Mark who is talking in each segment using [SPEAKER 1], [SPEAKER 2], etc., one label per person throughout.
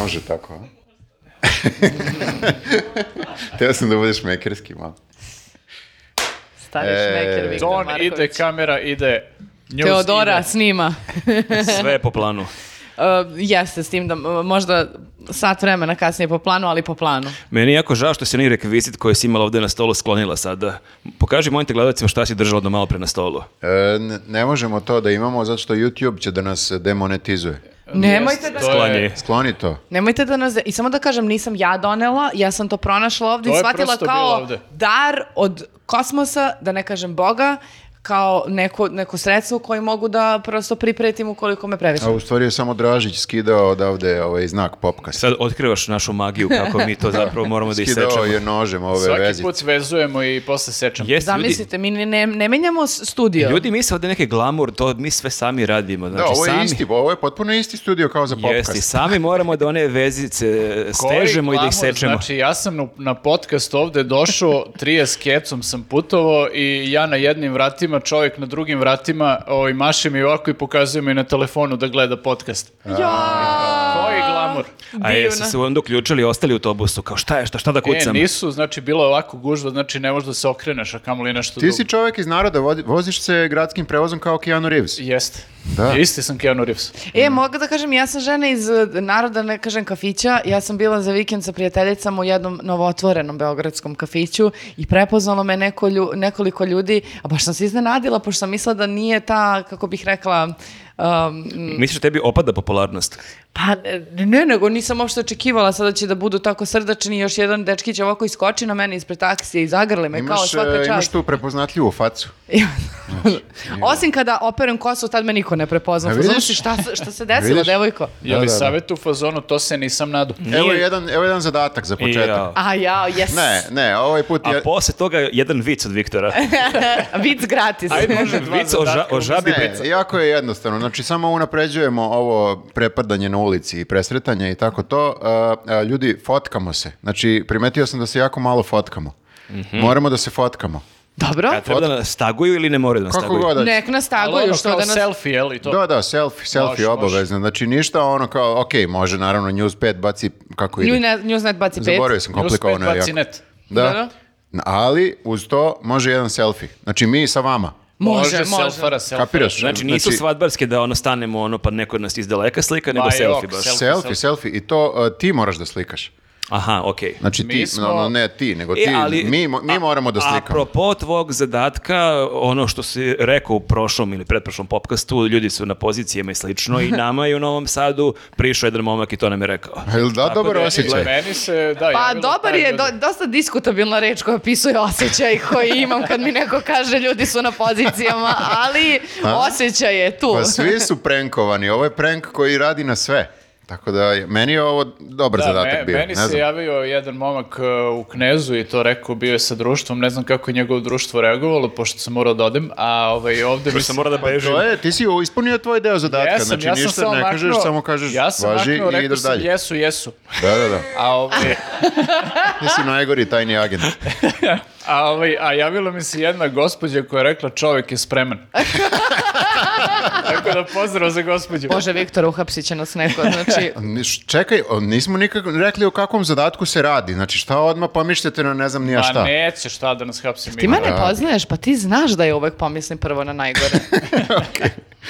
[SPEAKER 1] Može tako, a? Teo sam da budeš mekerski, malo.
[SPEAKER 2] Staviš
[SPEAKER 1] E,
[SPEAKER 2] meker Viktor
[SPEAKER 3] Ton
[SPEAKER 2] Marković.
[SPEAKER 3] ide, kamera ide. News
[SPEAKER 2] Teodora
[SPEAKER 3] ide.
[SPEAKER 2] snima.
[SPEAKER 4] Sve je po planu.
[SPEAKER 2] Uh, jeste, s tim da m- možda sat vremena kasnije po planu, ali po planu.
[SPEAKER 4] Meni je jako žao što si onaj rekvizit koji si imala ovdje na stolu sklonila sada. Pokaži mojim te gledalcima šta si držala do malo pre na stolu.
[SPEAKER 1] E, n- ne možemo to da imamo zato što YouTube će da nas demonetizuje.
[SPEAKER 2] Nemojte da...
[SPEAKER 3] To je-
[SPEAKER 4] Sklanje.
[SPEAKER 1] Skloni to.
[SPEAKER 2] Nemojte da nas... I samo da kažem, nisam ja donela, ja sam to pronašla ovdje
[SPEAKER 3] To
[SPEAKER 2] i
[SPEAKER 3] je
[SPEAKER 2] shvatila
[SPEAKER 3] prosto
[SPEAKER 2] kao
[SPEAKER 3] bilo ovde.
[SPEAKER 2] dar od kosmosa, da ne kažem Boga, kao neko, neko sredstvo koje mogu da prosto pripretim ukoliko me previše.
[SPEAKER 1] A u stvari je samo Dražić skidao odavde ovaj znak popkast.
[SPEAKER 4] Sad otkrivaš našu magiju kako mi to zapravo moramo da
[SPEAKER 1] Skidao
[SPEAKER 4] isečemo.
[SPEAKER 1] je nožem ove
[SPEAKER 3] Svaki
[SPEAKER 1] vezice.
[SPEAKER 3] put svezujemo i posle sečemo.
[SPEAKER 4] Jeste, ljudi,
[SPEAKER 2] Zamislite, mi ne, ne menjamo s- studio.
[SPEAKER 4] ljudi misle ovdje neki glamur, to mi sve sami radimo. Znači,
[SPEAKER 1] da, ovo je
[SPEAKER 4] sami,
[SPEAKER 1] isti, ovo je potpuno isti studio kao za popkast.
[SPEAKER 4] Jeste, i sami moramo da one vezice e,
[SPEAKER 3] Koji
[SPEAKER 4] stežemo i da
[SPEAKER 3] glamur,
[SPEAKER 4] ih sečemo.
[SPEAKER 3] Znači, ja sam na, na podcast ovde došao, trije s kecom sam putovao i ja na jednim vratima, čovjek na drugim vratima, ovaj, maše mi ovako i pokazuje mi na telefonu da gleda podcast.
[SPEAKER 2] Ja!
[SPEAKER 3] Koji glamur?
[SPEAKER 4] A jesu
[SPEAKER 2] divno.
[SPEAKER 4] se onda uključili i ostali u autobusu, kao šta je, šta, šta da
[SPEAKER 3] E,
[SPEAKER 4] kucam?
[SPEAKER 3] nisu, znači, bilo je ovako gužva, znači ne možeš da se okreneš, a kamoli nešto
[SPEAKER 1] Ti
[SPEAKER 3] drugo.
[SPEAKER 1] si čovjek iz naroda, vodi- voziš se gradskim prevozom kao Keanu Reeves.
[SPEAKER 3] Jeste.
[SPEAKER 1] Da.
[SPEAKER 3] Isti sam Keanu Reeves.
[SPEAKER 2] E, mogu da kažem, ja sam žena iz eh, naroda, ne kažem kafića, ja sam bila za vikend sa prijateljicama u jednom novootvorenom beogradskom kafiću i prepoznalo me neko lju- nekoliko ljudi, a baš sam se iznenadila, pošto sam mislila da nije ta, kako bih rekla, um,
[SPEAKER 4] Misliš da tebi opada popularnost?
[SPEAKER 2] pa ne, nego nisam uopšte očekivala sada će da budu tako srdačni, još jedan dečkić ovako iskoči na mene ispred taksije i zagrle me kao
[SPEAKER 1] Imaš,
[SPEAKER 2] svaka
[SPEAKER 1] e,
[SPEAKER 2] čast.
[SPEAKER 1] imaš tu prepoznatljivu facu.
[SPEAKER 2] Osim kada operem kosu, tad me niko ne prepozna.
[SPEAKER 1] A vidiš?
[SPEAKER 2] Znaš šta, se- šta se desilo,
[SPEAKER 1] Vidiš?
[SPEAKER 2] devojko?
[SPEAKER 3] Je
[SPEAKER 1] Da,
[SPEAKER 3] li
[SPEAKER 1] da, da.
[SPEAKER 3] savjet u fazonu, to se nisam nadu.
[SPEAKER 1] Evo jedan, evo jedan zadatak za
[SPEAKER 4] I,
[SPEAKER 1] početak.
[SPEAKER 4] a,
[SPEAKER 2] A ja, jes.
[SPEAKER 1] Ne, ne, ovaj put
[SPEAKER 4] a
[SPEAKER 1] je...
[SPEAKER 4] posle toga jedan vic od Viktora.
[SPEAKER 2] Vic gratis.
[SPEAKER 3] Ajde, može dva
[SPEAKER 4] vic o, ža-
[SPEAKER 3] zadatka.
[SPEAKER 4] o žabi
[SPEAKER 1] Ne,
[SPEAKER 4] brica.
[SPEAKER 1] E, jako je jednostavno. Znači, samo unapređujemo ovo prepadanje na ulici i presretanje i tako to. A, a, ljudi, fotkamo se. Znači, primetio sam da se jako malo fotkamo. Moramo da se fotkamo.
[SPEAKER 2] Dobro.
[SPEAKER 4] A treba da nas taguju ili ne moraju da nas
[SPEAKER 1] Kako
[SPEAKER 4] taguju?
[SPEAKER 1] god da
[SPEAKER 2] Nek nas
[SPEAKER 3] Ali ono
[SPEAKER 2] taguju što
[SPEAKER 3] kao
[SPEAKER 2] da nas...
[SPEAKER 3] selfie, je li to?
[SPEAKER 1] Da, da, selfie, selfie
[SPEAKER 3] Može,
[SPEAKER 1] obavezno. Znači ništa ono kao, ok, može naravno News 5 baci kako ide.
[SPEAKER 2] Nju ne- Newsnet baci pet.
[SPEAKER 1] Zaboravio sam komplikovano. je
[SPEAKER 3] Uspeh
[SPEAKER 1] jako.
[SPEAKER 3] bacinet.
[SPEAKER 2] Da, da.
[SPEAKER 1] Da. Ali uz to može jedan selfie. Znači mi sa vama.
[SPEAKER 2] Može, može.
[SPEAKER 3] selfara, selfara.
[SPEAKER 1] Kapiraš?
[SPEAKER 4] Znači nisu svatbarske da ono stanemo ono pa neko od nas izdaleka slika, nego
[SPEAKER 3] Ba,
[SPEAKER 4] selfie
[SPEAKER 3] jok,
[SPEAKER 4] baš.
[SPEAKER 3] selfie.
[SPEAKER 1] Pa Selfie, selfie. I to uh, ti moraš da slikaš.
[SPEAKER 4] Aha, okej.
[SPEAKER 1] Znači
[SPEAKER 3] Mi
[SPEAKER 1] ti,
[SPEAKER 3] smo-
[SPEAKER 1] no, no, ne ti, nego ti,
[SPEAKER 4] E, ali-
[SPEAKER 1] mi, mo- mi moramo da
[SPEAKER 4] A
[SPEAKER 1] slikamo.
[SPEAKER 4] Apropo tvog zadatka, ono što si rekao u prošlom ili pretprošlom popkastu, ljudi su na pozicijama i slično i nama je u Novom Sadu prišao jedan momak i to nam je rekao.
[SPEAKER 1] A Jel da dobar
[SPEAKER 4] da,
[SPEAKER 1] osjećaj?
[SPEAKER 3] Meni se, da,
[SPEAKER 2] Pa
[SPEAKER 3] javilo
[SPEAKER 2] dobar
[SPEAKER 3] par
[SPEAKER 2] je,
[SPEAKER 3] ljudi.
[SPEAKER 2] do- dosta diskutabilna reč koja opisuje osjećaj koji imam kad mi neko kaže ljudi su na pozicijama, ali osjećaj je tu.
[SPEAKER 1] Pa svi su prenkovani. Ovo je prenk koji radi na sve. Tako da je- meni je ovo dobar
[SPEAKER 3] Da,
[SPEAKER 1] zadatak
[SPEAKER 3] me-
[SPEAKER 1] bio.
[SPEAKER 3] meni
[SPEAKER 1] ne
[SPEAKER 3] se
[SPEAKER 1] znam.
[SPEAKER 3] javio jedan momak uh, u Knezu i to rekao, bio je sa društvom, ne znam kako je njegovo društvo reagovalo, pošto sam morao da odem, a ovaj, ovde...
[SPEAKER 4] Još
[SPEAKER 3] mislim-
[SPEAKER 4] sam morao da bežim.
[SPEAKER 1] To je, ti si ispunio tvoj deo zadatka.
[SPEAKER 3] Jesam,
[SPEAKER 1] znači
[SPEAKER 3] ja sam
[SPEAKER 1] ništa
[SPEAKER 3] samo
[SPEAKER 1] ne
[SPEAKER 3] maknuo-
[SPEAKER 1] kažeš, samo kažeš
[SPEAKER 3] ja sam
[SPEAKER 1] važi
[SPEAKER 3] maknuo,
[SPEAKER 1] i
[SPEAKER 3] rekao
[SPEAKER 1] ideš
[SPEAKER 3] sam
[SPEAKER 1] dalje.
[SPEAKER 3] jesu, jesu.
[SPEAKER 1] Da, da, da.
[SPEAKER 3] A, ovaj,
[SPEAKER 1] Ti si najgori tajni agent.
[SPEAKER 3] a, ovaj, a javila mi se jedna gospođa koja je rekla čovek je spreman. Tako da pozdrav za gospođu.
[SPEAKER 2] Bože, Viktor, uhapsit će nas neko, znači...
[SPEAKER 1] Niš- Čekaj, o, nismo nikako rekli o kakvom zadatku se radi. Znači šta odmah pomišljate na ne znam ni ja
[SPEAKER 3] Pa
[SPEAKER 1] šta.
[SPEAKER 3] neće šta da nas hapsi
[SPEAKER 2] Ti
[SPEAKER 3] mi.
[SPEAKER 2] mene poznaješ, pa ti znaš da je uvek pomislim prvo na najgore.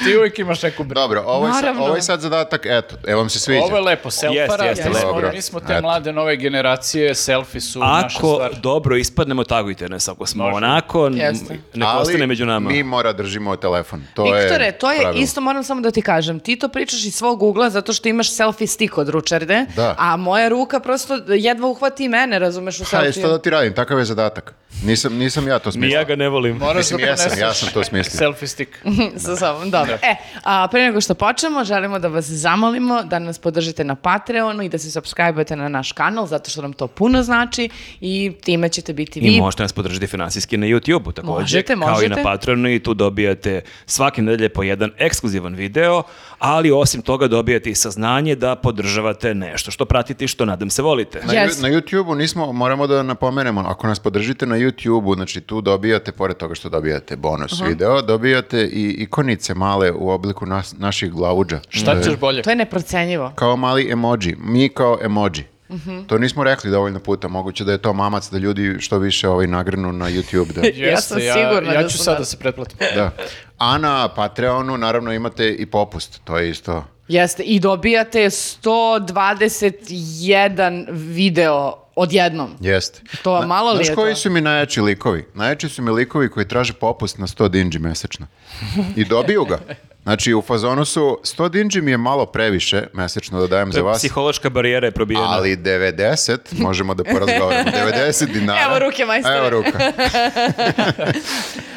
[SPEAKER 3] Ti uvijek imaš neku brigu.
[SPEAKER 1] Dobro, ovo je, sa,
[SPEAKER 2] Naravno.
[SPEAKER 1] ovo je sad zadatak, eto, evo vam se sviđa.
[SPEAKER 3] Ovo je lepo, selfara,
[SPEAKER 4] Jeste, jeste,
[SPEAKER 3] mi, smo,
[SPEAKER 1] dobro.
[SPEAKER 3] mi smo te
[SPEAKER 1] Eto.
[SPEAKER 3] mlade nove generacije, selfie su naša
[SPEAKER 4] Ako
[SPEAKER 3] stvar.
[SPEAKER 4] dobro ispadnemo, tagujte nas ako smo
[SPEAKER 3] Može.
[SPEAKER 4] onako, n-
[SPEAKER 2] Jeste.
[SPEAKER 4] nek ostane među nama.
[SPEAKER 1] mi mora držimo telefon. To
[SPEAKER 2] Viktore,
[SPEAKER 1] je
[SPEAKER 2] to je
[SPEAKER 1] pravilo.
[SPEAKER 2] isto, moram samo da ti kažem, ti to pričaš iz svog ugla zato što imaš selfie stick od ručerde,
[SPEAKER 1] Da.
[SPEAKER 2] a moja ruka prosto jedva uhvati mene, razumeš, u
[SPEAKER 1] Ha, je,
[SPEAKER 2] selfie.
[SPEAKER 1] što da ti radim, takav je zadatak. Nisam, nisam ja to
[SPEAKER 4] Ni
[SPEAKER 1] smislio.
[SPEAKER 4] ja ga ne volim.
[SPEAKER 3] Moraš
[SPEAKER 1] Mislim,
[SPEAKER 3] da
[SPEAKER 1] jesam,
[SPEAKER 3] preneseš
[SPEAKER 1] ja sam to smislio.
[SPEAKER 3] Selfie stick.
[SPEAKER 2] Sa sobom, dobro. E, a pre nego što počnemo, želimo da vas zamolimo da nas podržite na Patreonu i da se subscribe-ujete na naš kanal, zato što nam to puno znači i time ćete biti vi.
[SPEAKER 4] I možete nas podržati finansijski na YouTube-u također,
[SPEAKER 2] Možete,
[SPEAKER 4] kao i
[SPEAKER 2] možete.
[SPEAKER 4] na Patreonu i tu dobijate svake nedelje po jedan ekskluzivan video, ali osim toga dobijate i saznanje da podržavate nešto što pratite i što nadam se volite.
[SPEAKER 1] Na, ju-
[SPEAKER 2] Jes.
[SPEAKER 1] na YouTube-u nismo, moramo da napomenemo, ako nas podržite na YouTube-u, znači tu dobijate, pored toga što dobijate bonus video, dobijate i ikonice male u obliku nas- naših glavuđa.
[SPEAKER 3] Šta ćeš bolje?
[SPEAKER 2] To je neprocenjivo.
[SPEAKER 1] Kao mali emoji. Mi kao emoji.
[SPEAKER 2] Mhm.
[SPEAKER 1] To nismo rekli dovoljno puta, moguće da je to mamac da ljudi što više ovaj nagrnu na YouTube. Da.
[SPEAKER 2] Ja sam sigurna
[SPEAKER 3] ja,
[SPEAKER 2] da
[SPEAKER 3] ću
[SPEAKER 2] sam
[SPEAKER 3] sad
[SPEAKER 2] da-
[SPEAKER 3] da se pretplatim.
[SPEAKER 1] da. A na Patreonu pa naravno imate i popust, to je isto.
[SPEAKER 2] Jeste, i dobijate 121 video odjednom.
[SPEAKER 1] Jeste.
[SPEAKER 2] To vam malo li je
[SPEAKER 1] Znaš koji
[SPEAKER 2] to?
[SPEAKER 1] su mi najjači likovi? Najjači su mi likovi koji traže popust na 100 dinđi mesečno. I dobiju ga. Znači, u fazonu su 100 dinđi mi je malo previše mesečno da dajem za vas,
[SPEAKER 4] Znači, Psihološka barijera je probijena.
[SPEAKER 1] ali 90, možemo da porazgovaramo, 90 dinara.
[SPEAKER 2] Evo ruke, majstore.
[SPEAKER 1] Evo ruka.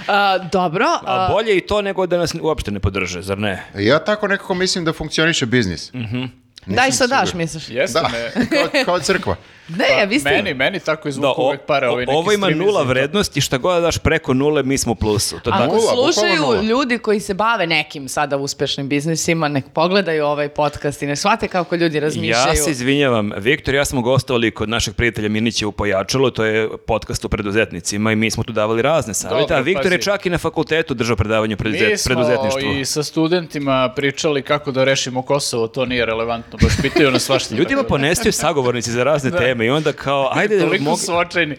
[SPEAKER 2] A, dobro. a,
[SPEAKER 4] A bolje i to nego da nas uopšte ne podrže, zar ne?
[SPEAKER 1] Ja tako nekako mislim da funkcioniše biznis.
[SPEAKER 2] daj što daš,
[SPEAKER 1] siguran.
[SPEAKER 2] misliš?
[SPEAKER 3] Jeste
[SPEAKER 1] Da,
[SPEAKER 3] me.
[SPEAKER 1] kao, kao crkva.
[SPEAKER 2] Ne,
[SPEAKER 4] Pa,
[SPEAKER 2] ja E, vi ste...
[SPEAKER 3] Meni, meni tako
[SPEAKER 4] Da,
[SPEAKER 3] izvuku
[SPEAKER 4] o,
[SPEAKER 3] uvek pare.
[SPEAKER 4] o-
[SPEAKER 3] Ovaj neki
[SPEAKER 4] ovo ima
[SPEAKER 3] streaming
[SPEAKER 4] nula
[SPEAKER 3] za to.
[SPEAKER 4] vrednosti, šta god da daš preko nule, mi smo u plusu. To
[SPEAKER 2] Ako
[SPEAKER 4] tako.
[SPEAKER 1] nula, bukvalno nula.
[SPEAKER 2] slušaju ljudi koji se bave nekim sada uspešnim biznisima, nek pogledaju ovaj podcast i ne shvate kako ljudi razmišljaju.
[SPEAKER 4] Ja se izvinjavam, Viktor, ja smo gostovali kod našeg prijatelja Minića u Pojačalu, to je podcast o preduzetnicima i mi smo tu davali razne savjete,
[SPEAKER 3] Dobro,
[SPEAKER 4] a Viktor je
[SPEAKER 3] pazi.
[SPEAKER 4] čak i na fakultetu držao predavanje
[SPEAKER 3] Mi
[SPEAKER 4] o preduzet,
[SPEAKER 3] smo
[SPEAKER 4] preduzetništvu.
[SPEAKER 3] i sa studentima pričali kako da rešimo Kosovo, to nije relevantno, baš pitaju nas svašta. Tako
[SPEAKER 4] Ljudima
[SPEAKER 3] da-
[SPEAKER 4] ponestio sagovornici za razne teme i onda kao, ajde,
[SPEAKER 3] Toliko
[SPEAKER 4] mog-
[SPEAKER 3] su očajni.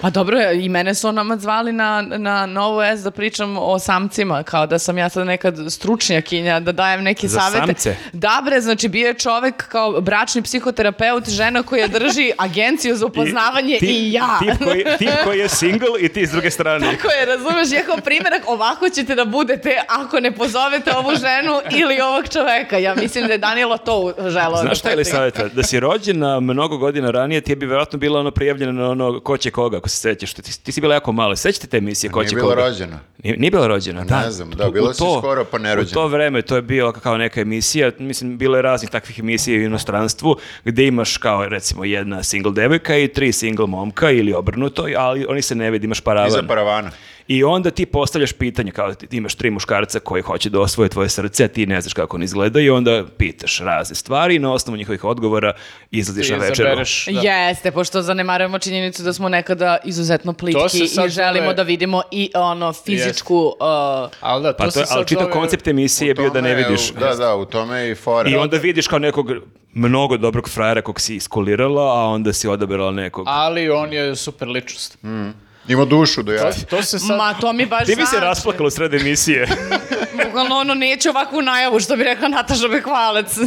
[SPEAKER 2] Pa dobro, i mene su onama zvali na, na Novo S da pričam o samcima, kao da sam ja sad nekad stručnjakinja, da dajem neke
[SPEAKER 4] Za
[SPEAKER 2] savete.
[SPEAKER 4] samce?
[SPEAKER 2] Da bre, znači bio je čovek kao bračni psihoterapeut, žena koja drži agenciju za upoznavanje i, ja.
[SPEAKER 4] Tip koji, tip koji je single i ti s druge strane.
[SPEAKER 2] Tako je, razumeš, ja kao primjerak, ovako ćete da budete ako ne pozovete ovu ženu ili ovog čoveka. Ja mislim da je Danilo to u- želeo. da
[SPEAKER 4] Znaš šta je li
[SPEAKER 2] postigne.
[SPEAKER 4] savjeta? Da si rođena mnogo godina ranije, ti bi vjerojatno bila ono prijavljena na ono ko će koga, ako se sećaš. Ti, ti si bila jako mala. Sećate te emisije ko
[SPEAKER 1] Nije
[SPEAKER 4] će
[SPEAKER 1] bila
[SPEAKER 4] koga?
[SPEAKER 1] rođena.
[SPEAKER 4] Nije, nije bila rođena, da.
[SPEAKER 1] ne znam, da,
[SPEAKER 4] Tu- u
[SPEAKER 1] bila si skoro pa nerođena.
[SPEAKER 4] U to vreme to je bila kao neka emisija, mislim, bilo je raznih takvih emisija u inostranstvu, gde imaš kao recimo jedna single devojka i tri single momka ili obrnuto, ali oni se ne vidi, imaš paravan.
[SPEAKER 1] Iza paravana.
[SPEAKER 4] I onda ti postavljaš pitanje, kao ti, ti imaš tri muškarca koji hoće da osvoje tvoje srce, a ti ne znaš kako oni izgledaju i onda pitaš razne stvari i na osnovu njihovih odgovora izlaziš
[SPEAKER 3] Ti
[SPEAKER 4] na večeru.
[SPEAKER 3] izabereš, da.
[SPEAKER 2] Jeste, pošto zanemarujemo činjenicu da smo nekada izuzetno plitki
[SPEAKER 3] se sad
[SPEAKER 2] i želimo
[SPEAKER 3] zove-
[SPEAKER 2] da vidimo i ono fizičku... uh,
[SPEAKER 3] Ali da, to
[SPEAKER 4] Pa to,
[SPEAKER 3] se
[SPEAKER 4] je-
[SPEAKER 3] sad
[SPEAKER 4] ali čitav
[SPEAKER 3] zove-
[SPEAKER 4] koncept emisije je bio da ne
[SPEAKER 1] Tome je-
[SPEAKER 4] vidiš.
[SPEAKER 1] Da, da, u tome je i fora.
[SPEAKER 4] I onda vidiš kao nekog mnogo dobrog frajera kog si iskolirala, a onda si odabrala nekog.
[SPEAKER 3] Ali on je super ličnost.
[SPEAKER 1] Ima dušu do jaja.
[SPEAKER 3] To, to se sad...
[SPEAKER 2] uh, Ma, to mi baš
[SPEAKER 4] Ti bi se
[SPEAKER 2] znači.
[SPEAKER 4] rasplakala u sred emisije.
[SPEAKER 2] Bukvalno ono, neću ovakvu najavu što bi rekla Nataša Bekvalac.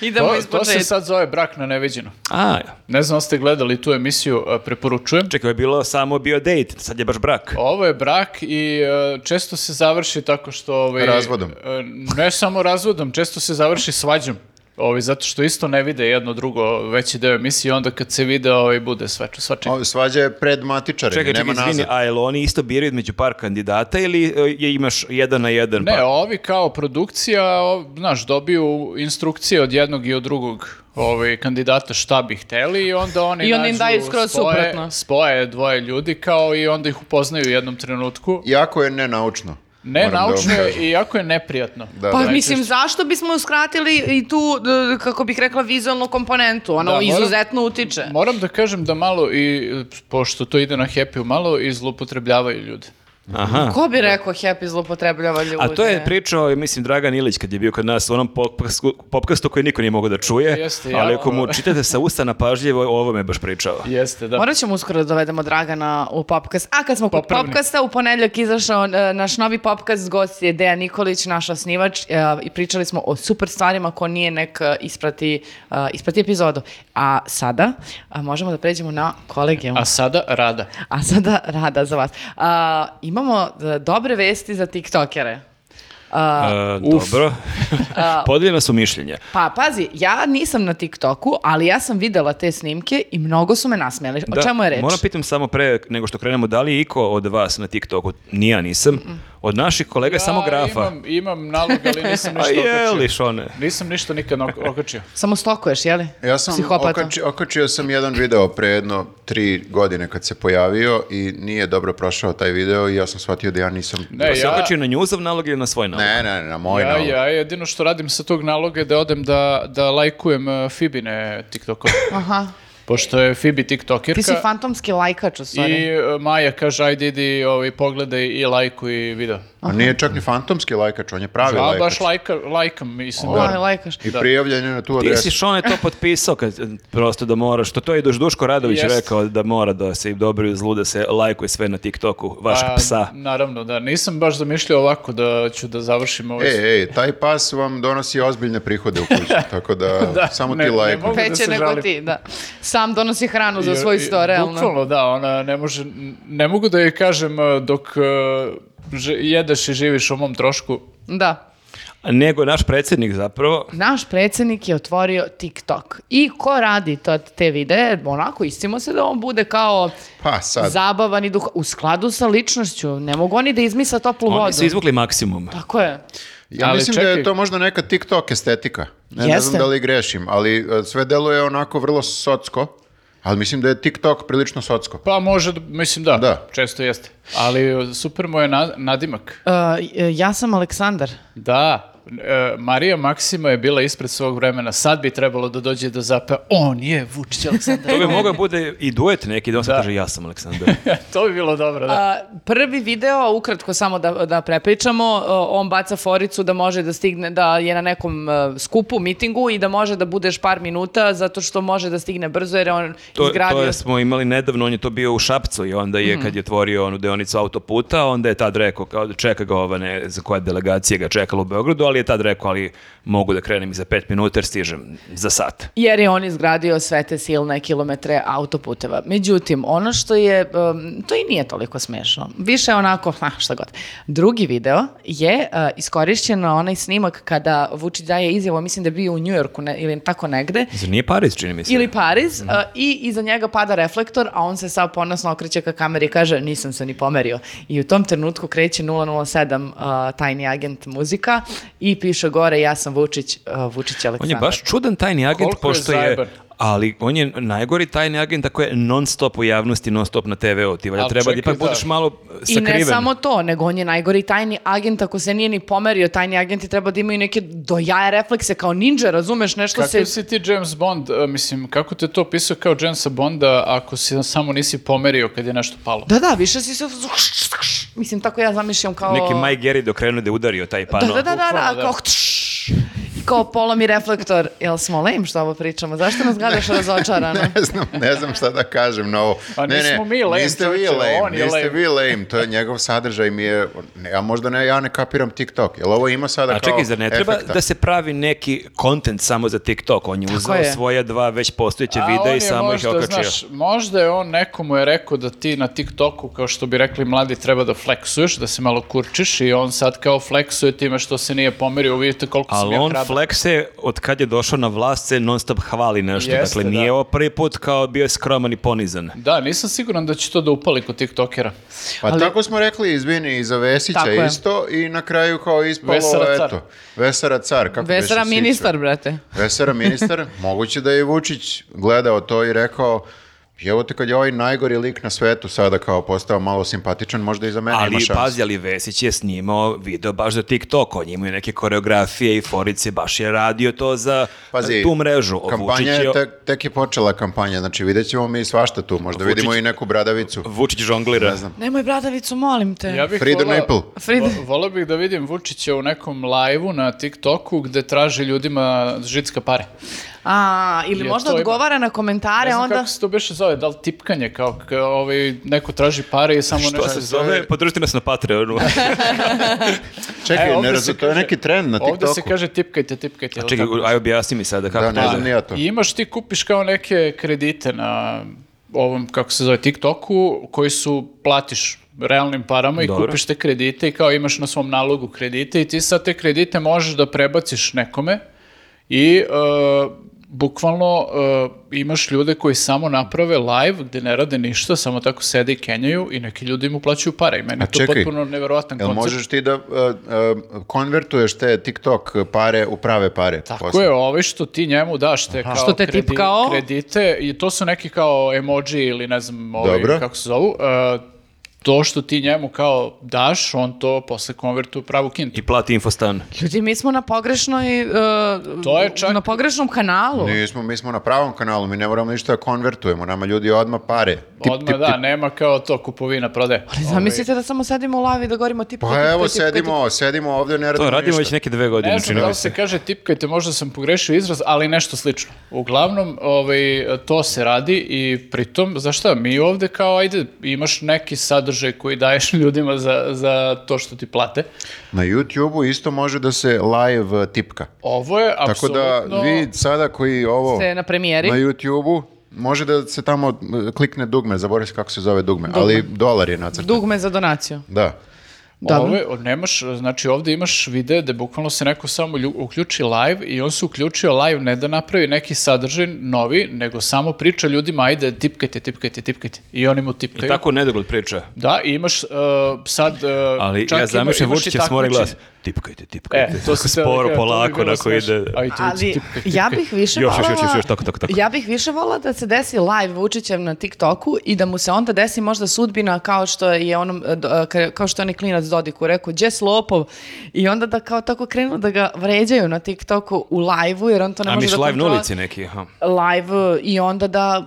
[SPEAKER 2] Idemo
[SPEAKER 3] To,
[SPEAKER 2] iz
[SPEAKER 3] to se
[SPEAKER 2] početka.
[SPEAKER 3] sad zove brak na neviđeno.
[SPEAKER 4] a,
[SPEAKER 3] Ne znam, ste gledali tu emisiju, a, preporučujem.
[SPEAKER 4] čekaj, ovo je bilo samo bio date, sad je baš brak.
[SPEAKER 3] Ovo je brak i e, često se završi tako što... Ovaj,
[SPEAKER 1] Razvodom.
[SPEAKER 3] e, ne samo razvodom, često se završi svađom. Ovaj, zato što isto ne vide jedno drugo veći deo emisije i onda kad se vide ovaj, bude sva, svačeg.
[SPEAKER 1] O, svađa je pred matičarenje,
[SPEAKER 4] Čekaj, čekaj,
[SPEAKER 1] nema
[SPEAKER 4] izvini,
[SPEAKER 1] nazad.
[SPEAKER 4] a jel oni isto biraju između par kandidata ili e, je imaš jedan na jedan?
[SPEAKER 3] Ne,
[SPEAKER 4] pa-
[SPEAKER 3] ovi kao produkcija, o, znaš, dobiju instrukcije od jednog i od drugog ovaj, kandidata šta bi hteli i onda oni
[SPEAKER 2] I oni im
[SPEAKER 3] nađu
[SPEAKER 2] daju skroz
[SPEAKER 3] spoje,
[SPEAKER 2] suprotno.
[SPEAKER 3] spoje dvoje ljudi kao i onda ih upoznaju u jednom trenutku.
[SPEAKER 1] Jako je nenaučno.
[SPEAKER 3] Ne,
[SPEAKER 1] moram da vam
[SPEAKER 3] naučno je
[SPEAKER 1] kažem.
[SPEAKER 3] i jako je neprijatno.
[SPEAKER 1] Da,
[SPEAKER 2] Pa
[SPEAKER 1] da.
[SPEAKER 2] mislim, zašto bismo uskratili i tu, d- kako bih rekla, vizualnu komponentu? Ono
[SPEAKER 3] Da, moram-
[SPEAKER 2] izuzetno utiče.
[SPEAKER 3] Moram da kažem da malo i, pošto to ide na happy, malo i zlupotrebljavaju ljudi.
[SPEAKER 4] Aha.
[SPEAKER 2] Ko bi rekao Happy zlopotrebljava ljude?
[SPEAKER 4] A to je pričao, i mislim, Dragan Ilić kad je bio kod nas u onom popkastu, popkastu koji niko nije mogao da čuje,
[SPEAKER 3] Jeste,
[SPEAKER 4] ali
[SPEAKER 3] ja-
[SPEAKER 4] ako mu čitate sa usta na pažljivo, o ovome je baš pričao.
[SPEAKER 3] Jeste, da.
[SPEAKER 2] Morat ćemo uskoro da dovedemo Dragana u popkast. A kad smo kod
[SPEAKER 3] Popravni.
[SPEAKER 2] popkasta, u ponedljak izašao e, naš novi popkast, gost je Dejan Nikolić, naš osnivač e, i pričali smo o super stvarima ko nije nek e, isprati, e, isprati epizodu. A sada a, možemo da pređemo na kolegijum.
[SPEAKER 3] A sada rada.
[SPEAKER 2] A sada rada za vas. A, imamo e, dobre vesti za tiktokere.
[SPEAKER 4] E, dobro. Podeljena su mišljenja.
[SPEAKER 2] Pa pazi, ja nisam na TikToku, ali ja sam videla te snimke i mnogo su me nasmijali. O
[SPEAKER 4] Da,
[SPEAKER 2] čemu je reč?
[SPEAKER 4] Moram pitam samo pre nego što krenemo, da li je iko od vas na TikToku? Ni ja nisam. Od naših kolega je samo
[SPEAKER 3] Ja
[SPEAKER 4] grafa.
[SPEAKER 3] Imam, imam nalog, ali nisam
[SPEAKER 4] A
[SPEAKER 3] ništa
[SPEAKER 4] je li,
[SPEAKER 3] okačio.
[SPEAKER 4] Šone?
[SPEAKER 3] Nisam ništa nikad ok- okačio.
[SPEAKER 2] Samo stokuješ, jeli?
[SPEAKER 1] Ja sam
[SPEAKER 2] Psihopata.
[SPEAKER 1] okači- okačio sam jedan video pre jedno tri godine kad se pojavio i nije dobro prošao taj video i ja sam shvatio da ja nisam...
[SPEAKER 3] Ne,
[SPEAKER 4] Pa si
[SPEAKER 3] E, ja-
[SPEAKER 4] okačio na njuzov nalog ili na svoj nalog?
[SPEAKER 1] ne, ne, na moj
[SPEAKER 3] Ja,
[SPEAKER 1] nalog.
[SPEAKER 3] ja jedino što radim sa tog naloga je da odem da, da lajkujem e, Fibine TikTokove.
[SPEAKER 2] Aha.
[SPEAKER 3] pošto je Phoebe TikTokerka.
[SPEAKER 2] Ti si fantomski lajkač, u
[SPEAKER 3] I
[SPEAKER 2] stvari.
[SPEAKER 3] e, Maja kaže, ajde idi ovaj, pogledaj i lajkuj video.
[SPEAKER 1] A nije čak ni fantomski lajkač, on je pravi
[SPEAKER 3] Ja
[SPEAKER 1] lajkač.
[SPEAKER 3] baš lajka, lajkam, mislim ono.
[SPEAKER 2] Laj-
[SPEAKER 3] da.
[SPEAKER 2] lajkaš.
[SPEAKER 1] I prijavljen je na tu
[SPEAKER 4] Ti si
[SPEAKER 1] adresu.
[SPEAKER 4] Šone to potpisao kad, prosto da mora, što to je i Duš- Duško Radović
[SPEAKER 3] Jest.
[SPEAKER 4] rekao da mora da se i dobro i zlu da se lajkuje sve na TikToku vašeg
[SPEAKER 3] A,
[SPEAKER 4] psa.
[SPEAKER 3] Pa, Naravno, da. Nisam baš zamišljao ovako da ću da završim
[SPEAKER 2] E,
[SPEAKER 3] ovaj...
[SPEAKER 1] Ej, ej, taj pas vam donosi ozbiljne prihode u kuću, tako da,
[SPEAKER 3] Da,
[SPEAKER 1] samo
[SPEAKER 3] ne-
[SPEAKER 1] ti
[SPEAKER 3] ne
[SPEAKER 1] lajkuj.
[SPEAKER 3] mogu. da
[SPEAKER 2] Peće
[SPEAKER 3] se
[SPEAKER 2] nego
[SPEAKER 3] žalim.
[SPEAKER 2] ti, da. Sam donosi hranu za
[SPEAKER 3] Jer-
[SPEAKER 2] svoj
[SPEAKER 3] i-
[SPEAKER 2] sto, realno.
[SPEAKER 3] Bukvalno, da, ona ne može, ne mogu da joj kažem e, dok e, ž- jedeš i živiš u mom trošku.
[SPEAKER 2] Da.
[SPEAKER 4] Nego naš predsjednik zapravo,
[SPEAKER 2] Naš predsjednik je otvorio TikTok. I ko radi to, te videe, onako istimo se da on bude kao
[SPEAKER 1] Pa sad,
[SPEAKER 2] zabavan i duh, u skladu sa ličnošću. Ne mogu oni da izmisle toplu
[SPEAKER 4] oni
[SPEAKER 2] vodu.
[SPEAKER 4] su izvukli maksimum.
[SPEAKER 2] Tako je.
[SPEAKER 1] ja
[SPEAKER 3] Ali
[SPEAKER 1] mislim da
[SPEAKER 3] čekaj.
[SPEAKER 1] je to možda neka TikTok estetika. Ne, ne
[SPEAKER 2] Jeste.
[SPEAKER 1] znam da li grešim, ali e, sve deluje onako vrlo socko, ali mislim da je TikTok prilično socko.
[SPEAKER 3] Pa može, da- mislim da,
[SPEAKER 1] Da.
[SPEAKER 3] često jeste. Ali e, super mu je na- nadimak.
[SPEAKER 2] E, e, ja sam Aleksandar.
[SPEAKER 3] Da, e, Marija Maksima je bila ispred svog vremena, sad bi trebalo da dođe da zapeva, on je Vučić Aleksandar.
[SPEAKER 4] To bi mogao bude i duet neki, da on se kaže ja sam Aleksandar.
[SPEAKER 3] to bi bilo dobro, da.
[SPEAKER 2] A, Uh, prvi video, ukratko samo da, da prepričamo, e, on baca foricu da može da stigne, da je na nekom e, skupu, mitingu i da može da budeš par minuta zato što može da stigne brzo jer je on
[SPEAKER 4] To,
[SPEAKER 2] izgradio... Mhm.
[SPEAKER 4] to je smo imali nedavno, on je to bio u Šapcu i onda je kad je otvorio onu deonicu autoputa, onda je tad rekao, kao da čeka ga ova ne, za koja delegacija ga čekala u Beogradu, ali je tad rekao, ali mogu da krenem i za pet minuta jer stižem za sat.
[SPEAKER 2] Jer je on izgradio sve te silne kilometre autoputeva. Međutim, ono što je, um, to i nije toliko smešno. Više je onako, ha, šta god. Drugi video je uh, iskorišćen na onaj snimak kada Vučić daje izjavu, mislim da je bio u Njujorku ne- ili tako negde,
[SPEAKER 4] Zar nije Pariz, Mhm. čini mi se?
[SPEAKER 2] ili Pariz, a, i iza njega pada reflektor, a on se sad ponosno okreće ka kameri i kaže nisam se ni pomerio. I u tom trenutku kreće 007 a, tajni agent muzika i piše gore ja sam Vučić, a, Vučić
[SPEAKER 4] On
[SPEAKER 2] Aleksandar.
[SPEAKER 4] je baš čudan tajni agent,
[SPEAKER 3] Koliko je
[SPEAKER 4] pošto je...
[SPEAKER 3] zajeban.
[SPEAKER 4] Ali on je najgori tajni agent ako je non stop u javnosti, non stop na TV-u. Ti valjda
[SPEAKER 3] Ali
[SPEAKER 4] treba da
[SPEAKER 3] čekaj,
[SPEAKER 4] ipak
[SPEAKER 3] da.
[SPEAKER 4] budeš malo
[SPEAKER 2] I
[SPEAKER 4] sakriven.
[SPEAKER 2] ne samo to, nego on je najgori tajni agent, ako se nije ni pomerio, tajni agenti treba da imaju neke dojaje reflekse kao ninja, razumeš, nešto
[SPEAKER 3] Kako
[SPEAKER 2] se...
[SPEAKER 3] si ti James Bond, e, mislim, kako te to pisao kao Jamesa Bonda ako si samo nisi pomerio kad je nešto palo?
[SPEAKER 2] Da, da, više si se... Mislim, tako ja zamišljam kao...
[SPEAKER 4] Neki Mike Gary dokrenuo da je udario taj
[SPEAKER 2] Da,
[SPEAKER 4] pano.
[SPEAKER 2] da, da, da, da,
[SPEAKER 3] Bukvalno, da.
[SPEAKER 2] kao... I kao polomi reflektor. Jel smo lame što ovo pričamo? Zašto nas gledaš razočarano?
[SPEAKER 1] Ne znam, ne znam šta da kažem na ovo.
[SPEAKER 3] A
[SPEAKER 1] ne,
[SPEAKER 3] Pa nismo
[SPEAKER 1] ne,
[SPEAKER 3] mi lame,
[SPEAKER 1] niste vi
[SPEAKER 3] čovječe,
[SPEAKER 1] lame,
[SPEAKER 3] on je
[SPEAKER 1] niste
[SPEAKER 3] lame.
[SPEAKER 1] vi lame, to je njegov sadržaj mi je, ne, ja možda ne, ja ne kapiram TikTok, jel ovo ima sada
[SPEAKER 4] A
[SPEAKER 1] Pa kao
[SPEAKER 4] čekaj, zar ne treba
[SPEAKER 1] efekta?
[SPEAKER 4] da se pravi neki kontent samo za TikTok? On je uzeo
[SPEAKER 2] je.
[SPEAKER 4] svoja dva već postojeće
[SPEAKER 3] A on
[SPEAKER 4] videa
[SPEAKER 3] je
[SPEAKER 4] i samo ih
[SPEAKER 3] možda,
[SPEAKER 4] je okačio.
[SPEAKER 3] znaš, možda je on nekomu je rekao da ti na TikToku, kao što bi rekli mladi, treba da fleksuješ, da se malo kurčiš i on sad kao fleksuje time što se nije pomirio, vidite koliko sam
[SPEAKER 4] Ali
[SPEAKER 3] ja
[SPEAKER 4] on
[SPEAKER 3] hrabar.
[SPEAKER 4] flekse, od kad je došao na vlast, se non stop hvali nešto.
[SPEAKER 3] Jeste,
[SPEAKER 4] dakle, nije
[SPEAKER 3] da.
[SPEAKER 4] ovo prvi put kao bio je skroman i ponizan.
[SPEAKER 3] Da, nisam siguran da će to da upali kod TikTokera.
[SPEAKER 1] Pa tako smo rekli, izvini, i za Vesića
[SPEAKER 2] Tako je.
[SPEAKER 1] isto i na kraju kao ispalo,
[SPEAKER 3] Vesara car.
[SPEAKER 1] eto, Vesara car, kako beše
[SPEAKER 2] Vesera
[SPEAKER 1] Sića?
[SPEAKER 2] ministar, brate.
[SPEAKER 1] Vesera ministar, moguće da je i Vučić gledao to i rekao, evo te kad je ovaj najgori lik na svetu sada kao postao malo simpatičan, možda i za mene ima
[SPEAKER 4] Ali
[SPEAKER 1] šanse.
[SPEAKER 4] pazi, ali Vesić je snimao video baš za TikTok, on je imao neke koreografije i forice, baš je radio to za
[SPEAKER 1] Pazi,
[SPEAKER 4] tu mrežu. O, Vučić
[SPEAKER 1] Kampanja
[SPEAKER 4] je,
[SPEAKER 1] je tek, tek je počela kampanja, znači vidjet ćemo mi svašta tu, možda vidimo i neku bradavicu.
[SPEAKER 3] E,
[SPEAKER 4] Vučić žonglira.
[SPEAKER 1] Ne znam.
[SPEAKER 2] Nemoj bradavicu, molim te.
[SPEAKER 3] Ja bih
[SPEAKER 1] Freedom
[SPEAKER 3] volao-
[SPEAKER 1] Apple.
[SPEAKER 2] Frida,
[SPEAKER 3] Vo- volao bih da vidim Vučića u nekom live-u na TikToku gde traži ljudima žitska pare.
[SPEAKER 2] a, ili
[SPEAKER 3] Jer
[SPEAKER 2] možda
[SPEAKER 3] to ima.
[SPEAKER 2] odgovara na
[SPEAKER 3] Ne
[SPEAKER 2] komentare,
[SPEAKER 3] znam
[SPEAKER 2] onda...
[SPEAKER 3] kako se to beše zove, da li tipkanje, kao k- ovaj, neko traži pare i samo
[SPEAKER 4] Što
[SPEAKER 3] nešto...
[SPEAKER 4] se zove? Podržite nas na Patreonu.
[SPEAKER 1] Čekaj,
[SPEAKER 3] E, ovde
[SPEAKER 1] ne
[SPEAKER 3] se
[SPEAKER 1] razum- to je
[SPEAKER 3] kaže-
[SPEAKER 1] neki trend na TikToku.
[SPEAKER 3] Ovde se kaže tipkajte, tipkajte. jel
[SPEAKER 4] Čekaj,
[SPEAKER 3] tako?
[SPEAKER 4] aj objasni mi sada kako
[SPEAKER 1] Da, ne
[SPEAKER 4] to
[SPEAKER 1] znam
[SPEAKER 4] ide.
[SPEAKER 1] ni ja to.
[SPEAKER 3] I imaš ti kupiš kao neke kredite na ovom, kako se zove, TikToku, koji su platiš realnim parama i
[SPEAKER 4] Dobro.
[SPEAKER 3] kupiš te kredite i kao imaš na svom nalogu kredite i ti sad te kredite možeš da prebaciš nekome i e, bukvalno e, imaš ljude koji samo naprave live gde ne rade ništa, samo tako sede i kenjaju i neki ljudi im uplaćuju pare i meni
[SPEAKER 1] A
[SPEAKER 3] je to
[SPEAKER 1] čekaj,
[SPEAKER 3] potpuno neverovatan
[SPEAKER 1] Jel
[SPEAKER 3] koncept.
[SPEAKER 1] možeš ti da uh, uh, konvertuješ te TikTok pare u prave pare?
[SPEAKER 3] Tako
[SPEAKER 1] posle?
[SPEAKER 3] je, ovaj što ti njemu daš te kao
[SPEAKER 2] Što te
[SPEAKER 3] kredi-
[SPEAKER 2] tipkao?
[SPEAKER 3] kredite i to su neki kao emoji ili ne znam ovaj,
[SPEAKER 1] Dobro.
[SPEAKER 3] kako se zovu. e, to što ti njemu kao daš, on to posle konvertuje u pravu kintu.
[SPEAKER 4] I plati infostan.
[SPEAKER 2] Ljudi, mi smo na pogrešnoj, uh,
[SPEAKER 3] To je čak-
[SPEAKER 2] na pogrešnom kanalu.
[SPEAKER 1] Nismo, mi smo na pravom kanalu, mi ne moramo ništa da konvertujemo, nama ljudi odmah pare. Tip,
[SPEAKER 3] Odmah da, nema kao to kupovina, prode.
[SPEAKER 2] Ali zamislite da samo sedimo u lavi i da govorimo tip, tip,
[SPEAKER 1] Pa evo,
[SPEAKER 2] tip, tip, tip.
[SPEAKER 1] sedimo, sedimo ovdje, ne radimo
[SPEAKER 4] To radimo već
[SPEAKER 1] ništa.
[SPEAKER 4] neke dve godine,
[SPEAKER 3] Ne znam
[SPEAKER 4] čini
[SPEAKER 3] da
[SPEAKER 4] mi
[SPEAKER 3] li
[SPEAKER 4] se.
[SPEAKER 3] se kaže tipkajte, možda sam pogrešio izraz, ali nešto slično. Uglavnom, ovaj, to se radi i pritom, znaš šta, mi ovde kao, ajde, imaš neki sadržaj koji daješ ljudima za, za to što ti plate.
[SPEAKER 1] Na YouTube-u isto može da se live eh, tipka.
[SPEAKER 3] Ovo je
[SPEAKER 1] Tako
[SPEAKER 3] apsolutno...
[SPEAKER 1] da vi sada koji ovo
[SPEAKER 2] Ste na premijeri.
[SPEAKER 1] na YouTube-u, može da se tamo eh, klikne dugme, zaboravim se kako se zove dugme, ali dolar je nacrtan.
[SPEAKER 2] Dugme za donaciju.
[SPEAKER 1] Da.
[SPEAKER 2] Dobro.
[SPEAKER 3] Ovo je- o, nemaš, znači ovdje imaš vide da bukvalno se neko samo lju- uključi live i on se uključio live ne da napravi neki sadržaj novi, nego samo priča ljudima ajde tipkajte, tipkajte, tipkajte. I oni mu tipkaju.
[SPEAKER 4] I tako u nedogled priča.
[SPEAKER 3] Da, i imaš uh, sad... Uh,
[SPEAKER 4] Ali
[SPEAKER 3] čak
[SPEAKER 4] ja
[SPEAKER 3] ima-
[SPEAKER 4] zamišljam
[SPEAKER 3] imaš i
[SPEAKER 4] Vučića s more
[SPEAKER 3] takmičenje.
[SPEAKER 4] glas. Tipkajte,
[SPEAKER 3] E,
[SPEAKER 4] tipkajte.
[SPEAKER 3] to se
[SPEAKER 4] sporo, polako, onako ide.
[SPEAKER 3] Ali,
[SPEAKER 2] Ali ja bih više
[SPEAKER 4] Još, još,
[SPEAKER 2] voljela-
[SPEAKER 4] još, još, još, tako, tako, tako.
[SPEAKER 2] Ja bih više volila da se desi live Vučićev na TikToku i da mu se onda desi možda sudbina kao što je onom e, do- e, ka- kao što je onaj klinac Dodiku rekao đe si lopov i onda da kao tako krenu da ga vređaju na TikToku u live-u jer on to ne
[SPEAKER 4] A
[SPEAKER 2] može da
[SPEAKER 4] miš live na
[SPEAKER 2] kontrola-
[SPEAKER 4] ulici neki, aha.
[SPEAKER 2] live e, i onda da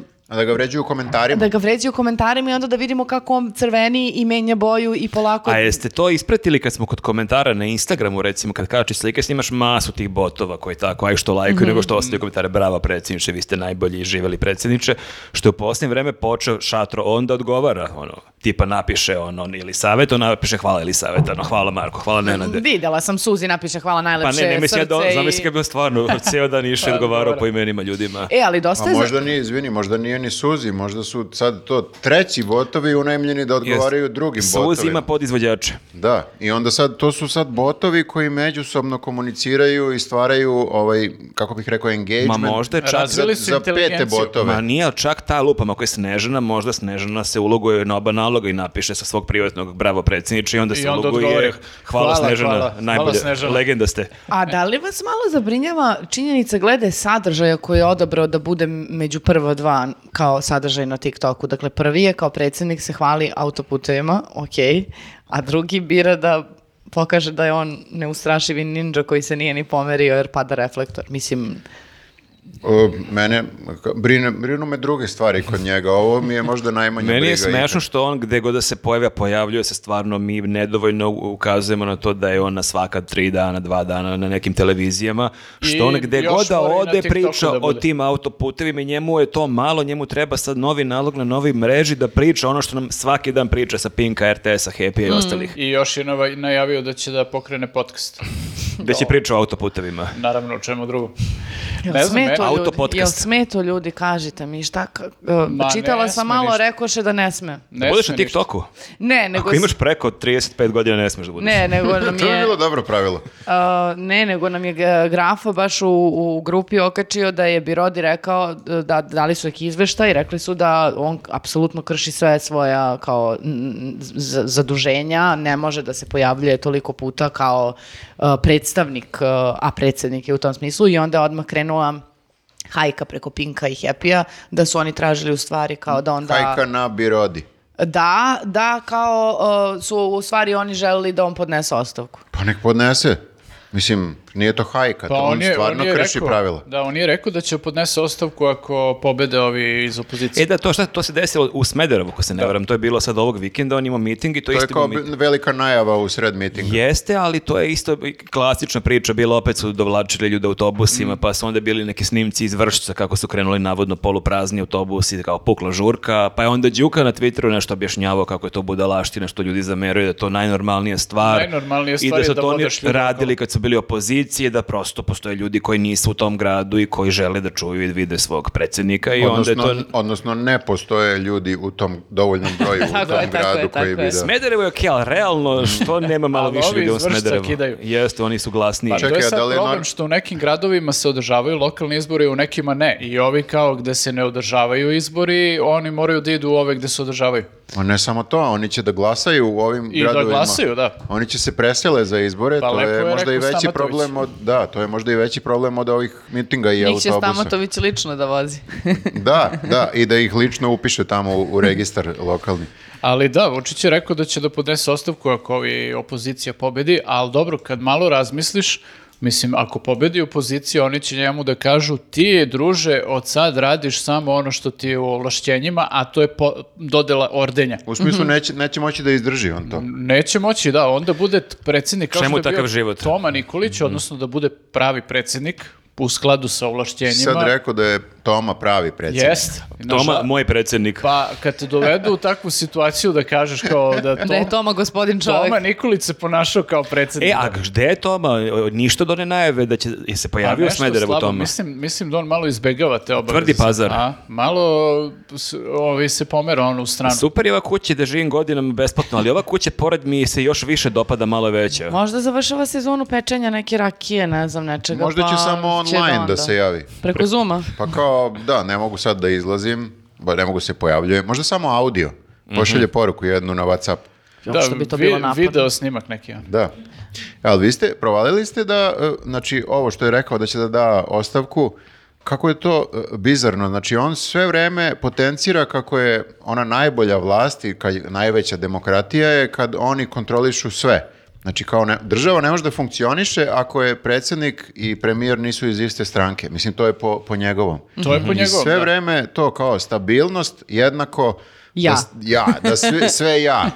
[SPEAKER 2] e,
[SPEAKER 1] A da ga vređuju u komentarima.
[SPEAKER 2] da ga vređaju komentarima i onda da vidimo kako on crveni i menja boju i polako
[SPEAKER 4] A jeste to ispratili kad smo kod komentara na Instagramu, recimo, kad kači slike, snimaš masu tih botova koji tako, aj što lajkuju, nego što ostavljaju komentare, brava predsjedniče, vi ste najbolji, živeli predsjedniče, što je u posljednje vreme počeo šatro, onda odgovara, ono, tipa napiše ono, on ili savjet, on napiše hvala ili savjet, ono, hvala Marko, hvala Nenade.
[SPEAKER 2] Videla sam Suzi napiše hvala
[SPEAKER 4] Pa
[SPEAKER 2] najlepše
[SPEAKER 4] ne, ne mislim ja da on,
[SPEAKER 2] srce i-
[SPEAKER 4] zamisli kad bi on stvarno ceo dan
[SPEAKER 3] Pa,
[SPEAKER 4] išao i odgovarao po imenima ljudima.
[SPEAKER 2] E, ali dosta
[SPEAKER 1] A
[SPEAKER 2] je... za-
[SPEAKER 1] možda nije, izvini, možda nije ni Suzi, možda su sad to treći botovi unajmljeni da odgovaraju drugim botovima.
[SPEAKER 4] Suzi ima podizvođače.
[SPEAKER 1] Da, i onda sad, to su sad botovi koji međusobno komuniciraju i stvaraju ovaj, kako bih rekao,
[SPEAKER 4] Ma
[SPEAKER 1] engagement.
[SPEAKER 4] možda je čak
[SPEAKER 3] Razvili su
[SPEAKER 1] za pete
[SPEAKER 3] inteligenciju.
[SPEAKER 1] botove.
[SPEAKER 4] Ma nije, ali čak ta lupam, ako je Snežana, možda Snežana se uloguje na oba naloga i napiše sa svog privatnog bravo predsjedniče i onda se
[SPEAKER 3] I onda
[SPEAKER 4] uloguje
[SPEAKER 3] odgovori,
[SPEAKER 4] hvala,
[SPEAKER 3] "Hvala,
[SPEAKER 4] Snežana,
[SPEAKER 3] hvala,
[SPEAKER 4] najbolje,
[SPEAKER 3] hvala, Snežana."
[SPEAKER 4] legenda ste.
[SPEAKER 2] A da li vas malo zabrinjava činjenica glede sadržaja koji je odabrao da bude među prva dva kao sadržaj na TikToku? Dakle, prvi je kao predsjednik se hvali autoputevima, ok, a drugi bira da pokaže da je on neustrašivi ninja koji se nije ni pomerio jer pada reflektor. Mislim,
[SPEAKER 1] O, mene, k- brine, brinu me druge stvari kod njega, ovo mi je možda najmanje
[SPEAKER 4] Meni
[SPEAKER 1] briga.
[SPEAKER 4] je smešno što on gde god da se pojavlja, pojavljuje se stvarno, mi nedovoljno ukazujemo na to da je on na svaka tri dana, dva dana na nekim televizijama, što
[SPEAKER 3] I
[SPEAKER 4] on gde
[SPEAKER 3] još
[SPEAKER 4] god da
[SPEAKER 3] mora i na
[SPEAKER 4] ode
[SPEAKER 3] TikToku
[SPEAKER 4] priča
[SPEAKER 3] da
[SPEAKER 4] o
[SPEAKER 3] bude.
[SPEAKER 4] tim autoputevima i njemu je to malo, njemu treba sad novi nalog na novi mreži da priča ono što nam svaki dan priča sa Pinka, RTS-a, Happy
[SPEAKER 2] Mm.
[SPEAKER 4] i ostalih.
[SPEAKER 3] I još je nava- najavio da će da pokrene podcast.
[SPEAKER 4] Gde će priča o autoputevima.
[SPEAKER 3] Naravno, o čemu drugom.
[SPEAKER 2] jel
[SPEAKER 3] Ne znam,
[SPEAKER 2] sme
[SPEAKER 3] e,
[SPEAKER 2] to
[SPEAKER 4] auto
[SPEAKER 2] ljudi?
[SPEAKER 4] podcast.
[SPEAKER 2] Jel sme to ljudi, kažite mi, šta? ka- e,
[SPEAKER 3] Ma,
[SPEAKER 2] čitala
[SPEAKER 3] ne
[SPEAKER 2] sam
[SPEAKER 3] sme
[SPEAKER 2] malo,
[SPEAKER 3] ništa.
[SPEAKER 2] rekoše da ne sme.
[SPEAKER 4] Ne
[SPEAKER 3] Ne
[SPEAKER 4] budeš
[SPEAKER 3] sme ništa.
[SPEAKER 4] na TikToku?
[SPEAKER 2] Ne, nego...
[SPEAKER 4] Ako imaš preko 35 godina ne smeš da budeš.
[SPEAKER 2] Ne, nego nam
[SPEAKER 1] To bi
[SPEAKER 2] je-
[SPEAKER 1] bilo dobro pravilo.
[SPEAKER 2] Uh, ne, nego nam je g- grafa baš u, u grupi okačio da je Birodi rekao da dali su neki izveštaj i rekli su da on apsolutno krši sve svoja kao n- z- zaduženja, ne može da se pojavljuje toliko puta kao uh, predstavnik, uh, a predsednik je u tom smislu i onda je odmah krenula hajka preko Pinka i Happy-a, da su oni tražili u stvari kao da onda...
[SPEAKER 1] Hajka na birodi.
[SPEAKER 2] Da, da, kao uh, su u stvari oni želeli da on podnese ostavku.
[SPEAKER 1] Pa nek podnese. Mislim, nije to hajka,
[SPEAKER 3] Pa
[SPEAKER 1] to on,
[SPEAKER 3] on, je,
[SPEAKER 1] stvarno
[SPEAKER 3] on je
[SPEAKER 1] krši
[SPEAKER 3] rekao,
[SPEAKER 1] pravila.
[SPEAKER 3] Da, on je rekao da će podnese ostavku ako pobede ovi iz opozicije.
[SPEAKER 4] E da, to, šta, to se desilo u Smederevu, ako se ne varam. To je bilo sad ovog vikenda, on imao miting i to,
[SPEAKER 1] To je
[SPEAKER 4] isto imao
[SPEAKER 1] kao
[SPEAKER 4] miting.
[SPEAKER 1] velika najava u sred mitinga.
[SPEAKER 4] Jeste, ali to je isto klasična priča, bilo opet su dovlačili ljude autobusima,
[SPEAKER 3] Mm.
[SPEAKER 4] pa su onda bili neki snimci iz Vršca kako su krenuli navodno poluprazni autobusi, kao pukla žurka, pa je onda Đuka na Twitteru nešto objašnjavao kako je to budalaština, što ljudi zameraju da je to najnormalnija stvar.
[SPEAKER 3] Najnormalnija
[SPEAKER 4] I
[SPEAKER 3] stvar
[SPEAKER 4] da
[SPEAKER 3] je
[SPEAKER 4] su
[SPEAKER 3] da
[SPEAKER 4] to oni
[SPEAKER 3] vodiš ljude
[SPEAKER 4] radili kad su bili opozicije, da prosto postoje ljudi koji nisu u tom gradu i koji žele da čuju i da vide svog predsjednika i onda
[SPEAKER 1] Odnosno,
[SPEAKER 4] je to...
[SPEAKER 1] odnosno ne postoje ljudi u tom dovoljnom broju u
[SPEAKER 2] Tako
[SPEAKER 1] tom
[SPEAKER 2] je, tako
[SPEAKER 1] gradu
[SPEAKER 2] je,
[SPEAKER 1] koji
[SPEAKER 2] tako
[SPEAKER 1] bi
[SPEAKER 2] je.
[SPEAKER 1] da...
[SPEAKER 4] Smederevo je okej, ali realno što nema malo
[SPEAKER 3] Ali
[SPEAKER 4] više
[SPEAKER 3] ovi
[SPEAKER 4] ljudi u
[SPEAKER 3] iz Vršca
[SPEAKER 4] Smederevu.
[SPEAKER 3] kidaju.
[SPEAKER 4] Jeste, oni su glasniji.
[SPEAKER 3] Pa
[SPEAKER 1] Čekaj,
[SPEAKER 3] to
[SPEAKER 1] a
[SPEAKER 3] je sad
[SPEAKER 1] da li je
[SPEAKER 3] problem
[SPEAKER 1] nor-
[SPEAKER 3] što u nekim gradovima se održavaju lokalni izbori, u nekima ne. I ovi kao gde se ne održavaju izbori, oni moraju da idu u ove gde se održavaju.
[SPEAKER 1] Ma ne samo to, oni će da glasaju u ovim
[SPEAKER 3] I da
[SPEAKER 1] gradovima.
[SPEAKER 3] glasaju, da.
[SPEAKER 1] Oni će se presele za izbore,
[SPEAKER 3] Pa
[SPEAKER 1] to
[SPEAKER 3] lepo
[SPEAKER 1] je
[SPEAKER 3] je
[SPEAKER 1] možda i
[SPEAKER 3] rekao
[SPEAKER 1] veći
[SPEAKER 3] Stamatović.
[SPEAKER 1] problem od, da, to je možda i veći problem od ovih mitinga i
[SPEAKER 2] Njih će
[SPEAKER 1] autobusa.
[SPEAKER 2] Stamatović lično da vozi.
[SPEAKER 1] Da, da, i da ih lično upiše tamo u, u registar lokalni.
[SPEAKER 3] Ali da, Vučić je rekao da će da podnese ostavku ako ovi opozicija pobedi, ali dobro, kad malo razmisliš, mislim, ako pobedi opozicija, oni će njemu da kažu ti, druže, od sad radiš samo ono što ti je u ovlašćenjima, a to je po, dodela ordenja.
[SPEAKER 1] U smislu
[SPEAKER 2] Mhm.
[SPEAKER 1] neće, neće moći da izdrži on to.
[SPEAKER 3] Neće moći, da, onda bude t- predsjednik kao
[SPEAKER 4] Čemu
[SPEAKER 3] što je bio
[SPEAKER 4] takav život? Mhm.
[SPEAKER 3] Toma Nikolić, odnosno da bude pravi predsjednik u skladu sa ovlašćenjima.
[SPEAKER 1] Sad rekao da je Toma pravi predsjednik.
[SPEAKER 3] Jest.
[SPEAKER 4] Toma,
[SPEAKER 3] Nažal-
[SPEAKER 4] moj predsjednik.
[SPEAKER 3] Pa kad te dovedu u takvu situaciju da kažeš kao da, to,
[SPEAKER 2] Da je Toma gospodin čovjek.
[SPEAKER 3] Toma Nikolić se ponašao kao predsjednik.
[SPEAKER 4] E, a gde je Toma? Ništa do one najave da će, je se
[SPEAKER 3] Pa
[SPEAKER 4] pojavio u
[SPEAKER 3] nešto
[SPEAKER 4] Smederevu
[SPEAKER 3] slabo.
[SPEAKER 4] Toma?
[SPEAKER 3] Mislim, mislim da on malo izbegava te obaveze.
[SPEAKER 4] Tvrdi pazar.
[SPEAKER 3] A, malo s- ovi se pomera on u stranu.
[SPEAKER 4] Super je ova kuća da živim godinama besplatno, ali ova kuća pored mi se još više dopada malo veća.
[SPEAKER 2] Možda završava sezonu pečenja neke rakije, ne znam, nečega.
[SPEAKER 1] Možda će
[SPEAKER 2] pa
[SPEAKER 1] samo online da
[SPEAKER 2] onda.
[SPEAKER 1] se javi.
[SPEAKER 2] Preko Zuma.
[SPEAKER 1] Pa kao, da, ne mogu sad da izlazim, ba ne mogu se pojavljujem. Možda samo audio. Pošalje poruku jednu na Whatsapp.
[SPEAKER 2] Da, što bi to
[SPEAKER 3] vi-
[SPEAKER 2] bilo napadno.
[SPEAKER 3] Video snimak neki. ono.
[SPEAKER 1] Da. Ali vi ste, provalili ste da, e, znači, ovo što je rekao da će da da ostavku, kako je to e, bizarno, znači on sve vreme potencira kako je ona najbolja vlast i kad, najveća demokratija je kad oni kontrolišu sve. Znači kao ne- država ne može da funkcioniše ako je predsjednik i premijer nisu iz iste stranke. Mislim, to je po, po njegovom.
[SPEAKER 3] To
[SPEAKER 4] Mhm.
[SPEAKER 3] je po
[SPEAKER 1] I
[SPEAKER 3] njegovom.
[SPEAKER 1] sve
[SPEAKER 3] da.
[SPEAKER 1] vreme to kao stabilnost jednako
[SPEAKER 2] Ja.
[SPEAKER 1] Da, s- ja, da sve, sve ja.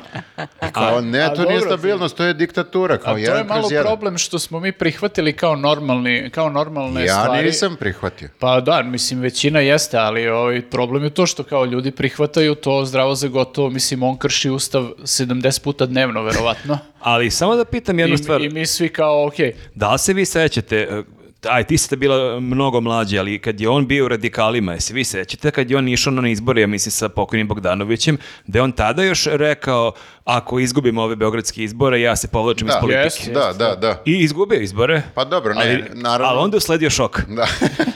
[SPEAKER 1] Kao, ne, to
[SPEAKER 3] E, pa, dobro,
[SPEAKER 1] nije stabilnost, to je diktatura. Kao
[SPEAKER 3] A to
[SPEAKER 1] jedan
[SPEAKER 3] je malo
[SPEAKER 1] kroz jedan.
[SPEAKER 3] problem što smo mi prihvatili kao, normalni, kao normalne
[SPEAKER 1] Ja
[SPEAKER 3] stvari.
[SPEAKER 1] nisam prihvatio.
[SPEAKER 3] Pa da, mislim, većina jeste, ali ovaj problem je to što kao ljudi prihvataju to zdravo za gotovo. Mislim, on krši ustav 70 puta dnevno, verovatno.
[SPEAKER 4] Ali samo da pitam jednu stvar.
[SPEAKER 3] I, I mi svi kao, okej,
[SPEAKER 4] Da li se vi sećate, e, aj ti ste bila mnogo mlađi, ali kad je on bio u radikalima, jesi vi sećate kad je on išao na izbore, ja mislim sa pokojnim Bogdanovićem, da je on tada još rekao, ako izgubimo ove beogradske izbore, ja se povlačim iz
[SPEAKER 1] Da,
[SPEAKER 4] politike.
[SPEAKER 3] Jest,
[SPEAKER 1] da, da, da.
[SPEAKER 4] I izgubio izbore.
[SPEAKER 1] Pa dobro, ne,
[SPEAKER 4] ali,
[SPEAKER 1] naravno.
[SPEAKER 4] ali onda je usledio šok.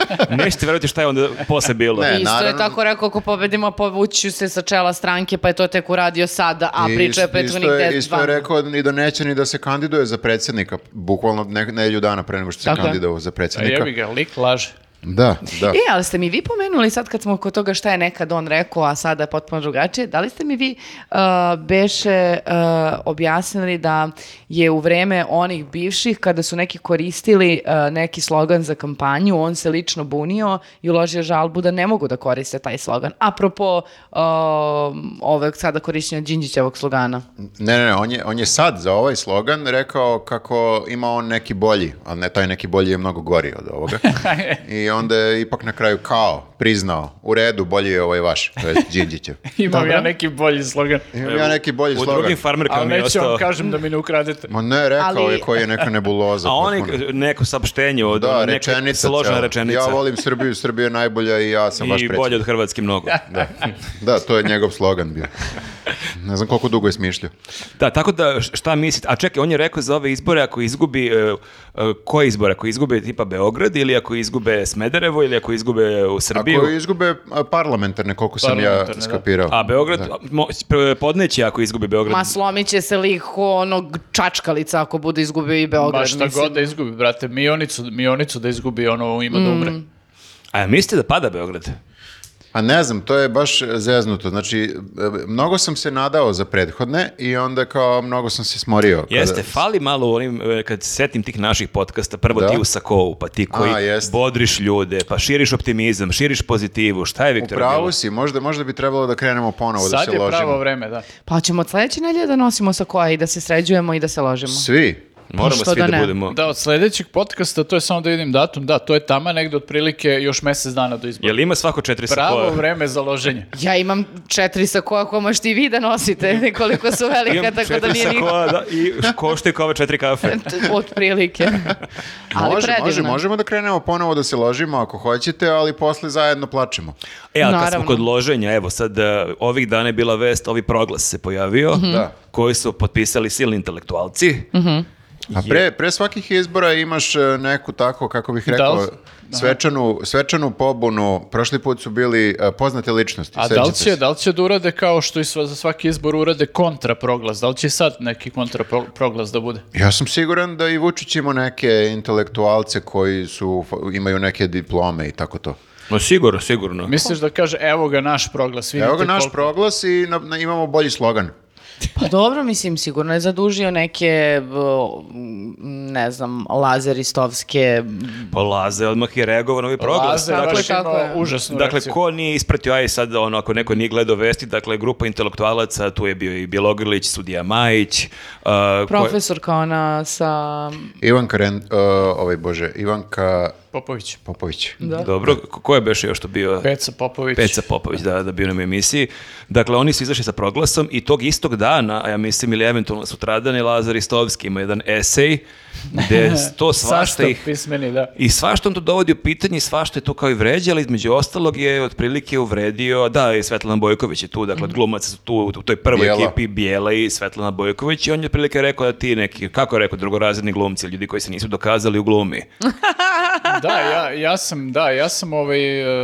[SPEAKER 1] Da.
[SPEAKER 4] Nećete verovati šta je onda posle bilo.
[SPEAKER 1] Ne,
[SPEAKER 2] Isto je
[SPEAKER 1] E, naravno.
[SPEAKER 2] tako rekao, ako pobedimo, povuću se sa čela stranke, pa je to tek uradio sada, a
[SPEAKER 1] I
[SPEAKER 2] priča je
[SPEAKER 1] ist-
[SPEAKER 2] prethodnih
[SPEAKER 1] isto je-
[SPEAKER 2] 10
[SPEAKER 1] Isto je rekao ni da neće ni da se kandiduje za predsjednika, bukvalno ne, nedjelju dana pre nego što se
[SPEAKER 2] Tako je.
[SPEAKER 1] kandidovao za
[SPEAKER 3] a
[SPEAKER 1] predsjednika.
[SPEAKER 3] jebi ga, lik laže.
[SPEAKER 1] Da, da.
[SPEAKER 2] E, ali ste mi vi pomenuli sad kad smo kod toga šta je nekad on rekao, a sada je potpuno drugačije, da li ste mi vi uh, beše uh, objasnili da je u vreme onih bivših, kada su neki koristili uh, neki slogan za kampanju, on se lično bunio i uložio žalbu da ne mogu da koriste taj slogan. Apropo uh, ovog sada korišćenja Đinđićevog slogana.
[SPEAKER 1] Ne, ne, ne, on je, on je sad za ovaj slogan rekao kako ima on neki bolji, ali ne, taj neki bolji je mnogo gori od ovoga. I onda je ipak na kraju kao priznao, u redu, bolji je ovaj vaš, to je Đinđićev.
[SPEAKER 3] Imam ja neki bolji slogan.
[SPEAKER 1] Imam ja neki bolji
[SPEAKER 4] U
[SPEAKER 1] slogan.
[SPEAKER 4] drugim farmerkama
[SPEAKER 3] Ali
[SPEAKER 4] mi je
[SPEAKER 3] neću vam
[SPEAKER 4] ostao.
[SPEAKER 3] kažem da mi ne ukradete.
[SPEAKER 1] Ma ne, rekao
[SPEAKER 2] Ali-
[SPEAKER 1] je koji je neka nebuloza.
[SPEAKER 4] A on je
[SPEAKER 1] potpuno.
[SPEAKER 4] neko saopštenje od
[SPEAKER 1] Da,
[SPEAKER 4] ono, neke
[SPEAKER 1] rečenica.
[SPEAKER 4] složna
[SPEAKER 1] cijela.
[SPEAKER 4] rečenica.
[SPEAKER 1] Ja volim Srbiju, Srbija je najbolja i ja sam vaš
[SPEAKER 4] I
[SPEAKER 1] predsjednik.
[SPEAKER 4] bolje od Hrvatske mnogo.
[SPEAKER 1] Da, to je njegov slogan bio. Ne znam koliko dugo je smišljao.
[SPEAKER 4] Da, tako da š- šta mislite? A čekaj, on je rekao za ove izbore ako izgubi e, e, koje izbore? Ako izgube tipa Beograd ili ako izgube Smederevo ili ako izgube e, u Srbiju?
[SPEAKER 1] Ako izgube a, parlamentarne, koliko sam ja
[SPEAKER 3] Parlamentarne, da.
[SPEAKER 1] skapirao.
[SPEAKER 4] A Beograd a, mo- p- podneće ako izgubi Beograd.
[SPEAKER 2] Ma slomit će se lik ko onog čačkalica ako bude izgubio i Beograd.
[SPEAKER 3] Ma šta
[SPEAKER 2] mislim.
[SPEAKER 3] god da izgubi, brate, mionicu, mionicu da izgubi, ono ima da umre.
[SPEAKER 2] Mm.
[SPEAKER 4] A mislite da pada Beograd?
[SPEAKER 1] A ne znam, to je baš zeznuto. Znači, e, mnogo sam se nadao za prethodne i onda kao mnogo sam se smorio. Kada-
[SPEAKER 4] Jeste, fali malo u onim, e, kad se setim tih naših podcasta, prvo
[SPEAKER 1] Da.
[SPEAKER 4] ti u Sakovu, pa ti koji
[SPEAKER 1] A, jeste.
[SPEAKER 4] bodriš ljude, pa širiš optimizam, širiš pozitivu, šta je
[SPEAKER 1] U
[SPEAKER 4] Viktor
[SPEAKER 1] pravu si, možda, možda bi trebalo da krenemo ponovo da
[SPEAKER 3] Sad
[SPEAKER 1] se
[SPEAKER 3] je pravo
[SPEAKER 1] ložimo.
[SPEAKER 3] vreme, da.
[SPEAKER 2] Pa ćemo od sledeće nedelje da nosimo sa koja i da se sređujemo i da se ložimo.
[SPEAKER 1] Svi.
[SPEAKER 4] Moramo
[SPEAKER 2] Što
[SPEAKER 4] svi
[SPEAKER 2] da
[SPEAKER 4] da,
[SPEAKER 2] ne?
[SPEAKER 4] budemo...
[SPEAKER 3] Da, od sljedećeg podcasta, to je samo da vidim datum, da, to je tama negde otprilike još mjesec dana do izbora.
[SPEAKER 4] Jel ima svako četiri
[SPEAKER 3] Pravo
[SPEAKER 4] Sakoa?
[SPEAKER 3] vreme za loženje.
[SPEAKER 2] Ja imam četiri sa koja koja možete i vi da nosite, koliko su velika,
[SPEAKER 4] Imam
[SPEAKER 2] tako da
[SPEAKER 4] četiri
[SPEAKER 2] nije nikako
[SPEAKER 4] sakoa, da, i koštaju kao ove četiri kafe.
[SPEAKER 2] od prilike. Ali
[SPEAKER 1] može,
[SPEAKER 2] predivno.
[SPEAKER 1] može, možemo da krenemo ponovo da se ložimo ako hoćete, ali posle zajedno plačemo.
[SPEAKER 4] E, ali kad smo
[SPEAKER 2] Naravno.
[SPEAKER 4] kod loženja, evo sad, e, ovih dana je bila
[SPEAKER 2] Mhm.
[SPEAKER 4] vest, ovi proglas se pojavio,
[SPEAKER 1] Da.
[SPEAKER 4] koji su potpisali silni intelektualci.
[SPEAKER 1] A pre, pre svakih izbora imaš e, neku tako, kako bih
[SPEAKER 3] Da
[SPEAKER 1] rekao,
[SPEAKER 3] li-
[SPEAKER 1] svečanu, svečanu pobunu. Prošli put su bili e, poznate ličnosti.
[SPEAKER 3] A da li,
[SPEAKER 1] sećate
[SPEAKER 3] će,
[SPEAKER 1] se.
[SPEAKER 3] da li će da urade kao što i sva- za svaki izbor urade kontraproglas? Da li će sad neki kontraproglas da bude?
[SPEAKER 1] Ja sam siguran da i Vučić ima neke intelektualce koji su, imaju neke diplome i tako to.
[SPEAKER 4] No sigurno, sigurno.
[SPEAKER 3] Misliš da kaže, evo ga naš proglas, vidite
[SPEAKER 1] Evo ga naš
[SPEAKER 3] koliko-
[SPEAKER 1] proglas i na- na- imamo bolji slogan.
[SPEAKER 2] Pa dobro, mislim, sigurno je zadužio neke, o, m, ne znam, lazeristovske...
[SPEAKER 4] Pa Laze odmah je reagovao na ovaj proglas.
[SPEAKER 3] Laze,
[SPEAKER 4] Dakle,
[SPEAKER 3] baš
[SPEAKER 2] tako je.
[SPEAKER 3] imao užasnu
[SPEAKER 4] Dakle,
[SPEAKER 3] reakciju.
[SPEAKER 4] ko nije ispratio, aj sad, ono, ako neko nije gledao vesti, dakle, grupa intelektualaca, tu je bio i Bjelogrlić, Sudija Majić, uh, ko-
[SPEAKER 2] Profesorka ona sa...
[SPEAKER 1] Ivan Karen, e, ovaj bože, Ivanka
[SPEAKER 3] Popović.
[SPEAKER 1] Popović.
[SPEAKER 2] Da.
[SPEAKER 4] Dobro, ko ko je beš još to bio?
[SPEAKER 3] Peca Popović.
[SPEAKER 4] Pa- Peca Popović, da, da bio nam u emisiji. Dakle, oni su izašli sa proglasom i tog istog dana, a ja mislim, ili eventualno sutradan, je Lazar Istovski ima jedan esej, gde to svašta
[SPEAKER 3] Sastav
[SPEAKER 4] ih...
[SPEAKER 3] pismeni, da.
[SPEAKER 4] I svašta on to dovodi u pitanje, i svašta je tu kao i vređa, ali između ostalog je otprilike uvredio, da, i Svetlana Bojković je tu, dakle,
[SPEAKER 3] Mhm.
[SPEAKER 4] od glumaca su tu u toj prvoj
[SPEAKER 1] Bijela.
[SPEAKER 4] ekipi Bijela i Svetlana Bojković i on je otprilike rekao da ti neki, kako je rekao, drugorazredni glumci, ljudi koji se nisu dokazali u glumi,
[SPEAKER 3] Mhm. Da, ja, ja sam, da, ja sam ovaj...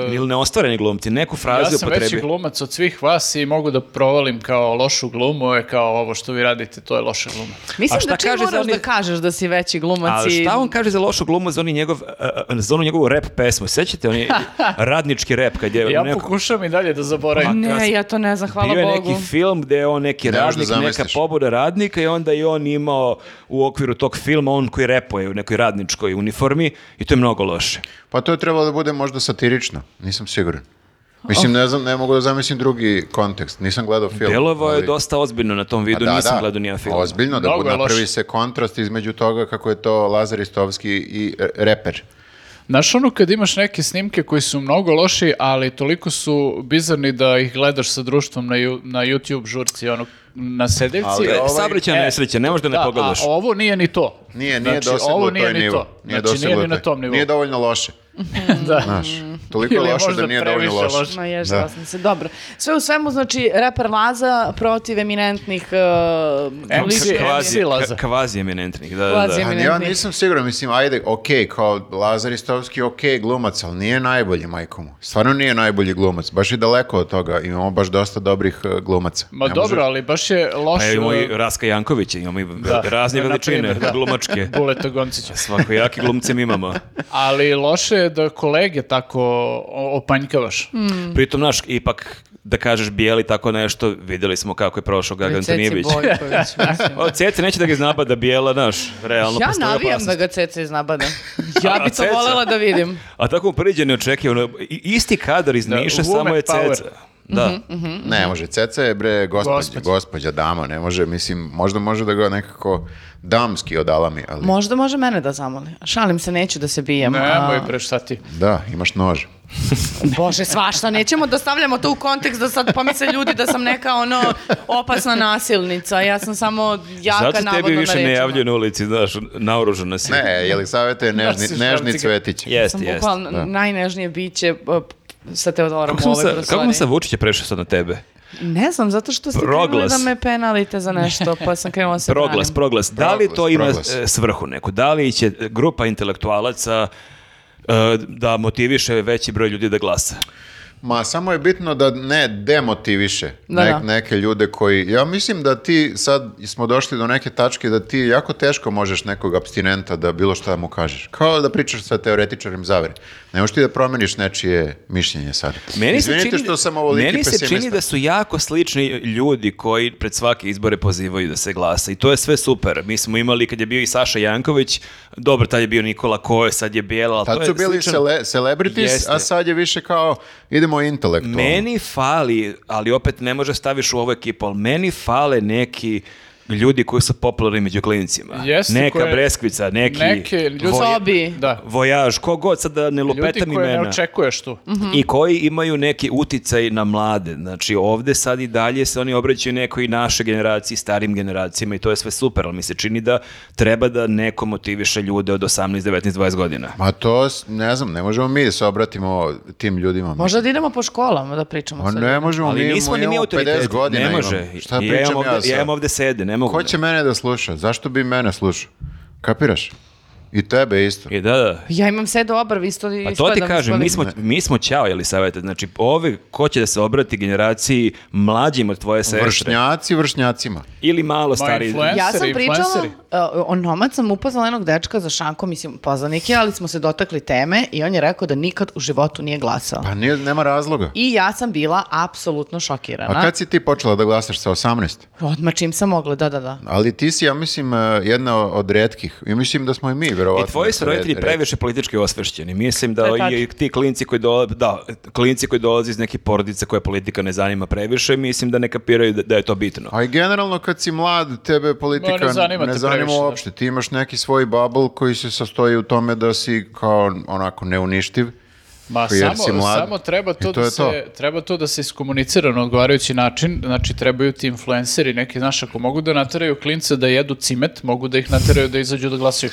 [SPEAKER 3] e,
[SPEAKER 4] ili neostvareni glumci, neku
[SPEAKER 3] Ja
[SPEAKER 4] frazu
[SPEAKER 3] sam veći
[SPEAKER 4] upotrebio.
[SPEAKER 3] glumac od svih vas i mogu da provalim kao lošu glumu, je kao ovo što vi radite, to je loša gluma.
[SPEAKER 2] Mislim
[SPEAKER 4] šta
[SPEAKER 2] da čim
[SPEAKER 4] kaže za
[SPEAKER 2] moraš
[SPEAKER 4] onih-
[SPEAKER 2] da kažeš da si veći glumac
[SPEAKER 4] Ali
[SPEAKER 2] i...
[SPEAKER 4] šta on kaže za lošu glumu za, oni njegov, e, e, za onu njegovu rap pesmu? Sećate, on je radnički rap kad je
[SPEAKER 3] Ja
[SPEAKER 4] neko-
[SPEAKER 3] pokušam i dalje da zaboravim.
[SPEAKER 4] kas-
[SPEAKER 2] Ne, ja to ne znam, hvala
[SPEAKER 4] bio je
[SPEAKER 2] Bogu.
[SPEAKER 4] neki film gde je on neki
[SPEAKER 1] Ne možeš
[SPEAKER 4] radnik,
[SPEAKER 1] da
[SPEAKER 4] neka
[SPEAKER 1] zamisliš.
[SPEAKER 4] pobuda radnika i onda je on imao u okviru tog filma on koji repuje u nekoj radničkoj uniformi i to je mnogo loše.
[SPEAKER 1] Pa to je trebalo da bude možda satirično, nisam siguran. Mislim, ne znam, ne mogu da zamislim drugi kontekst, nisam gledao film.
[SPEAKER 4] Delovao je
[SPEAKER 1] ali-
[SPEAKER 4] dosta ozbiljno na tom
[SPEAKER 1] Pa
[SPEAKER 4] vidu,
[SPEAKER 1] da,
[SPEAKER 4] nisam
[SPEAKER 1] da,
[SPEAKER 4] gledao nijedan film.
[SPEAKER 1] Ozbiljno, da
[SPEAKER 3] Mnogo
[SPEAKER 1] bude
[SPEAKER 3] je loše.
[SPEAKER 1] napravi se kontrast između toga kako je to Lazar Istovski i e, reper.
[SPEAKER 3] Znaš ono kad imaš neke snimke koji su mnogo loši, ali toliko su bizarni da ih gledaš sa društvom na, ju- na YouTube žurci, ono, na sedeljci.
[SPEAKER 1] Ali
[SPEAKER 4] E,
[SPEAKER 1] ovaj-
[SPEAKER 4] Saobraćajna
[SPEAKER 3] E,
[SPEAKER 4] nesreća, ne možda ne
[SPEAKER 3] da,
[SPEAKER 4] pogledaš.
[SPEAKER 3] a ovo nije ni to.
[SPEAKER 1] Nije, nije
[SPEAKER 3] znači,
[SPEAKER 1] doseglo
[SPEAKER 3] ovo nije
[SPEAKER 1] taj
[SPEAKER 3] ni
[SPEAKER 1] nivo.
[SPEAKER 3] to.
[SPEAKER 1] Nije
[SPEAKER 3] znači, nije
[SPEAKER 1] doseglo
[SPEAKER 3] ni na
[SPEAKER 1] taj-
[SPEAKER 3] tom nivou.
[SPEAKER 1] Nije dovoljno loše.
[SPEAKER 3] da.
[SPEAKER 1] Znaš, toliko je
[SPEAKER 3] Mm. Ili je
[SPEAKER 1] loše
[SPEAKER 3] možda
[SPEAKER 1] da nije dovoljno
[SPEAKER 3] previše
[SPEAKER 1] loše.
[SPEAKER 3] loše.
[SPEAKER 2] Ma ješ,
[SPEAKER 1] Da.
[SPEAKER 2] da. sam se. Dobro. Sve u svemu, znači, reper Laza protiv eminentnih... Uh,
[SPEAKER 3] Em,
[SPEAKER 2] ličnosti.
[SPEAKER 3] Lizi-
[SPEAKER 4] kvazi,
[SPEAKER 3] MC Laza.
[SPEAKER 4] ka- kvazi eminentnih, da, da,
[SPEAKER 2] Kvazi
[SPEAKER 4] da.
[SPEAKER 1] A
[SPEAKER 2] Eminentni.
[SPEAKER 1] ja nisam siguran, mislim, ajde, ok, kao Lazar Istovski, ok, glumac, ali nije najbolji, majko mu. Stvarno nije najbolji glumac, baš je daleko od toga, imamo baš dosta dobrih e, glumaca.
[SPEAKER 3] Ma
[SPEAKER 1] Ne može-
[SPEAKER 3] dobro, ali baš je
[SPEAKER 4] Pa
[SPEAKER 3] loše.
[SPEAKER 4] imamo i Raska Jankovića, imamo i razne
[SPEAKER 3] na
[SPEAKER 4] veličine,
[SPEAKER 3] primer, da.
[SPEAKER 4] glumačke.
[SPEAKER 3] Buleta Goncića.
[SPEAKER 4] Svakojaki glumce mi imamo.
[SPEAKER 3] Ali loše je da kolege tako o- opanjkavaš.
[SPEAKER 4] Mm. Pritom, naš, ipak da kažeš bijeli tako nešto, vidjeli smo kako je prošao Gaga Antonijević.
[SPEAKER 2] Ceci Bojković, mislim.
[SPEAKER 4] O, Cece neće da ga iznabada bijela, naš, realno
[SPEAKER 2] Ja
[SPEAKER 4] postoji
[SPEAKER 2] navijam
[SPEAKER 4] opasnost.
[SPEAKER 2] da ga Ceca iznabada. Ja
[SPEAKER 4] A,
[SPEAKER 2] bi to
[SPEAKER 4] Ceca?
[SPEAKER 2] voljela da vidim.
[SPEAKER 4] A tako mu priđe neočekivano, i- isti kadar iz
[SPEAKER 3] Da,
[SPEAKER 4] Niša,
[SPEAKER 3] woman
[SPEAKER 4] samo je
[SPEAKER 3] power.
[SPEAKER 4] Ceca. Da,
[SPEAKER 2] Mhm,
[SPEAKER 1] Ne može, Ceca je bre gospođa, gospođa,
[SPEAKER 3] Mhm, Gospođa.
[SPEAKER 1] dama, ne može, mislim, možda može da ga nekako damski odalami, ali
[SPEAKER 2] Možda može mene da zamoli. Šalim se, neću da se bijem. a-
[SPEAKER 3] Nemoj bre, šta ti?
[SPEAKER 1] da, imaš nož.
[SPEAKER 2] Bože, svašta, nećemo da stavljamo to u kontekst da sad pomisle ljudi da sam neka ono opasna nasilnica. Ja sam samo jaka
[SPEAKER 4] zato
[SPEAKER 2] navodno
[SPEAKER 4] tebi
[SPEAKER 2] na
[SPEAKER 4] više ne
[SPEAKER 2] rečima.
[SPEAKER 4] javljaju na ulici, znaš, naoružana si.
[SPEAKER 1] Ne, Jelisaveta je nežni,
[SPEAKER 3] Nosiš
[SPEAKER 1] nežni
[SPEAKER 3] šrafcige.
[SPEAKER 1] cvetić.
[SPEAKER 4] Jeste,
[SPEAKER 2] Sam
[SPEAKER 4] jeste.
[SPEAKER 2] bukvalno najnežnije biće e, p- sa Teodorom
[SPEAKER 4] Kako
[SPEAKER 2] u
[SPEAKER 4] sam
[SPEAKER 2] ovoj
[SPEAKER 4] sa,
[SPEAKER 2] prostoriji.
[SPEAKER 4] kako sam sa Vučića prešao sad na tebe?
[SPEAKER 2] Ne znam, zato što ste krenuli
[SPEAKER 4] Proglas.
[SPEAKER 2] da me penalite za nešto, pa sam krenula se
[SPEAKER 4] Proglas,
[SPEAKER 2] branim.
[SPEAKER 4] proglas. Da li to
[SPEAKER 1] Proglas,
[SPEAKER 4] ima
[SPEAKER 1] proglas.
[SPEAKER 4] e, svrhu neku? Da li će e, grupa intelektualaca e, da motiviše veći broj ljudi da glasa?
[SPEAKER 1] Ma samo je bitno da ne demotiviše
[SPEAKER 2] Da,
[SPEAKER 1] ne-
[SPEAKER 2] da.
[SPEAKER 1] neke ljude koji... Ja mislim da ti sad smo došli do neke tačke da ti jako teško možeš nekog abstinenta da bilo šta mu kažeš. Kao da pričaš sa teoretičarem zavere. Ne možeš ti da promeniš nečije mišljenje sad. Izvinite što sam ovoliki
[SPEAKER 4] meni se čini
[SPEAKER 1] pesimista.
[SPEAKER 4] da su jako slični ljudi koji pred svake izbore pozivaju da se glasa i to je sve super. Mi smo imali kad je bio i Saša Janković, dobro, tad je bio Nikola Koje, sad je Bijela, ali to
[SPEAKER 1] Tad
[SPEAKER 4] je
[SPEAKER 1] su bili
[SPEAKER 4] sličan-
[SPEAKER 1] cele, celebrities,
[SPEAKER 4] Jeste.
[SPEAKER 1] a sad je više kao idemo intelektualno.
[SPEAKER 4] Meni fali, ali opet ne može staviš u ovu ekipu, ali meni fale neki ljudi koji su popularni među klinicima.
[SPEAKER 3] Jeste,
[SPEAKER 4] Neka
[SPEAKER 3] koje-
[SPEAKER 4] Breskvica, neki
[SPEAKER 3] Neki ljudi...
[SPEAKER 2] Sobi.
[SPEAKER 3] Da.
[SPEAKER 4] Vojaž, kogod sad da ne
[SPEAKER 3] Ljudi
[SPEAKER 4] lupetam
[SPEAKER 3] koje
[SPEAKER 4] imena.
[SPEAKER 3] ne očekuješ tu.
[SPEAKER 4] i koji imaju neki uticaj na mlade. Znači ovde sad i dalje se oni obraćaju nekoj našoj generaciji, starim generacijama i to je sve super, ali mi se čini da treba da neko motiviše ljude od 18, 19, 20 godina.
[SPEAKER 1] Ma to, s- ne znam, ne možemo mi da se obratimo tim ljudima.
[SPEAKER 2] Možda da idemo po školama da pričamo
[SPEAKER 1] Ma
[SPEAKER 2] sa
[SPEAKER 1] ne možemo,
[SPEAKER 4] Ali
[SPEAKER 1] mi imamo
[SPEAKER 4] nismo ni mi
[SPEAKER 1] 50
[SPEAKER 4] autoriteti,
[SPEAKER 1] godina.
[SPEAKER 4] ne
[SPEAKER 1] imam.
[SPEAKER 4] može.
[SPEAKER 1] Šta
[SPEAKER 4] ja
[SPEAKER 1] pričam
[SPEAKER 4] imam ovde,
[SPEAKER 1] ja sad?
[SPEAKER 4] imam ovde sede, ne mogu.
[SPEAKER 1] Ko će mene da sluša? Zašto bi mene slušao? Kapiraš? I tebe isto.
[SPEAKER 4] I E, da, da.
[SPEAKER 2] Ja imam sve do obrvi, isto
[SPEAKER 4] Pa to ti kažem, mi smo, mi smo ćao, jeli savete. Znači, ovi, ko će da se obrati generaciji mlađim od tvoje sestre?
[SPEAKER 1] Vršnjaci vršnjacima.
[SPEAKER 4] Ili malo stariji.
[SPEAKER 3] influencer.
[SPEAKER 2] Ja sam
[SPEAKER 3] Influenceri,
[SPEAKER 2] pričala,
[SPEAKER 3] influenceri.
[SPEAKER 2] uh, o nomad sam upoznala jednog dečka za šankom, mislim, poznanik je, ali smo se dotakli teme i on je rekao da nikad u životu nije glasao.
[SPEAKER 1] Pa nije, nema razloga.
[SPEAKER 2] I ja sam bila apsolutno šokirana.
[SPEAKER 1] A kad si ti počela da glasaš sa 18?
[SPEAKER 2] Odmah čim sam mogla, da, da, da.
[SPEAKER 1] Ali ti si, ja mislim, eh, jedna od redkih. I mislim da smo i mi, verovatno.
[SPEAKER 4] I tvoji su
[SPEAKER 1] red-
[SPEAKER 4] roditelji
[SPEAKER 1] red-
[SPEAKER 4] previše politički osvešćeni. Mislim da
[SPEAKER 2] To je tačno.
[SPEAKER 4] i ti klinci koji, dola, da, klinci koji dolaze iz neke porodice koje politika ne zanima previše, mislim da ne kapiraju da, da je to bitno.
[SPEAKER 1] A i generalno kad si mlad, tebe politika
[SPEAKER 3] Ma, ne
[SPEAKER 1] ne
[SPEAKER 3] zanima
[SPEAKER 1] zanima,
[SPEAKER 3] te previše, da.
[SPEAKER 1] uopšte. Ti imaš neki svoj bubble koji se sastoji u tome da si kao onako neuništiv.
[SPEAKER 3] Ma
[SPEAKER 1] jer
[SPEAKER 3] samo,
[SPEAKER 1] si mlad.
[SPEAKER 3] samo treba
[SPEAKER 1] I
[SPEAKER 3] to,
[SPEAKER 1] to
[SPEAKER 3] da
[SPEAKER 1] je
[SPEAKER 3] se
[SPEAKER 1] to.
[SPEAKER 3] treba to da se iskomunicira na odgovarajući način, znači trebaju ti influenceri neki, znaš, ako mogu da nateraju klince da jedu cimet, mogu da ih nateraju da izađu da glasaju.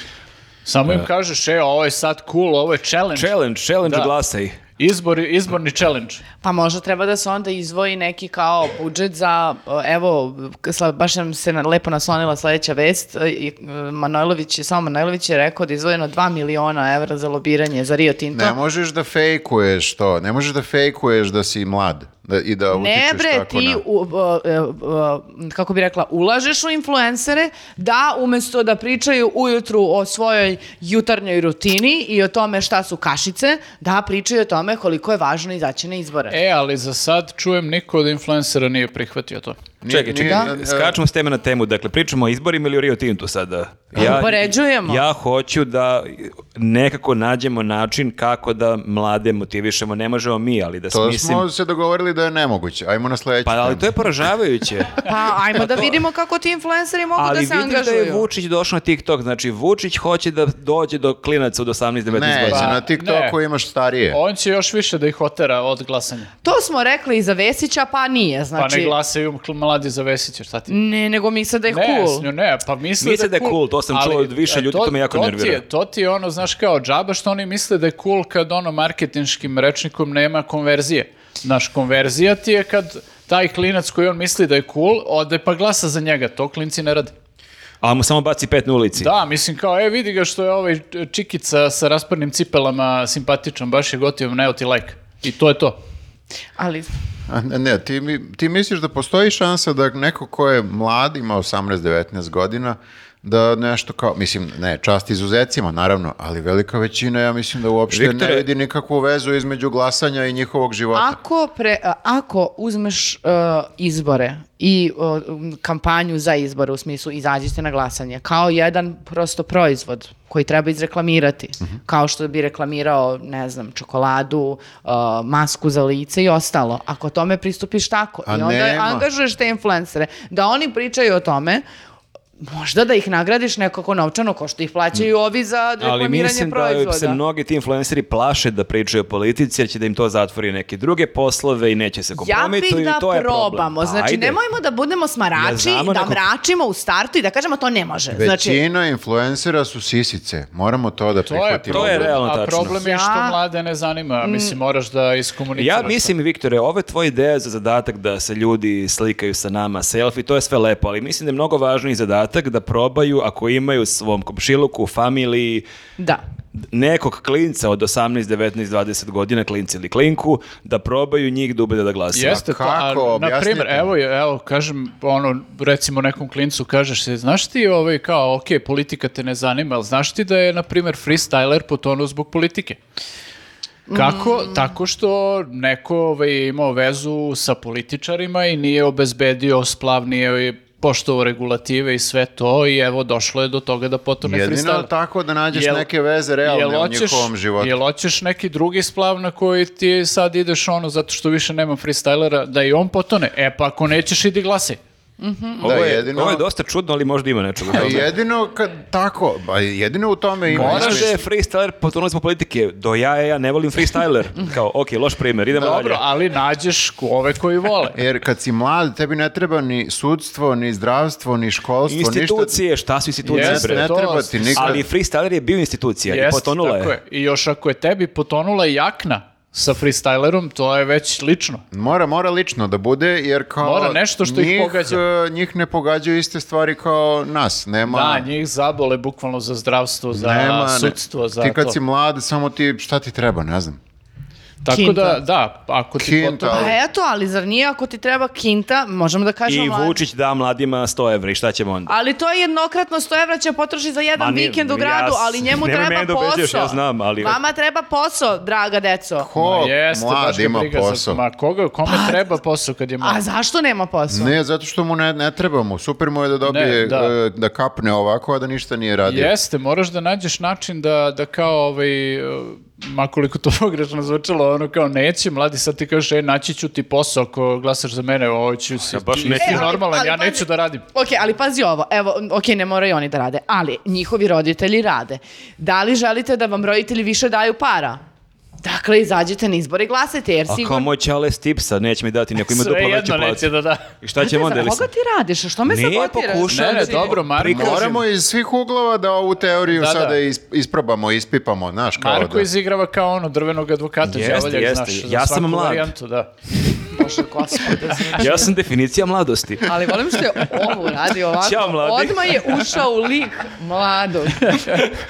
[SPEAKER 3] Samo im kažeš, e, ovo je sad cool, ovo je challenge.
[SPEAKER 4] Challenge, challenge
[SPEAKER 3] Da.
[SPEAKER 4] glasaj.
[SPEAKER 3] Izbor, izborni challenge.
[SPEAKER 2] Pa možda treba da se onda izdvoji neki kao budžet za, e, evo, sla- baš nam se na- lepo naslonila sledeća vest, e, i e, Manojlović, je- samo Manojlović je rekao da je izdvojeno 2 miliona evra za lobiranje za Rio Tinto.
[SPEAKER 1] Ne možeš da fejkuješ to. Ne možeš da fejkuješ da si mlad da, i da
[SPEAKER 2] Ne
[SPEAKER 1] utičeš
[SPEAKER 2] bre,
[SPEAKER 1] tako
[SPEAKER 2] ti,
[SPEAKER 1] na...
[SPEAKER 2] u, e, e, e, kako bi rekla, ulažeš u influencere da umesto da pričaju ujutru o svojoj jutarnjoj rutini i o tome šta su kašice, da pričaju o tome koliko je važno izaći na izbore.
[SPEAKER 3] E, ali za sad čujem niko od influencera nije prihvatio to.
[SPEAKER 1] Nije-
[SPEAKER 4] Čekaj,
[SPEAKER 1] nije-
[SPEAKER 4] čekaj,
[SPEAKER 1] e,
[SPEAKER 4] skačemo s teme na temu. Dakle, pričamo o izborima ili o Rio Tintu sada?
[SPEAKER 2] Upoređujemo.
[SPEAKER 4] Ja hoću da nekako nađemo način kako da mlade motivišemo. Ne možemo mi, ali da
[SPEAKER 1] To
[SPEAKER 4] smislim...
[SPEAKER 1] smo se dogovorili da je nemoguće. Ajmo na sledeću
[SPEAKER 4] Pa ali to
[SPEAKER 1] temu.
[SPEAKER 4] je poražavajuće.
[SPEAKER 2] Pa ajmo da vidimo kako ti influenceri mogu
[SPEAKER 4] ali
[SPEAKER 2] da se
[SPEAKER 4] vidiš da je
[SPEAKER 2] angažuju.
[SPEAKER 4] Vučić došao na TikTok. Znači, Vučić hoće da dođe do klinaca od 18-19
[SPEAKER 1] Ne, znači,
[SPEAKER 4] godina.
[SPEAKER 1] na TikToku
[SPEAKER 3] ne.
[SPEAKER 1] imaš starije.
[SPEAKER 3] On će još više da ih otera od glasanja.
[SPEAKER 2] To smo rekli i za Vesića, pa nije,
[SPEAKER 3] Pa
[SPEAKER 2] znači...
[SPEAKER 3] ne glasaju kl- mladi za Vesića, šta ti?
[SPEAKER 2] ne, nego misle da je
[SPEAKER 3] Ne,
[SPEAKER 2] cool.
[SPEAKER 3] Snju, ne, pa misle
[SPEAKER 4] Misle da je cool, to sam
[SPEAKER 3] ali,
[SPEAKER 4] čuo od više
[SPEAKER 3] e,
[SPEAKER 4] ljudi, to me jako
[SPEAKER 3] ti
[SPEAKER 4] nervira.
[SPEAKER 3] je- to ti je ono, znaš, kao džaba što oni misle da je cool kad ono marketinškim rečnikom nema konverzije. Znaš, konverzija ti je kad taj klinac koji on misli da je cool, ode pa glasa za njega, to klinci ne rade.
[SPEAKER 4] Ali mu samo baci pet na ulici.
[SPEAKER 3] Da, mislim kao, e, vidi ga što je ovaj čikica sa rasprnim cipelama simpatičan, baš je gotivim, ne ti like. I to je to.
[SPEAKER 2] Ali
[SPEAKER 1] A Ne, ne, ti, mi- ti misliš da postoji šansa da neko ko je mlad, ima 18-19 godina, da nešto kao, mislim, ne, čast izuzecima, naravno, ali velika većina, ja mislim da uopšte
[SPEAKER 4] Viktore-
[SPEAKER 1] ne vidi nikakvu vezu između glasanja i njihovog života.
[SPEAKER 2] ako, pre, a- ako uzmeš e, izbore i e, m, kampanju za izbore, u smislu izađite na glasanje, kao jedan prosto proizvod koji treba izreklamirati,
[SPEAKER 1] Mhm.
[SPEAKER 2] kao što bi reklamirao, ne znam, čokoladu, e, masku za lice i ostalo. Ako tome pristupiš tako
[SPEAKER 1] A
[SPEAKER 2] i onda
[SPEAKER 1] nema.
[SPEAKER 2] angažuješ te influencere da oni pričaju o tome, možda da ih nagradiš nekako novčano, kao što ih plaćaju
[SPEAKER 1] Mm.
[SPEAKER 2] ovi za reklamiranje
[SPEAKER 4] Ali mislim
[SPEAKER 2] proizvoda.
[SPEAKER 4] da se mnogi ti influenceri plaše da pričaju o politici, jer će da im to zatvori neke druge poslove i neće se
[SPEAKER 2] Ja bih
[SPEAKER 4] kompromituju
[SPEAKER 2] da
[SPEAKER 4] i to je problem.
[SPEAKER 2] probamo, znači
[SPEAKER 4] Ajde.
[SPEAKER 2] nemojmo da budemo
[SPEAKER 4] Ja
[SPEAKER 2] smarači
[SPEAKER 4] znamo
[SPEAKER 2] i da
[SPEAKER 4] neko-
[SPEAKER 2] mračimo u startu i da kažemo to ne može. Znači,
[SPEAKER 1] Većina influencera su sisice, moramo to da prihvatimo.
[SPEAKER 4] to je
[SPEAKER 1] ljudi.
[SPEAKER 4] realno tačno.
[SPEAKER 3] A problem je što
[SPEAKER 2] Ja-
[SPEAKER 3] mlade ne zanima, mislim, moraš da iskomuniciraš.
[SPEAKER 4] Ja
[SPEAKER 3] to.
[SPEAKER 4] mislim, Viktore, ova tvoja ideja za zadatak da se ljudi slikaju sa nama, selfie, to je sve lepo, ali mislim da je mnogo važniji zadatak da probaju, ako imaju svom komšiluku, familiji,
[SPEAKER 2] da.
[SPEAKER 4] nekog klinca od 18, 19, 20 godina, klinci ili klinku, da probaju njih da ubede da glasa.
[SPEAKER 3] Jeste to, a,
[SPEAKER 1] kako?
[SPEAKER 3] na
[SPEAKER 1] Objasnite
[SPEAKER 3] primjer,
[SPEAKER 1] mi.
[SPEAKER 3] evo, je- evo, kažem, ono, recimo nekom klincu kažeš, se, znaš ti ovaj, kao, ok, politika te ne zanima, ali znaš ti da je, na primjer, freestyler potonuo zbog politike? Kako?
[SPEAKER 1] Mm.
[SPEAKER 3] Tako što neko ovaj, je imao vezu sa političarima i nije obezbedio splav, nije ovaj, poštovao regulative i sve to i evo došlo je do toga da potone
[SPEAKER 1] Jedino
[SPEAKER 3] freestyler.
[SPEAKER 1] je tako da nađeš
[SPEAKER 3] Jel-
[SPEAKER 1] neke veze realne
[SPEAKER 3] jel
[SPEAKER 1] u
[SPEAKER 3] hoćeš-
[SPEAKER 1] njihovom životu.
[SPEAKER 3] Jel hoćeš neki drugi splav na koji ti sad ideš ono zato što više nema freestylera da i on potone? E pa ako nećeš idi glasaj.
[SPEAKER 4] Ovo,
[SPEAKER 1] Da,
[SPEAKER 4] je,
[SPEAKER 1] jedino-
[SPEAKER 4] ovo je dosta čudno, ali možda ima nečega. u
[SPEAKER 1] A
[SPEAKER 4] tome.
[SPEAKER 1] Pa jedino kad tako, ba, jedino u tome ima.
[SPEAKER 4] Moraš da
[SPEAKER 1] smisla.
[SPEAKER 4] je freestyler, potonuli smo politike, do ja, ja ne volim freestyler. Kao, ok, loš primjer, idemo
[SPEAKER 3] Dobro,
[SPEAKER 4] dalje.
[SPEAKER 3] ali nađeš ko- ove koji vole.
[SPEAKER 1] Jer kad si mlad, tebi ne treba ni sudstvo, ni zdravstvo, ni školstvo, ništa.
[SPEAKER 4] Institucije, šta su institucije
[SPEAKER 3] Jeste,
[SPEAKER 4] bre?
[SPEAKER 1] ne
[SPEAKER 3] to-
[SPEAKER 1] treba ti nikad.
[SPEAKER 4] Ali freestyler je bio institucija i
[SPEAKER 3] Jeste,
[SPEAKER 4] potonula
[SPEAKER 3] tako
[SPEAKER 4] je.
[SPEAKER 3] I još ako je tebi potonula jakna, sa freestylerom, to je već lično.
[SPEAKER 1] Mora, mora lično da bude, jer kao...
[SPEAKER 3] Mora nešto što ih
[SPEAKER 1] njih,
[SPEAKER 3] pogađa.
[SPEAKER 1] e, Njih ne pogađaju iste stvari kao nas, nema...
[SPEAKER 3] Da, njih zabole bukvalno za zdravstvo, za
[SPEAKER 1] nema- ne-
[SPEAKER 3] sudstvo, za
[SPEAKER 1] Ti kad
[SPEAKER 3] to.
[SPEAKER 1] si mlad, samo ti, šta ti treba, ne znam.
[SPEAKER 3] Tako
[SPEAKER 2] Kinta.
[SPEAKER 3] da, da, ako ti
[SPEAKER 1] Kinta.
[SPEAKER 3] potom-
[SPEAKER 2] Pa eto, ali zar nije ako ti treba kinta, možemo da kažemo...
[SPEAKER 4] I
[SPEAKER 2] mladi-
[SPEAKER 4] Vučić da mladima 100 evra i šta ćemo onda?
[SPEAKER 2] Ali to je jednokratno 100 evra će potrošiti za jedan
[SPEAKER 4] Ma nije,
[SPEAKER 2] vikend u
[SPEAKER 4] ja
[SPEAKER 2] gradu,
[SPEAKER 4] s-
[SPEAKER 2] ali njemu
[SPEAKER 4] nemoj
[SPEAKER 2] treba
[SPEAKER 4] mene da
[SPEAKER 2] posao.
[SPEAKER 4] ubeđuješ, ja znam, ali-
[SPEAKER 2] Vama treba posao, draga deco.
[SPEAKER 1] Ko
[SPEAKER 3] Ma jeste, baš
[SPEAKER 1] mlad
[SPEAKER 3] ga
[SPEAKER 1] ima
[SPEAKER 3] briga za-
[SPEAKER 1] posao? Pa,
[SPEAKER 3] ma koga, kome treba posao kad je mlad?
[SPEAKER 2] A zašto nema posao?
[SPEAKER 1] Ne, zato što mu ne, ne treba mu. Super mu je da dobije,
[SPEAKER 3] Ne, da.
[SPEAKER 1] e, da. kapne ovako, a da ništa nije radio.
[SPEAKER 3] Jeste, moraš da nađeš način da, da kao ovaj, e, makoliko to pogrešno zvučalo, ono kao neće, mladi sad ti kažeš, e, naći ću ti posao ako glasaš za mene, ovo ću si,
[SPEAKER 4] Ja baš
[SPEAKER 3] ti,
[SPEAKER 4] neću.
[SPEAKER 3] ti
[SPEAKER 4] E,
[SPEAKER 2] ali-
[SPEAKER 3] normalan,
[SPEAKER 2] ali
[SPEAKER 1] pa
[SPEAKER 3] ja
[SPEAKER 2] pazi-
[SPEAKER 3] neću da radim.
[SPEAKER 2] Ok, ali pazi ovo, evo, ok, ne moraju oni da rade, ali njihovi roditelji rade. Da li želite da vam roditelji više daju para? Dakle, izađite na izbore i glasajte, jer
[SPEAKER 4] A kao
[SPEAKER 2] sigurno...
[SPEAKER 4] moj čale s tipsa, neće mi dati, neko ima
[SPEAKER 3] Sve
[SPEAKER 4] duplo veću
[SPEAKER 3] jedno
[SPEAKER 4] platu.
[SPEAKER 3] neće da da.
[SPEAKER 4] I šta ćemo onda?
[SPEAKER 2] Za
[SPEAKER 4] ili
[SPEAKER 2] koga
[SPEAKER 4] sad?
[SPEAKER 2] ti radiš? A Što me
[SPEAKER 4] Nije, znači-
[SPEAKER 2] sabotiraš?
[SPEAKER 4] pokušaj,
[SPEAKER 3] Ne, ne, dobro, Marko.
[SPEAKER 4] Prikaži.
[SPEAKER 1] Moramo iz svih uglova da ovu teoriju
[SPEAKER 3] Da, da.
[SPEAKER 1] sada is- isprobamo, ispipamo, znaš, kao
[SPEAKER 3] Marko
[SPEAKER 1] da...
[SPEAKER 3] izigrava kao ono drvenog advokata,
[SPEAKER 4] Jeste,
[SPEAKER 3] đavolja,
[SPEAKER 4] jeste.
[SPEAKER 3] znaš, za
[SPEAKER 4] Ja sam
[SPEAKER 3] svaku
[SPEAKER 4] mlad.
[SPEAKER 3] varijantu, da.
[SPEAKER 2] Bože, gospode, znači.
[SPEAKER 4] Ja sam definicija mladosti.
[SPEAKER 2] Ali volim što je ovo radio ovako.
[SPEAKER 4] Ćao, mladi.
[SPEAKER 2] Odmah je ušao u lik mladog.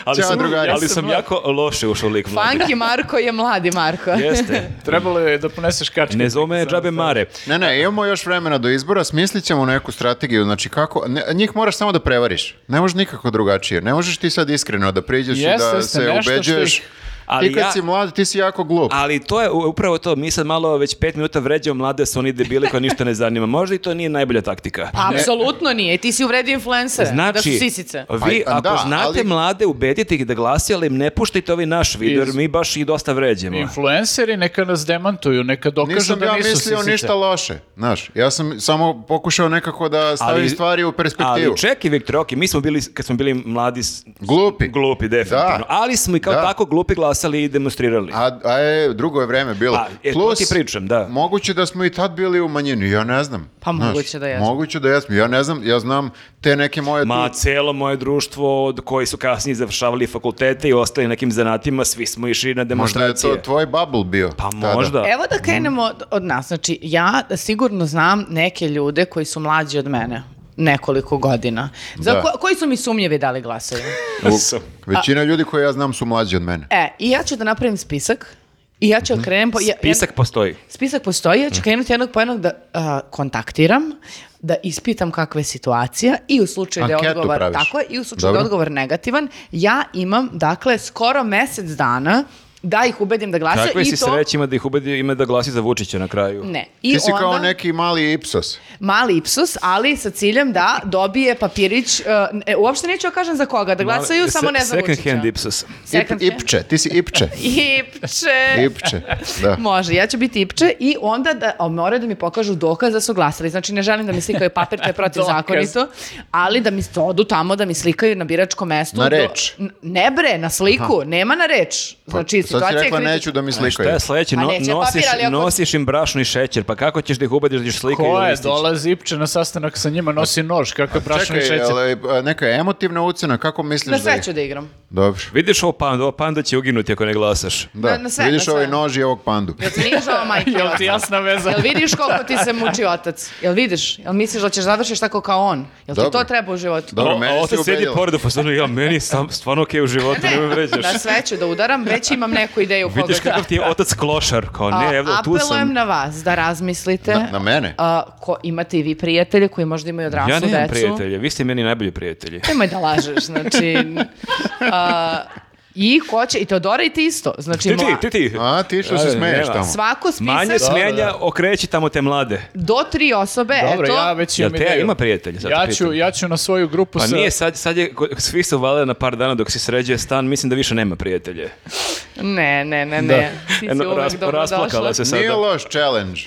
[SPEAKER 4] Ali
[SPEAKER 1] Ćao,
[SPEAKER 4] sam,
[SPEAKER 1] drugari.
[SPEAKER 4] ali sam jako loše ušao u lik mladi.
[SPEAKER 2] Funky Marko je mladi Marko.
[SPEAKER 4] Jeste.
[SPEAKER 3] Trebalo je da poneseš kačke.
[SPEAKER 4] Ne zove me
[SPEAKER 3] Samo
[SPEAKER 4] džabe
[SPEAKER 3] to.
[SPEAKER 4] mare.
[SPEAKER 1] Ne, ne, imamo još vremena do izbora, smislit ćemo neku strategiju, znači kako, ne- njih moraš samo da prevariš, ne možeš nikako drugačije, ne možeš ti sad iskreno da priđeš i
[SPEAKER 3] Jeste,
[SPEAKER 1] da
[SPEAKER 3] jeste,
[SPEAKER 1] se
[SPEAKER 3] nešto što
[SPEAKER 1] ubeđuješ.
[SPEAKER 3] ih-
[SPEAKER 4] Ali
[SPEAKER 1] ti kad
[SPEAKER 4] ja-
[SPEAKER 1] si mlad, ti si jako glup.
[SPEAKER 4] Ali to je u- upravo to, mi sad malo već pet minuta vređamo mlade su oni debili koji ništa ne zanima. Možda i to nije najbolja taktika.
[SPEAKER 1] Pa,
[SPEAKER 2] Pa Apsolutno nije. Ti si uvredio influencere. da su
[SPEAKER 4] Znači,
[SPEAKER 2] sisice.
[SPEAKER 4] vi
[SPEAKER 1] Pa,
[SPEAKER 4] ako
[SPEAKER 1] da,
[SPEAKER 4] znate
[SPEAKER 1] ali-
[SPEAKER 4] mlade, ubedite ih da glasi, ali im ne puštajte ovaj naš video, jer mi baš i dosta vređamo.
[SPEAKER 3] Influenceri neka nas demantuju, neka dokažu
[SPEAKER 1] Nisam
[SPEAKER 3] da
[SPEAKER 1] ja
[SPEAKER 3] nisu
[SPEAKER 1] mislio
[SPEAKER 3] sisice.
[SPEAKER 1] ništa loše, znaš, ja sam samo pokušao nekako da stavim
[SPEAKER 4] Ali-
[SPEAKER 1] stvari u perspektivu.
[SPEAKER 4] Ali čekaj, Viktor, ok, mi smo bili, kad smo bili mladi, s-
[SPEAKER 1] Glupi.
[SPEAKER 4] glupi, definitivno.
[SPEAKER 1] Da.
[SPEAKER 4] Ali smo i kao
[SPEAKER 1] Da.
[SPEAKER 4] tako glupi glasali i demonstrirali.
[SPEAKER 1] A, a je, drugo je vreme bilo.
[SPEAKER 4] A, e, to ti pričam, da.
[SPEAKER 1] Moguće da smo i tad bili u manjini, ja ne znam.
[SPEAKER 2] Pa moguće da jesmo.
[SPEAKER 1] Moguće da jesmo, ja ne znam, ja znam te neke moje...
[SPEAKER 4] Ma,
[SPEAKER 1] tu-
[SPEAKER 4] celo moje društvo od koji su kasnije završavali fakultete i ostali u nekim zanatima, svi smo išli na
[SPEAKER 1] možda je
[SPEAKER 4] demonstracije.
[SPEAKER 1] to tvoj bubble bio.
[SPEAKER 4] Pa
[SPEAKER 1] tada.
[SPEAKER 4] možda.
[SPEAKER 2] Evo da krenemo od, od nas. Znači, ja sigurno znam neke ljude koji su mlađi od mene nekoliko godina. Za
[SPEAKER 1] Da.
[SPEAKER 2] ko- koji su mi sumnjivi da li glasaju?
[SPEAKER 1] U- većina ljudi koje ja znam su mlađi od mene.
[SPEAKER 2] E, i ja ću da napravim spisak i ja ću krenem... Po, ja- ja-
[SPEAKER 4] Spisak postoji.
[SPEAKER 2] Spisak postoji, ja ću krenuti jednog po jednog da a, kontaktiram, da ispitam kakva je situacija i u slučaju da je
[SPEAKER 1] Anketu
[SPEAKER 2] odgovor
[SPEAKER 1] praviš.
[SPEAKER 2] tako je, i u slučaju da je
[SPEAKER 1] Dobro.
[SPEAKER 2] odgovor negativan, ja imam dakle skoro mjesec dana da ih ubedim da glasaju
[SPEAKER 4] Kakve
[SPEAKER 2] i
[SPEAKER 4] si
[SPEAKER 2] to
[SPEAKER 4] srećima da ih ubedi ima da glasi za Vučića na kraju?
[SPEAKER 2] ne. I
[SPEAKER 1] Ti si kao
[SPEAKER 2] onda-
[SPEAKER 1] neki mali Ipsos.
[SPEAKER 2] mali ipsus, ali sa ciljem da dobije papirić, uh, e, uopšte neću da kažem za koga, da glasaju,
[SPEAKER 4] Mali-
[SPEAKER 2] samo ne
[SPEAKER 4] se-
[SPEAKER 2] za Vučića.
[SPEAKER 4] Second hand Ipsos.
[SPEAKER 1] Ip,
[SPEAKER 2] Second hand.
[SPEAKER 1] ipče, ti si Ipče.
[SPEAKER 2] Ipče.
[SPEAKER 1] Ipče, da.
[SPEAKER 2] Može, ja ću biti ipče i onda da, a, moraju da mi pokažu dokaz da su glasali. Znači, ne želim da mi slikaju papir, to je protivzakonito, ali da mi sto- odu tamo, da mi slikaju na biračkom mestu.
[SPEAKER 1] Na
[SPEAKER 2] do-
[SPEAKER 1] reč. Pa,
[SPEAKER 2] N- ne bre, na sliku, nema na reč. Znači,
[SPEAKER 1] Sad si
[SPEAKER 2] situacija je
[SPEAKER 1] rekla
[SPEAKER 2] kritična.
[SPEAKER 1] neću da mi slikaju.
[SPEAKER 4] Šta je sledeće?
[SPEAKER 2] Pa
[SPEAKER 4] No-
[SPEAKER 2] neće
[SPEAKER 4] nosiš,
[SPEAKER 2] papir, ali ako-
[SPEAKER 4] nosiš im brašno i šećer, pa kako ćeš da ih ubediš da ćeš slikaju
[SPEAKER 3] Ko je,
[SPEAKER 4] listić?
[SPEAKER 3] dolazi Ipče na sastanak sa njima, nosi nož, kakav brašno
[SPEAKER 1] Čekaj,
[SPEAKER 3] i šećer.
[SPEAKER 1] jel, e, neka je emotivna ucena, kako misliš
[SPEAKER 2] Na
[SPEAKER 1] da je?
[SPEAKER 2] sve ću da igram.
[SPEAKER 1] Dobro.
[SPEAKER 4] Vidiš ovo panda, ovo panda će uginuti ako ne glasaš.
[SPEAKER 1] Da,
[SPEAKER 2] Na- na sve,
[SPEAKER 1] vidiš
[SPEAKER 2] na
[SPEAKER 1] ovaj
[SPEAKER 2] sve.
[SPEAKER 1] nož i ovog pandu.
[SPEAKER 2] Jel ti nije žao majke?
[SPEAKER 3] Jel ti jasna veza?
[SPEAKER 2] Jel vidiš koliko ti se muči otac? Jel vidiš? Jel misliš da ćeš završiš tako kao on? Jel ti
[SPEAKER 1] Dobro.
[SPEAKER 2] to treba u životu?
[SPEAKER 1] Dobro,
[SPEAKER 4] O,
[SPEAKER 1] meni
[SPEAKER 4] a ovo
[SPEAKER 1] si
[SPEAKER 4] sad sedi
[SPEAKER 1] ubedila.
[SPEAKER 4] pored pa stvarno, ja, meni je sam, stvarno okej u životu, ne me vređaš.
[SPEAKER 2] Na sve ću da udaram, već imam neku ideju koga
[SPEAKER 4] Vidiš kakav ti je otac klošar, kao ne, evo tu
[SPEAKER 2] Apelujem
[SPEAKER 4] sam.
[SPEAKER 2] na vas da razmislite.
[SPEAKER 1] Na- na mene?
[SPEAKER 2] E, A, ko, imate i vi prijatelje koji možda imaju odraslu
[SPEAKER 4] Ja
[SPEAKER 2] decu.
[SPEAKER 4] nemam prijatelje, vi ste meni najbolji prijatelji.
[SPEAKER 2] Nemoj da lažeš, znači... a, I ko će, i Teodora i ti isto. Znači,
[SPEAKER 4] Ti, ti,
[SPEAKER 2] mla-
[SPEAKER 4] ti, ti.
[SPEAKER 1] A, ti što se
[SPEAKER 4] Ajde,
[SPEAKER 1] smeješ
[SPEAKER 4] nema.
[SPEAKER 1] tamo.
[SPEAKER 2] Svako spisak
[SPEAKER 4] Manje smenja, okreći tamo te mlade.
[SPEAKER 2] do tri osobe,
[SPEAKER 3] Dobro,
[SPEAKER 2] eto.
[SPEAKER 3] ja već
[SPEAKER 4] Jel
[SPEAKER 3] imam
[SPEAKER 4] te
[SPEAKER 3] ideju.
[SPEAKER 4] ima prijatelja? Sad te
[SPEAKER 3] Ja ću,
[SPEAKER 4] pitam.
[SPEAKER 3] ja ću na svoju grupu
[SPEAKER 4] Pa
[SPEAKER 3] sa...
[SPEAKER 4] nije, sad, sad je, ko- svi su valjda na par dana dok si sređuje stan, mislim da više nema prijatelje.
[SPEAKER 2] Ne, ne, ne, ne. Ti si
[SPEAKER 4] Eno,
[SPEAKER 2] uvek
[SPEAKER 4] ras-
[SPEAKER 2] dobro
[SPEAKER 4] rasplakala
[SPEAKER 2] došla.
[SPEAKER 4] se sada.
[SPEAKER 1] Nije loš challenge.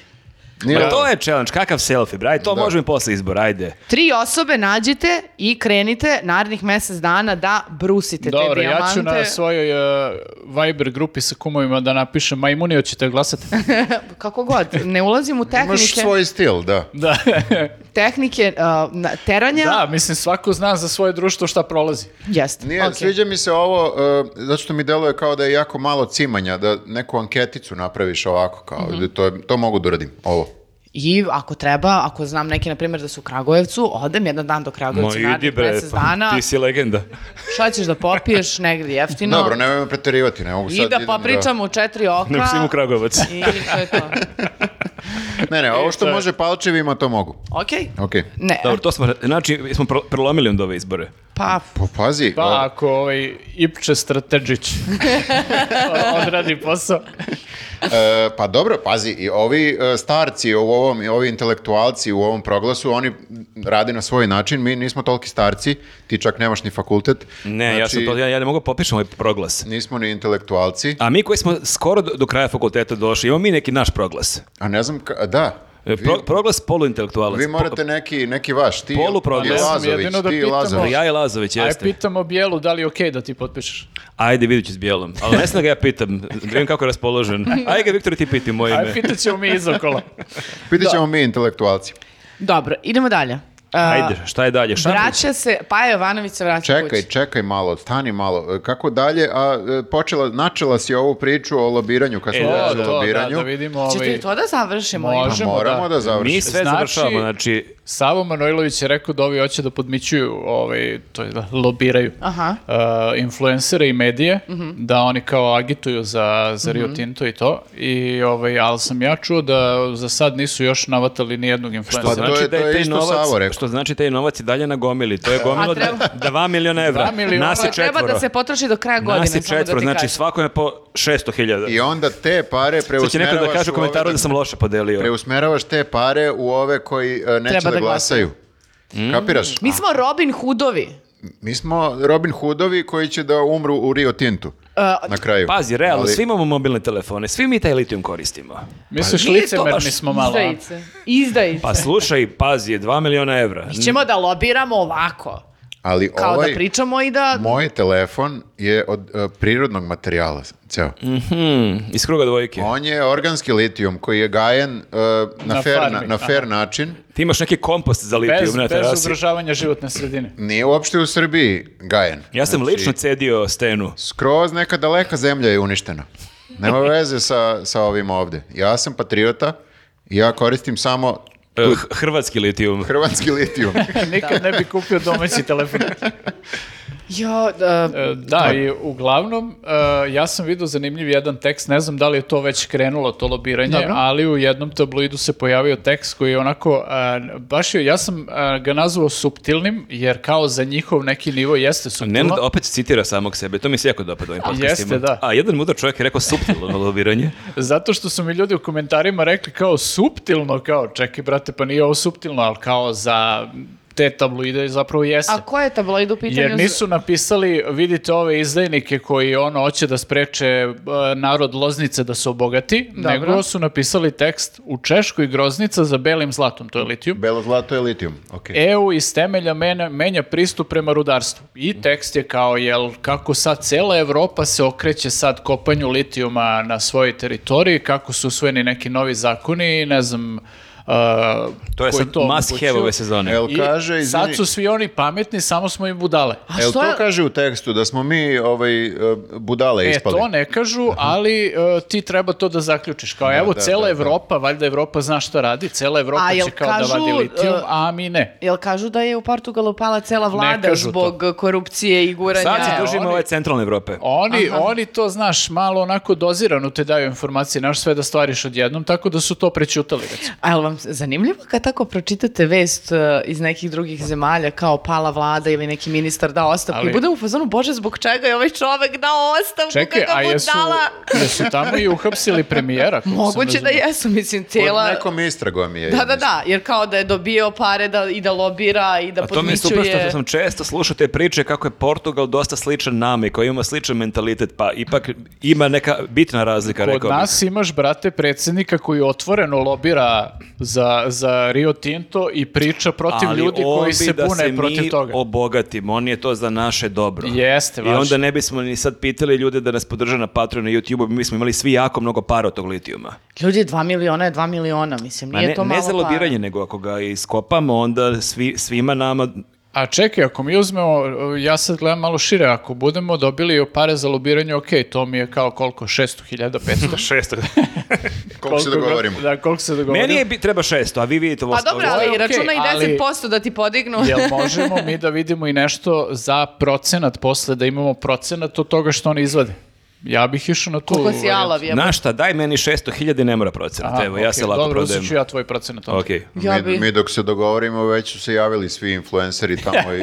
[SPEAKER 1] Nije
[SPEAKER 4] Ma
[SPEAKER 1] ovo.
[SPEAKER 4] Pa to je challenge, kakav selfie, braj, to možemo i posle izbora, ajde.
[SPEAKER 2] Tri osobe nađite i krenite narednih mjesec dana da brusite te
[SPEAKER 3] Dobro, ja
[SPEAKER 2] dijamante.
[SPEAKER 3] ću na svojoj uh, Viber grupi sa kumovima da napišem Majmunio ćete glasati.
[SPEAKER 2] Kako god, ne ulazim u
[SPEAKER 1] Imaš
[SPEAKER 2] tehnike,
[SPEAKER 1] svoj stil, da.
[SPEAKER 3] da.
[SPEAKER 2] tehnike uh, na- teranja.
[SPEAKER 3] da, mislim svako zna za svoje društvo šta prolazi.
[SPEAKER 2] Jeste,
[SPEAKER 1] Nije,
[SPEAKER 2] okej.
[SPEAKER 1] sviđa mi se ovo, uh, zato što mi deluje kao da je jako malo cimanja, da neku anketicu napraviš ovako, kao, da to, je- to mogu da uradim, ovo.
[SPEAKER 2] I ako treba, ako znam neki, na primjer, da su u Kragujevcu, odem jedan dan do Kragujevca, narednih mjesec dana,
[SPEAKER 4] pa, ti si legenda.
[SPEAKER 2] šta ćeš da popiješ negdje jeftino
[SPEAKER 1] Dobro, nemoj me preterivati, ne mogu sad...
[SPEAKER 2] i da
[SPEAKER 1] idem
[SPEAKER 2] popričamo u četiri oka.
[SPEAKER 4] Ne psim u Kragovac.
[SPEAKER 2] I to je to.
[SPEAKER 1] Ne, ne, ovo što može palčevima, to mogu.
[SPEAKER 2] Okej.
[SPEAKER 1] Okej.
[SPEAKER 2] Ne,
[SPEAKER 4] Dobro, to smo, znači, smo pro- prelomili onda ove izbore.
[SPEAKER 2] pa
[SPEAKER 1] Pa, pazi,
[SPEAKER 3] Pa
[SPEAKER 1] ovo-
[SPEAKER 3] ako ovaj, Ipče Strateđić odradi posao.
[SPEAKER 1] E, pa dobro, pazi, i ovi e, starci u ovom, i ovi intelektualci u ovom proglasu, oni rade na svoj način, mi nismo toliki starci, ti čak nemaš ni fakultet.
[SPEAKER 4] Ne, ja, sam
[SPEAKER 1] Znači,
[SPEAKER 4] to, ja, ja ne mogu popišem ovaj proglas.
[SPEAKER 1] Nismo ni intelektualci,
[SPEAKER 4] A mi koji smo skoro do, do kraja fakulteta došli, imamo mi neki naš proglas.
[SPEAKER 1] a ne znam, ka- da,
[SPEAKER 4] E,
[SPEAKER 1] vi,
[SPEAKER 4] Pro, proglas poluintelektualac.
[SPEAKER 1] vi morate
[SPEAKER 4] Po-
[SPEAKER 1] neki, neki vaš, ti
[SPEAKER 4] Poluproglas.
[SPEAKER 1] i
[SPEAKER 4] Ja
[SPEAKER 3] sam
[SPEAKER 1] Lazović,
[SPEAKER 3] jedino da
[SPEAKER 1] ti i
[SPEAKER 3] pitam,
[SPEAKER 1] Lazović.
[SPEAKER 4] Ja i Lazović,
[SPEAKER 3] Aj
[SPEAKER 4] jeste.
[SPEAKER 3] pitamo Bijelu da li je okej da ti potpišeš.
[SPEAKER 4] Ajde, vidit ću s bijelom. Ali ne znam da ga ja pitam, da vidim kako je raspoložen. Ajde ga, Viktor, ti piti moje
[SPEAKER 3] Aj
[SPEAKER 4] ime.
[SPEAKER 3] pitat ćemo mi izokola.
[SPEAKER 1] Pitat ćemo mi intelektualci.
[SPEAKER 2] dobro, idemo dalje. Uh,
[SPEAKER 4] Ajde, šta je dalje? Šampić?
[SPEAKER 2] Vraća se, Paja Jovanović se vraća
[SPEAKER 1] Čekaj,
[SPEAKER 2] kući.
[SPEAKER 1] čekaj malo, stani malo. E, Kako dalje? A e, počela, načela si ovu priču o lobiranju, kad smo već
[SPEAKER 4] E,
[SPEAKER 3] To,
[SPEAKER 1] o
[SPEAKER 3] to, da,
[SPEAKER 1] lobiranju.
[SPEAKER 3] da vidimo
[SPEAKER 2] Ćete
[SPEAKER 3] ovaj...
[SPEAKER 2] i to da završimo?
[SPEAKER 3] Može.
[SPEAKER 1] Pa
[SPEAKER 3] Možemo,
[SPEAKER 1] moramo
[SPEAKER 3] da.
[SPEAKER 1] da, završimo.
[SPEAKER 4] Mi sve
[SPEAKER 3] Znači-
[SPEAKER 4] završavamo, znači,
[SPEAKER 3] Savo Manojlović je rekao da ovi hoće da podmićuju, ovaj, to je da lobiraju
[SPEAKER 2] Aha.
[SPEAKER 3] uh, influencere i medije, da oni kao agituju za, za Rio Tinto i to. I, ovaj, ali sam ja čuo da za sad nisu još navatali nijednog
[SPEAKER 4] To
[SPEAKER 1] Pa
[SPEAKER 3] influencera.
[SPEAKER 1] Što? to
[SPEAKER 4] znači
[SPEAKER 1] je-
[SPEAKER 4] da
[SPEAKER 1] to
[SPEAKER 4] je
[SPEAKER 1] je
[SPEAKER 4] taj
[SPEAKER 1] isto
[SPEAKER 4] novac,
[SPEAKER 1] Savo rekao.
[SPEAKER 4] što znači taj novac i dalje na gomili. To je gomilo
[SPEAKER 2] A treba-
[SPEAKER 4] da, da 2 miliona evra.
[SPEAKER 3] Dva miliona.
[SPEAKER 4] Nas je
[SPEAKER 2] Ovo treba
[SPEAKER 4] četvoro.
[SPEAKER 2] da se potroši do kraja godine.
[SPEAKER 4] Nas
[SPEAKER 2] samo
[SPEAKER 4] je
[SPEAKER 2] da ti
[SPEAKER 4] četvoro, znači
[SPEAKER 2] kažem.
[SPEAKER 4] svakome po 600 hiljada.
[SPEAKER 1] I onda te pare
[SPEAKER 4] Sad će neko
[SPEAKER 1] preusmeravaš
[SPEAKER 4] da kaže
[SPEAKER 1] u ove
[SPEAKER 4] u komentaru da sam loše podelio.
[SPEAKER 1] Preusmeravaš te pare u ove koji e, neće da,
[SPEAKER 2] Treba da
[SPEAKER 1] glasaju.
[SPEAKER 4] Mm.
[SPEAKER 1] Kapiraš?
[SPEAKER 2] Mi smo Robin Hoodovi. E,
[SPEAKER 1] Mi smo Robin Hoodovi koji će da umru u Rio Tintu. na kraju.
[SPEAKER 4] Pazi, realno,
[SPEAKER 1] Ali-
[SPEAKER 4] svi imamo mobilne telefone, svi mi taj litijum koristimo.
[SPEAKER 3] Misliš,
[SPEAKER 4] pa- Nije to
[SPEAKER 3] licemerni
[SPEAKER 4] baš
[SPEAKER 3] smo malo. a?
[SPEAKER 2] Izdajice. Izdajice.
[SPEAKER 4] Pa slušaj, pazi, 2 miliona evra.
[SPEAKER 2] Ćemo da lobiramo ovako.
[SPEAKER 1] Ali
[SPEAKER 2] Kao
[SPEAKER 1] ovaj,
[SPEAKER 2] da pričamo i da...
[SPEAKER 1] moj telefon je od e, prirodnog materijala, ceo.
[SPEAKER 4] Mhm, iz kruga dvojke.
[SPEAKER 1] On je organski litijum koji je gajen e, na,
[SPEAKER 3] Na
[SPEAKER 1] fer,
[SPEAKER 3] farmi,
[SPEAKER 1] na, na
[SPEAKER 3] aha.
[SPEAKER 1] fer način.
[SPEAKER 4] Ti imaš neki kompost za litijum
[SPEAKER 3] Bez,
[SPEAKER 4] na
[SPEAKER 3] bez
[SPEAKER 4] terasi.
[SPEAKER 3] ugrožavanja životne sredine.
[SPEAKER 1] Nije uopšte u Srbiji gajen.
[SPEAKER 4] Ja sam
[SPEAKER 1] Znači,
[SPEAKER 4] lično cedio stenu.
[SPEAKER 1] Skroz neka daleka zemlja je uništena. Nema veze sa, sa ovim ovde. Ja sam patriota i ja koristim samo
[SPEAKER 4] Eh, h- Hrvatski litijum.
[SPEAKER 1] hrvatski litijum.
[SPEAKER 3] Nikad ne bi kupio domaći telefon.
[SPEAKER 2] Jo, da,
[SPEAKER 3] E, Da, i uglavnom, e, ja sam vidio zanimljiv jedan tekst, ne znam da li je to već krenulo, to lobiranje,
[SPEAKER 2] Dobro.
[SPEAKER 3] ali u jednom tabloidu se pojavio tekst koji je onako, e, baš je, ja sam e, ga nazvao suptilnim, jer kao za njihov neki nivo jeste
[SPEAKER 4] Nenad
[SPEAKER 3] suptilno.
[SPEAKER 4] opet citira samog sebe, to mi se jako dopada u ovim podcastima.
[SPEAKER 3] Jeste, da.
[SPEAKER 4] A jedan mudar čovjek je rekao suptilno lobiranje.
[SPEAKER 3] Zato što su mi ljudi u komentarima rekli kao suptilno, kao čekaj brate, pa nije ovo suptilno, ali kao za te tabloide zapravo jeste.
[SPEAKER 2] a ko je tabloid u pitanju?
[SPEAKER 3] Jer nisu napisali, vidite ove izdajnike koji ono hoće da spreče e, narod Loznice da se obogati,
[SPEAKER 2] Dobro.
[SPEAKER 3] nego su napisali tekst u Češkoj groznica za belim zlatom, to je litijum.
[SPEAKER 1] Belo zlato je litijum. Okay.
[SPEAKER 3] EU iz temelja mena- menja pristup prema rudarstvu. I tekst je kao, jel, kako sad cela Evropa se okreće sad kopanju litijuma na svojoj teritoriji, kako su usvojeni neki novi zakoni i ne znam... e,
[SPEAKER 4] To je
[SPEAKER 3] koji
[SPEAKER 4] sad must
[SPEAKER 3] omogućuju.
[SPEAKER 4] have ove sezone.
[SPEAKER 1] Jel
[SPEAKER 3] I
[SPEAKER 1] kaže,
[SPEAKER 3] sad
[SPEAKER 1] izvini,
[SPEAKER 3] su svi oni pametni, samo smo im budale.
[SPEAKER 2] A
[SPEAKER 1] E, jel
[SPEAKER 2] što
[SPEAKER 1] to
[SPEAKER 2] je-
[SPEAKER 1] kaže u tekstu da smo mi ovaj, e, budale
[SPEAKER 3] E,
[SPEAKER 1] ispali?
[SPEAKER 3] to ne kažu, ali e, ti treba to da zaključiš. Kao, evo,
[SPEAKER 1] da,
[SPEAKER 3] cela
[SPEAKER 1] da, da.
[SPEAKER 3] Evropa, valjda Evropa zna šta radi, cela Evropa
[SPEAKER 2] A, jel
[SPEAKER 3] će kao
[SPEAKER 2] kažu,
[SPEAKER 3] da vadi litijum,
[SPEAKER 2] e,
[SPEAKER 3] a mi ne.
[SPEAKER 2] Jel kažu da je u Portugalu pala cela vlada
[SPEAKER 3] kažu to.
[SPEAKER 2] zbog korupcije i guranja?
[SPEAKER 4] Sad se
[SPEAKER 3] Ne,
[SPEAKER 4] držimo
[SPEAKER 3] E, oni-
[SPEAKER 4] ove centralne Evrope.
[SPEAKER 3] Oni, oni to, znaš, malo onako dozirano te daju informacije, naš sve da stvariš odjednom, tako da su to prećutali, recimo.
[SPEAKER 2] A jel vam vam zanimljivo kad tako pročitate vest e, iz nekih drugih zemalja kao pala vlada ili neki ministar da ostavku
[SPEAKER 3] Ali-
[SPEAKER 2] i bude u fazonu, bože, zbog čega je ovaj čovek dao ostavku,
[SPEAKER 3] Čekaj, a
[SPEAKER 2] kakav
[SPEAKER 3] jesu,
[SPEAKER 2] budala.
[SPEAKER 3] jesu tamo i uhapsili premijera? kako sam
[SPEAKER 2] Moguće da
[SPEAKER 3] razumeo?
[SPEAKER 2] jesu, mislim, tijela...
[SPEAKER 1] Pod nekom istragom je.
[SPEAKER 2] Da, da, da, jer kao da je dobio pare da, i da lobira i da
[SPEAKER 4] A to mi je super što
[SPEAKER 2] podmićuje.
[SPEAKER 4] sam često slušao te priče kako je Portugal dosta sličan nama i koji ima sličan mentalitet, pa ipak ima neka bitna razlika,
[SPEAKER 3] Kod
[SPEAKER 4] rekao bih.
[SPEAKER 3] nas imaš, brate, predsjednika koji otvoreno lobira za, za Rio Tinto i priča protiv
[SPEAKER 4] Ali
[SPEAKER 3] ljudi
[SPEAKER 4] on
[SPEAKER 3] koji
[SPEAKER 4] bi
[SPEAKER 3] se
[SPEAKER 4] da
[SPEAKER 3] bune
[SPEAKER 4] mi
[SPEAKER 3] protiv toga.
[SPEAKER 4] obogatimo, on je to za naše dobro.
[SPEAKER 3] Jeste,
[SPEAKER 4] I
[SPEAKER 3] važno.
[SPEAKER 4] onda ne bismo ni sad pitali ljude da nas podrže na Patreonu i YouTube-u, mi smo imali svi jako mnogo para od tog litijuma.
[SPEAKER 2] Ljudi, dva miliona je dva miliona, mislim,
[SPEAKER 4] Ma
[SPEAKER 2] nije
[SPEAKER 4] ne,
[SPEAKER 2] to malo
[SPEAKER 4] ne za lobiranje, nego ako ga iskopamo, onda svi, svima nama...
[SPEAKER 3] A čekaj, ako mi uzmemo, ja sad gledam malo šire, ako budemo dobili pare za lobiranje, ok, to mi je kao koliko, 600.000, 500.000?
[SPEAKER 4] Šesto.
[SPEAKER 1] Koliko se dogovorimo?
[SPEAKER 3] Da, koliko se dogovorimo.
[SPEAKER 4] Meni je bi- treba šesto, a vi vidite ovo.
[SPEAKER 2] Pa dobro,
[SPEAKER 3] Ovo je
[SPEAKER 2] ali
[SPEAKER 3] okej,
[SPEAKER 2] računa i
[SPEAKER 3] ali-
[SPEAKER 2] 10% da ti podignu.
[SPEAKER 3] Jel možemo mi da vidimo i nešto za procenat posle, da imamo procenat od toga što oni izvade? Ja bih išao na tu...
[SPEAKER 2] Koliko si
[SPEAKER 3] varijantu.
[SPEAKER 2] jalav je.
[SPEAKER 4] Na šta, daj meni šesto hiljada i ne mora procenat.
[SPEAKER 3] Aha,
[SPEAKER 4] Evo, ja
[SPEAKER 3] okej,
[SPEAKER 4] se lako
[SPEAKER 3] Dobro,
[SPEAKER 4] prodajem.
[SPEAKER 3] uzet ću ja tvoj procenat. onda.
[SPEAKER 4] Ok.
[SPEAKER 2] Ja
[SPEAKER 1] mi,
[SPEAKER 2] bi-
[SPEAKER 1] mi dok se dogovorimo već su se javili svi influenceri tamo i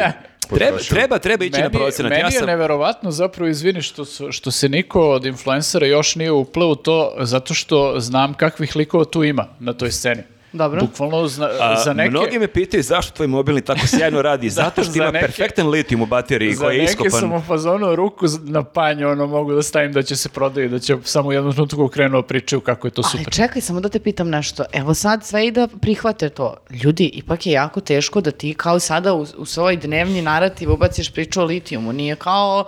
[SPEAKER 4] Treba,
[SPEAKER 1] potrošili.
[SPEAKER 4] treba, treba ići na procenat.
[SPEAKER 3] meni
[SPEAKER 4] Ja
[SPEAKER 3] je
[SPEAKER 4] sam...
[SPEAKER 3] neverovatno zapravo, izvini, što, su- što se niko od influencera još nije upleo u to, zato što znam kakvih likova tu ima na toj sceni.
[SPEAKER 2] Dobro.
[SPEAKER 3] Bukvalno zna-
[SPEAKER 4] A,
[SPEAKER 3] za neke...
[SPEAKER 4] Mnogi me pitaju zašto tvoj mobilni tako sjajno radi. Zato što
[SPEAKER 3] Za
[SPEAKER 4] ima
[SPEAKER 3] neke-
[SPEAKER 4] perfektan litijum u bateriji
[SPEAKER 3] Za
[SPEAKER 4] koji je
[SPEAKER 3] neke sam u
[SPEAKER 4] iskopan.
[SPEAKER 3] fazonu ruku z- na panju, ono, mogu da stavim da će se prodaju, da će samo u jednom trenutku krenuo pričaju kako je to
[SPEAKER 2] Ali
[SPEAKER 3] super.
[SPEAKER 2] čekaj, samo da te pitam nešto. Evo sad sve i da prihvate to. Ljudi, ipak je jako teško da ti kao sada u, u svoj dnevni narativ ubaciš priču o litijumu. Nije kao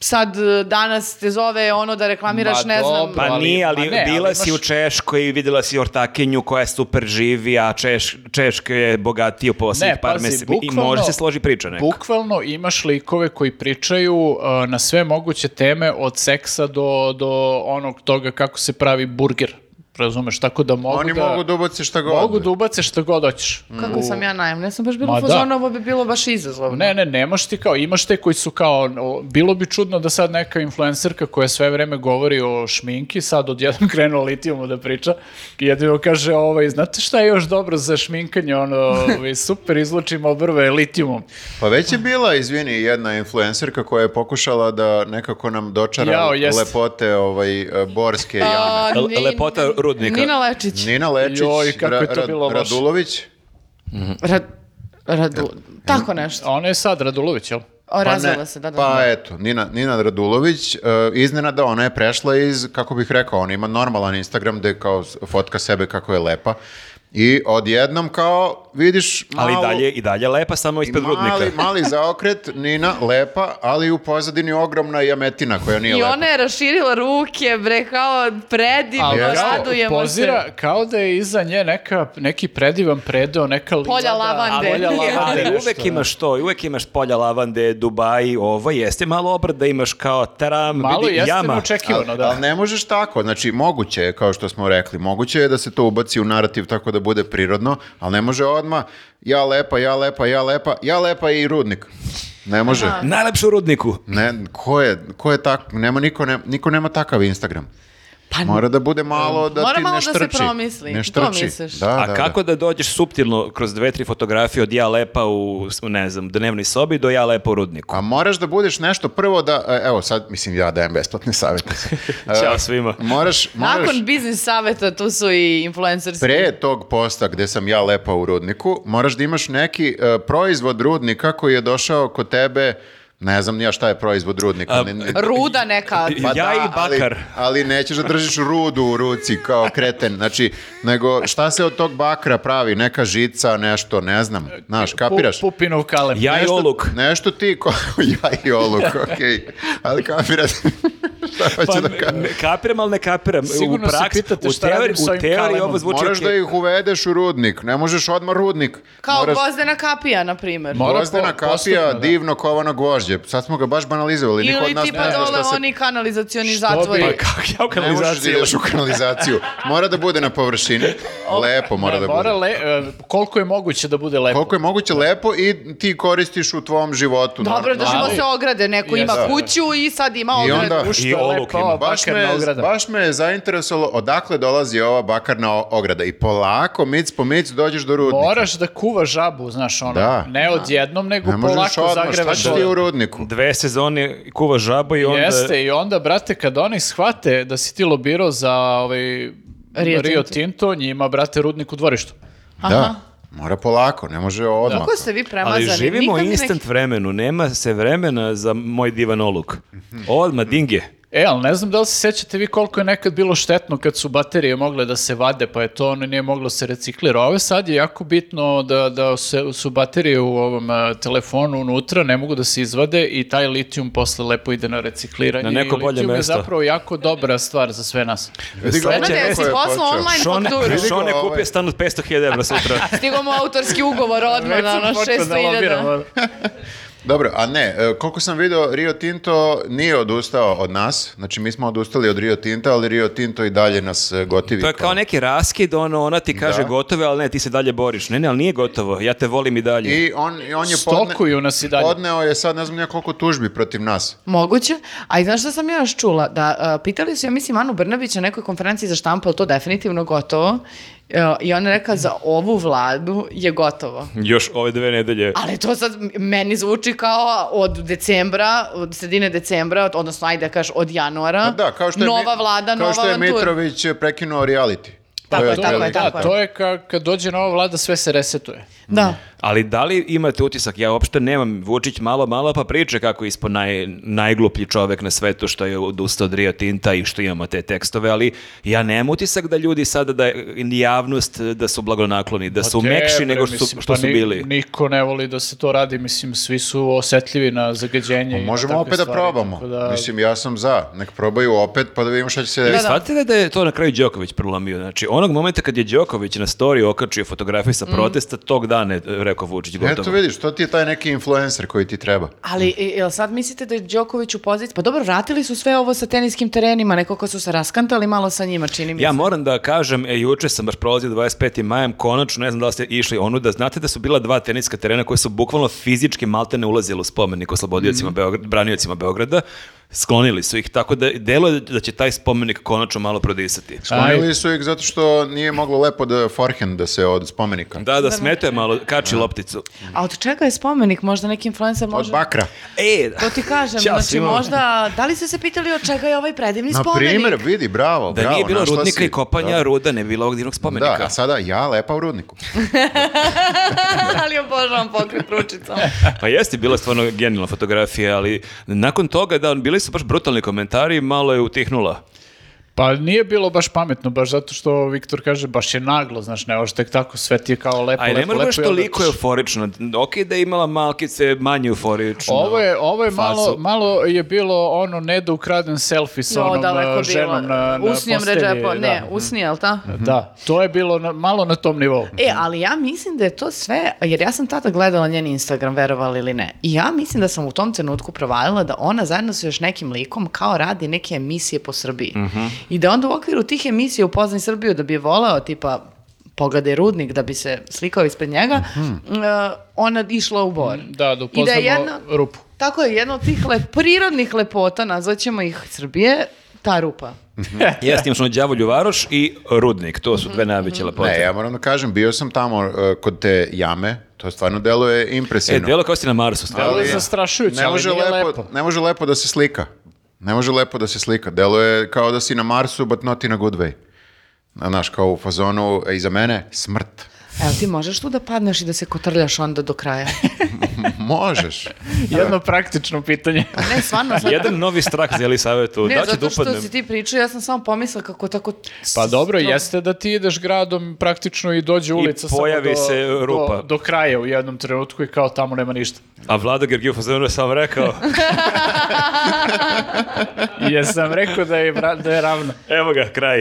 [SPEAKER 2] sad e, danas te zove ono da reklamiraš,
[SPEAKER 3] Ma
[SPEAKER 2] ne znam.
[SPEAKER 3] dobro.
[SPEAKER 4] Pa
[SPEAKER 3] ali-
[SPEAKER 4] nije, ali
[SPEAKER 3] ma ne, ali
[SPEAKER 4] bila
[SPEAKER 3] imaš-
[SPEAKER 4] si u Češkoj i vidjela si ortakinju koja je super živi, a Češ, Češka je bogatija u posljednjih
[SPEAKER 3] Ne,
[SPEAKER 4] par
[SPEAKER 3] pazi,
[SPEAKER 4] mjeseci. I
[SPEAKER 3] bukvalno-
[SPEAKER 4] može se složi priča neka.
[SPEAKER 3] Bukvalno imaš likove koji pričaju uh, na sve moguće teme od seksa do, do onog toga kako se pravi burger. Razumeš, tako da mogu
[SPEAKER 1] Oni
[SPEAKER 3] da...
[SPEAKER 1] mogu da ubace šta god.
[SPEAKER 3] Mogu da ubace šta god hoćeš.
[SPEAKER 2] Kako sam ja najemna? Ja sam baš
[SPEAKER 3] Pa Ma
[SPEAKER 2] bila u
[SPEAKER 3] da.
[SPEAKER 2] fazonu, ovo bi bilo baš izazovno.
[SPEAKER 3] Ne, ne, nemaš ti kao, imaš te koji su kao, o, bilo bi čudno da sad neka influencerka koja sve vreme govori o šminki, sad odjednom krenula o litijumu da priča, i jedino kaže, ovaj, znate šta je još dobro za šminkanje, ono, ovaj, super izlučimo obrve litijumom.
[SPEAKER 1] Pa već je bila, izvini, jedna influencerka koja je pokušala da nekako nam dočara
[SPEAKER 3] Jao, jest.
[SPEAKER 1] lepote ovaj, e, borske jame.
[SPEAKER 2] A,
[SPEAKER 4] L-
[SPEAKER 2] Nin-
[SPEAKER 4] lepota rudnika.
[SPEAKER 2] Nina Lečić.
[SPEAKER 1] Nina Lečić,
[SPEAKER 3] Joj, kako je to bilo loše.
[SPEAKER 1] Radulović.
[SPEAKER 2] Ra- Radu, tako nešto.
[SPEAKER 3] A ona je sad Radulović, jel?
[SPEAKER 2] O, razvela
[SPEAKER 1] Pa ne,
[SPEAKER 2] se, da, da.
[SPEAKER 1] Pa eto, Nina, Nina Radulović, e, iznenada ona je prešla iz, kako bih rekao, ona ima normalan Instagram gde kao s- fotka sebe kako je lepa i odjednom kao vidiš
[SPEAKER 4] Ali i
[SPEAKER 1] malu-
[SPEAKER 4] dalje, i dalje lepa, samo ispred
[SPEAKER 1] Mali,
[SPEAKER 4] rudnika.
[SPEAKER 1] mali zaokret, Nina, lepa, ali u pozadini ogromna jametina koja nije
[SPEAKER 2] I
[SPEAKER 1] lepa.
[SPEAKER 2] ona je raširila ruke, bre, kao predivno,
[SPEAKER 3] Ali
[SPEAKER 1] Jeste.
[SPEAKER 2] radujemo
[SPEAKER 3] kao, pozira
[SPEAKER 2] se.
[SPEAKER 3] kao da je iza nje neka, neki predivan predeo, neka livada.
[SPEAKER 2] Polja lavande.
[SPEAKER 3] Polja
[SPEAKER 2] Ali-
[SPEAKER 3] lavande,
[SPEAKER 4] Ali
[SPEAKER 3] nešto,
[SPEAKER 4] uvek
[SPEAKER 3] da.
[SPEAKER 4] imaš to, uvek imaš polja lavande, Dubaji, ovo jeste malo obrat da imaš kao taram,
[SPEAKER 3] Malo
[SPEAKER 4] vidi,
[SPEAKER 3] jeste
[SPEAKER 4] jama.
[SPEAKER 3] neočekivano, da.
[SPEAKER 1] Ali ne možeš tako, znači moguće je, kao što smo rekli, moguće je da se to ubaci u narativ tako da bude prirodno, ali ne može odma ja lepa, ja lepa, ja lepa, ja lepa i rudnik. Ne može.
[SPEAKER 4] Najlepše u rudniku.
[SPEAKER 1] Ne, ko je, ko je tak, nema niko, ne- niko nema takav Instagram.
[SPEAKER 2] Pa
[SPEAKER 1] Mora da bude malo da
[SPEAKER 2] Mora
[SPEAKER 1] ti
[SPEAKER 2] malo
[SPEAKER 1] ne
[SPEAKER 2] da se
[SPEAKER 1] štrči.
[SPEAKER 2] promisli,
[SPEAKER 1] Ne
[SPEAKER 2] to
[SPEAKER 1] štrči.
[SPEAKER 2] misliš.
[SPEAKER 1] Da, da,
[SPEAKER 4] A
[SPEAKER 1] da.
[SPEAKER 4] kako da dođeš suptilno kroz dve, tri fotografije od ja lepa u, u, ne znam, dnevnoj sobi do ja lepa u rudniku?
[SPEAKER 1] A moraš da budeš nešto prvo da, e, evo sad, mislim ja dajem besplatne savjete.
[SPEAKER 4] Ćao svima.
[SPEAKER 1] Moraš, moraš
[SPEAKER 2] Nakon biznis saveta tu su i influencerski.
[SPEAKER 1] pre tog posta gde sam ja lepa u rudniku, moraš da imaš neki e, proizvod rudnika koji je došao kod tebe, ne znam ni ja šta je proizvod rudnika. ali-
[SPEAKER 2] Ruda neka.
[SPEAKER 3] Pa
[SPEAKER 4] Ja i
[SPEAKER 1] ali-
[SPEAKER 4] bakar.
[SPEAKER 1] Ali, nećeš da držiš rudu u ruci kao kreten. Znači, nego šta se od tog bakra pravi? Neka žica, nešto, ne znam. Znaš, kapiraš?
[SPEAKER 3] Pu- Pupinov kalem.
[SPEAKER 4] Ja i
[SPEAKER 1] Nešto-
[SPEAKER 4] oluk.
[SPEAKER 1] Nešto ti ko... ja i oluk, okej. Ali kapiraš? šta hoću
[SPEAKER 4] Pa,
[SPEAKER 1] da
[SPEAKER 4] ne-
[SPEAKER 1] kažem?
[SPEAKER 4] ne kapiram, ali ne kapiram.
[SPEAKER 3] Sigurno
[SPEAKER 4] u
[SPEAKER 3] se
[SPEAKER 4] praksi,
[SPEAKER 3] pitate
[SPEAKER 4] u
[SPEAKER 3] šta radim
[SPEAKER 4] teoriji,
[SPEAKER 3] s
[SPEAKER 4] u
[SPEAKER 3] ovim
[SPEAKER 4] teoriji
[SPEAKER 3] kalemom.
[SPEAKER 4] ovo zvuči
[SPEAKER 1] Moraš da
[SPEAKER 4] okej.
[SPEAKER 1] ih uvedeš u rudnik, ne možeš odmah rudnik.
[SPEAKER 2] Kao
[SPEAKER 1] Moraš-
[SPEAKER 2] Gozdena Kapija, na primjer.
[SPEAKER 3] Mo- Mora
[SPEAKER 1] Gozdena
[SPEAKER 3] po-
[SPEAKER 1] kapija,
[SPEAKER 3] postupno, da.
[SPEAKER 1] divno kovano gvožđe. Sad smo ga baš banalizovali, niko od
[SPEAKER 2] Ili
[SPEAKER 1] nas
[SPEAKER 2] tipa
[SPEAKER 1] ne zna
[SPEAKER 2] dole
[SPEAKER 1] šta se...
[SPEAKER 2] oni kanalizacioni
[SPEAKER 3] Što bi-
[SPEAKER 2] zatvori.
[SPEAKER 3] Pa
[SPEAKER 4] Kako ja u
[SPEAKER 1] Ne možeš da
[SPEAKER 4] kanalizaciji
[SPEAKER 1] ideš u kanalizaciju. Mora da bude na površini. Lepo mora da
[SPEAKER 3] Mora
[SPEAKER 1] bude.
[SPEAKER 3] le, e, koliko je moguće da bude lepo.
[SPEAKER 1] Koliko je moguće lepo i ti koristiš u tvom životu.
[SPEAKER 2] Dobro,
[SPEAKER 1] normalno.
[SPEAKER 2] držimo
[SPEAKER 3] Ali-
[SPEAKER 2] se ograde, neko ima
[SPEAKER 3] Jeste.
[SPEAKER 2] kuću i sad ima
[SPEAKER 1] I
[SPEAKER 2] ogradu.
[SPEAKER 1] onda-
[SPEAKER 4] I
[SPEAKER 3] je
[SPEAKER 2] lepo.
[SPEAKER 4] luk ima.
[SPEAKER 1] Baš me,
[SPEAKER 3] Bakarna ograda.
[SPEAKER 1] baš me je zainteresovalo odakle dolazi ova bakarna o- ograda i polako, mic po mic, dođeš do rudnika.
[SPEAKER 3] Moraš da kuvaš žabu, znaš, ono,
[SPEAKER 1] Da.
[SPEAKER 3] ne odjednom, nego
[SPEAKER 1] ne možeš
[SPEAKER 3] polako
[SPEAKER 1] odmah, šta
[SPEAKER 3] zagrevaš.
[SPEAKER 1] će ti u rudniku?
[SPEAKER 4] Dve sezone kuva žaba i onda...
[SPEAKER 3] Jeste, i onda, brate, kada oni shvate da si ti lobirao za ovaj,
[SPEAKER 2] Rio
[SPEAKER 3] Rio, Tinto.
[SPEAKER 2] Tinto.
[SPEAKER 3] njima, brate, rudnik u dvorištu.
[SPEAKER 1] Da, mora polako, ne može odmah.
[SPEAKER 2] Kako ste vi premazani?
[SPEAKER 4] Ali živimo
[SPEAKER 2] Nikad mi
[SPEAKER 4] instant vremenu, nema se vremena za moj divan oluk. Odma dinge.
[SPEAKER 3] E, ali ne znam da li se sjećate vi koliko je nekad bilo štetno kad su baterije mogle da se vade, pa je to ono nije moglo se reciklira. Ove sad je jako bitno da, da se, su baterije u ovom e, telefonu unutra, ne mogu da se izvade i taj litijum posle lepo ide na recikliranje.
[SPEAKER 4] Na neko
[SPEAKER 3] I
[SPEAKER 4] bolje
[SPEAKER 3] litijum
[SPEAKER 4] mesto.
[SPEAKER 3] je zapravo jako dobra stvar za sve nas.
[SPEAKER 1] Vidi ga,
[SPEAKER 4] Sledeće-
[SPEAKER 1] neko
[SPEAKER 2] Brate,
[SPEAKER 1] je
[SPEAKER 2] jesi poslao
[SPEAKER 1] počeo.
[SPEAKER 3] pa
[SPEAKER 2] online
[SPEAKER 4] Šone,
[SPEAKER 2] fakturu?
[SPEAKER 1] Vidi ga
[SPEAKER 4] Šone
[SPEAKER 1] ovaj.
[SPEAKER 4] kupio stan od 500.000 evra sutra.
[SPEAKER 2] Stigao mu autorski ugovor odmah, na ono, 600.000.
[SPEAKER 1] Dobro, a ne, e, koliko sam video, Rio Tinto nije odustao od nas, znači mi smo odustali od Rio Tinta, ali Rio Tinto i dalje nas e, gotivi.
[SPEAKER 4] To je kao neki raskid, ono, ona ti kaže
[SPEAKER 1] Da.
[SPEAKER 4] gotovo, ali ne, ti se dalje boriš. Ne, ne, ali nije gotovo, ja te volim i dalje.
[SPEAKER 1] I on, i on je podne-
[SPEAKER 3] Stokuju nas i dalje.
[SPEAKER 1] podneo je sad ne znam ja koliko tužbi protiv nas.
[SPEAKER 2] Moguće. A i znaš šta sam ja još čula? Da, a, pitali su, ja mislim, Anu Brnabić na nekoj konferenciji za štampu, ali to definitivno gotovo. E, I ona je rekla, za ovu vladu je gotovo.
[SPEAKER 4] Još ove dve nedelje.
[SPEAKER 2] Ali to sad m- meni zvuči kao od decembra, od sredine decembra, od- odnosno ajde da kažeš od januara.
[SPEAKER 1] Pa da, kao što je,
[SPEAKER 2] nova
[SPEAKER 1] Mi-
[SPEAKER 2] vlada,
[SPEAKER 1] kao
[SPEAKER 2] nova
[SPEAKER 1] što je
[SPEAKER 2] avantura.
[SPEAKER 1] Mitrović e, prekinuo reality.
[SPEAKER 2] Tako
[SPEAKER 1] To
[SPEAKER 2] je, tako je,
[SPEAKER 1] otprilike
[SPEAKER 2] tako
[SPEAKER 3] Da,
[SPEAKER 2] je.
[SPEAKER 3] to je ka, kad dođe nova vlada sve se resetuje.
[SPEAKER 2] Da.
[SPEAKER 4] Ali da li imate utisak, ja uopšte nemam, Vučić malo malo pa priča kako je ispod naj, najgluplji čovek na svetu što je odustao od Rio Tinta i što imamo te tekstove, ali ja nemam utisak da ljudi sada, da ni javnost, da su blagonakloni, da su
[SPEAKER 3] Te,
[SPEAKER 4] mekši
[SPEAKER 3] bre,
[SPEAKER 4] nego što, su-
[SPEAKER 3] mislim,
[SPEAKER 4] što
[SPEAKER 3] pa
[SPEAKER 4] su
[SPEAKER 3] ni-
[SPEAKER 4] bili.
[SPEAKER 3] Niko ne voli da se to radi, mislim, svi su osjetljivi na zagađenje. i na
[SPEAKER 1] Pa Možemo
[SPEAKER 3] takve
[SPEAKER 1] opet da
[SPEAKER 3] stvari,
[SPEAKER 1] probamo.
[SPEAKER 3] tako da-
[SPEAKER 1] Mislim, ja sam za. Nek probaju opet pa da vidimo šta će se desiti.
[SPEAKER 4] Shvatite da je to na kraju Đoković prolomio. Znači, onog momenta kad je Đoković na storiju okačio fotografiju sa protesta, tog dana je rekao Vučić gotovo.
[SPEAKER 1] Eto vidiš, E, to ti je taj neki influencer koji ti treba.
[SPEAKER 2] Ali i- jel sad mislite da je Đoković u poziciji? Pa dobro, vratili su sve ovo sa teniskim terenima, nekako su se raskantali malo sa njima, čini mi
[SPEAKER 4] Ja
[SPEAKER 2] se.
[SPEAKER 4] moram da kažem, e, juče sam baš prolazio 25. majem, konačno, ne znam da li ste išli onu, da znate da su bila dva teniska terena koje su bukvalno fizički maltene ulazile u spomenik
[SPEAKER 2] Mhm.
[SPEAKER 4] oslobodiocima, Beograd, braniocima Beograda, sklonili su ih, tako da delo je da će taj spomenik konačno malo prodisati.
[SPEAKER 1] Sklonili su ih zato što nije moglo lepo da forehand da se od spomenika.
[SPEAKER 4] Da, da smetuje malo, kači lopticu.
[SPEAKER 2] A od čega je spomenik? Možda neki influencer
[SPEAKER 1] Od
[SPEAKER 2] može...
[SPEAKER 1] bakra.
[SPEAKER 4] E,
[SPEAKER 2] To ti kažem,
[SPEAKER 4] Ćao
[SPEAKER 2] znači
[SPEAKER 4] svima.
[SPEAKER 2] možda... Da li ste se pitali od čega je ovaj predivni
[SPEAKER 1] Na
[SPEAKER 2] spomenik?
[SPEAKER 1] primjer, vidi, bravo,
[SPEAKER 4] Da
[SPEAKER 1] bravo.
[SPEAKER 4] nije bilo
[SPEAKER 1] našla
[SPEAKER 4] rudnika
[SPEAKER 1] si.
[SPEAKER 4] i kopanja ruda, ne bi bilo ovog divnog spomenika.
[SPEAKER 1] Da, a sada ja lepa u rudniku.
[SPEAKER 2] ali obožavam pokret ručicom.
[SPEAKER 4] Pa jeste, bila je stvarno genijalna fotografija, ali nakon toga, da, bili su baš brutalni komentari, malo je utihnula.
[SPEAKER 3] Pa nije bilo baš pametno, baš zato što Viktor kaže, baš je naglo, znaš, ne, ovo tek tako, sve ti je kao lepo,
[SPEAKER 4] Aj,
[SPEAKER 3] lepo,
[SPEAKER 4] ne mora baš
[SPEAKER 3] lepo i onda-
[SPEAKER 4] toliko euforično. Ok da je imala malkice manje euforično.
[SPEAKER 3] Ovo je, ovo je malo,
[SPEAKER 4] fazu.
[SPEAKER 3] malo je bilo ono, ne da ukradem selfie sa
[SPEAKER 2] Jo,
[SPEAKER 3] onom
[SPEAKER 2] daleko
[SPEAKER 3] uh,
[SPEAKER 2] bilo.
[SPEAKER 3] ženom na, na
[SPEAKER 2] Usnijem
[SPEAKER 3] postelji,
[SPEAKER 2] redžepo, ne,
[SPEAKER 3] da.
[SPEAKER 2] usnije, jel ta?
[SPEAKER 3] Da, to je bilo na- malo na tom nivou.
[SPEAKER 2] E, ali ja mislim da je to sve, jer ja sam tada gledala njen Instagram, verovali ili ne. I ja mislim da sam u tom trenutku provalila da ona zajedno sa još nekim likom kao radi neke emisije po Srbiji.
[SPEAKER 3] Mhm.
[SPEAKER 2] I da onda u okviru tih emisija upoznaj Srbiju da bi je volao, tipa pogledaj rudnik da bi se slikao ispred njega, e, ona išla u bor.
[SPEAKER 3] Mhm. Da, da
[SPEAKER 2] I da
[SPEAKER 3] upoznamo
[SPEAKER 2] je jedna,
[SPEAKER 3] rupu.
[SPEAKER 2] tako je, jedna od tih lep, prirodnih lepota, nazvaćemo ih Srbije, ta rupa.
[SPEAKER 4] Jeste, imaš ono đavolju varoš i rudnik. To su dve
[SPEAKER 2] Mhm.
[SPEAKER 4] najveće lepote.
[SPEAKER 1] Ne, ja moram da kažem, bio sam tamo e, kod te jame, to stvarno deluje
[SPEAKER 4] E,
[SPEAKER 1] impresivno.
[SPEAKER 4] delo kao si na Marsu. stvarno.
[SPEAKER 3] Ali je zastrašujuće,
[SPEAKER 1] ne
[SPEAKER 3] ali
[SPEAKER 1] može
[SPEAKER 3] nije
[SPEAKER 1] lepo,
[SPEAKER 3] lepo.
[SPEAKER 1] Ne može lepo da se slika. Ne može lepo da se slika. Deluje kao da si na Marsu, but not in a good way. Na- Znaš, kao u fazonu, e, iza mene, smrt.
[SPEAKER 2] Evo ti možeš tu da padneš i da se kotrljaš onda do kraja.
[SPEAKER 1] Možeš.
[SPEAKER 3] Jedno praktično pitanje.
[SPEAKER 2] Ne, stvarno, sad-
[SPEAKER 4] Jedan novi strah za Elisavetu.
[SPEAKER 2] Ne,
[SPEAKER 4] da će da
[SPEAKER 2] zato što
[SPEAKER 4] upadnem.
[SPEAKER 2] si ti pričao, ja sam samo pomislila kako tako...
[SPEAKER 3] Pa dobro,
[SPEAKER 2] stro-
[SPEAKER 3] jeste da ti ideš gradom praktično i dođe ulica samo
[SPEAKER 4] pojavi
[SPEAKER 3] do-
[SPEAKER 4] se rupa.
[SPEAKER 3] Do, do kraja u jednom trenutku i kao tamo nema ništa.
[SPEAKER 4] A Vlada Gergijev Fazonu sam rekao,
[SPEAKER 3] I ja sam rekao da je, bra- da je ravno.
[SPEAKER 4] evo ga, kraj.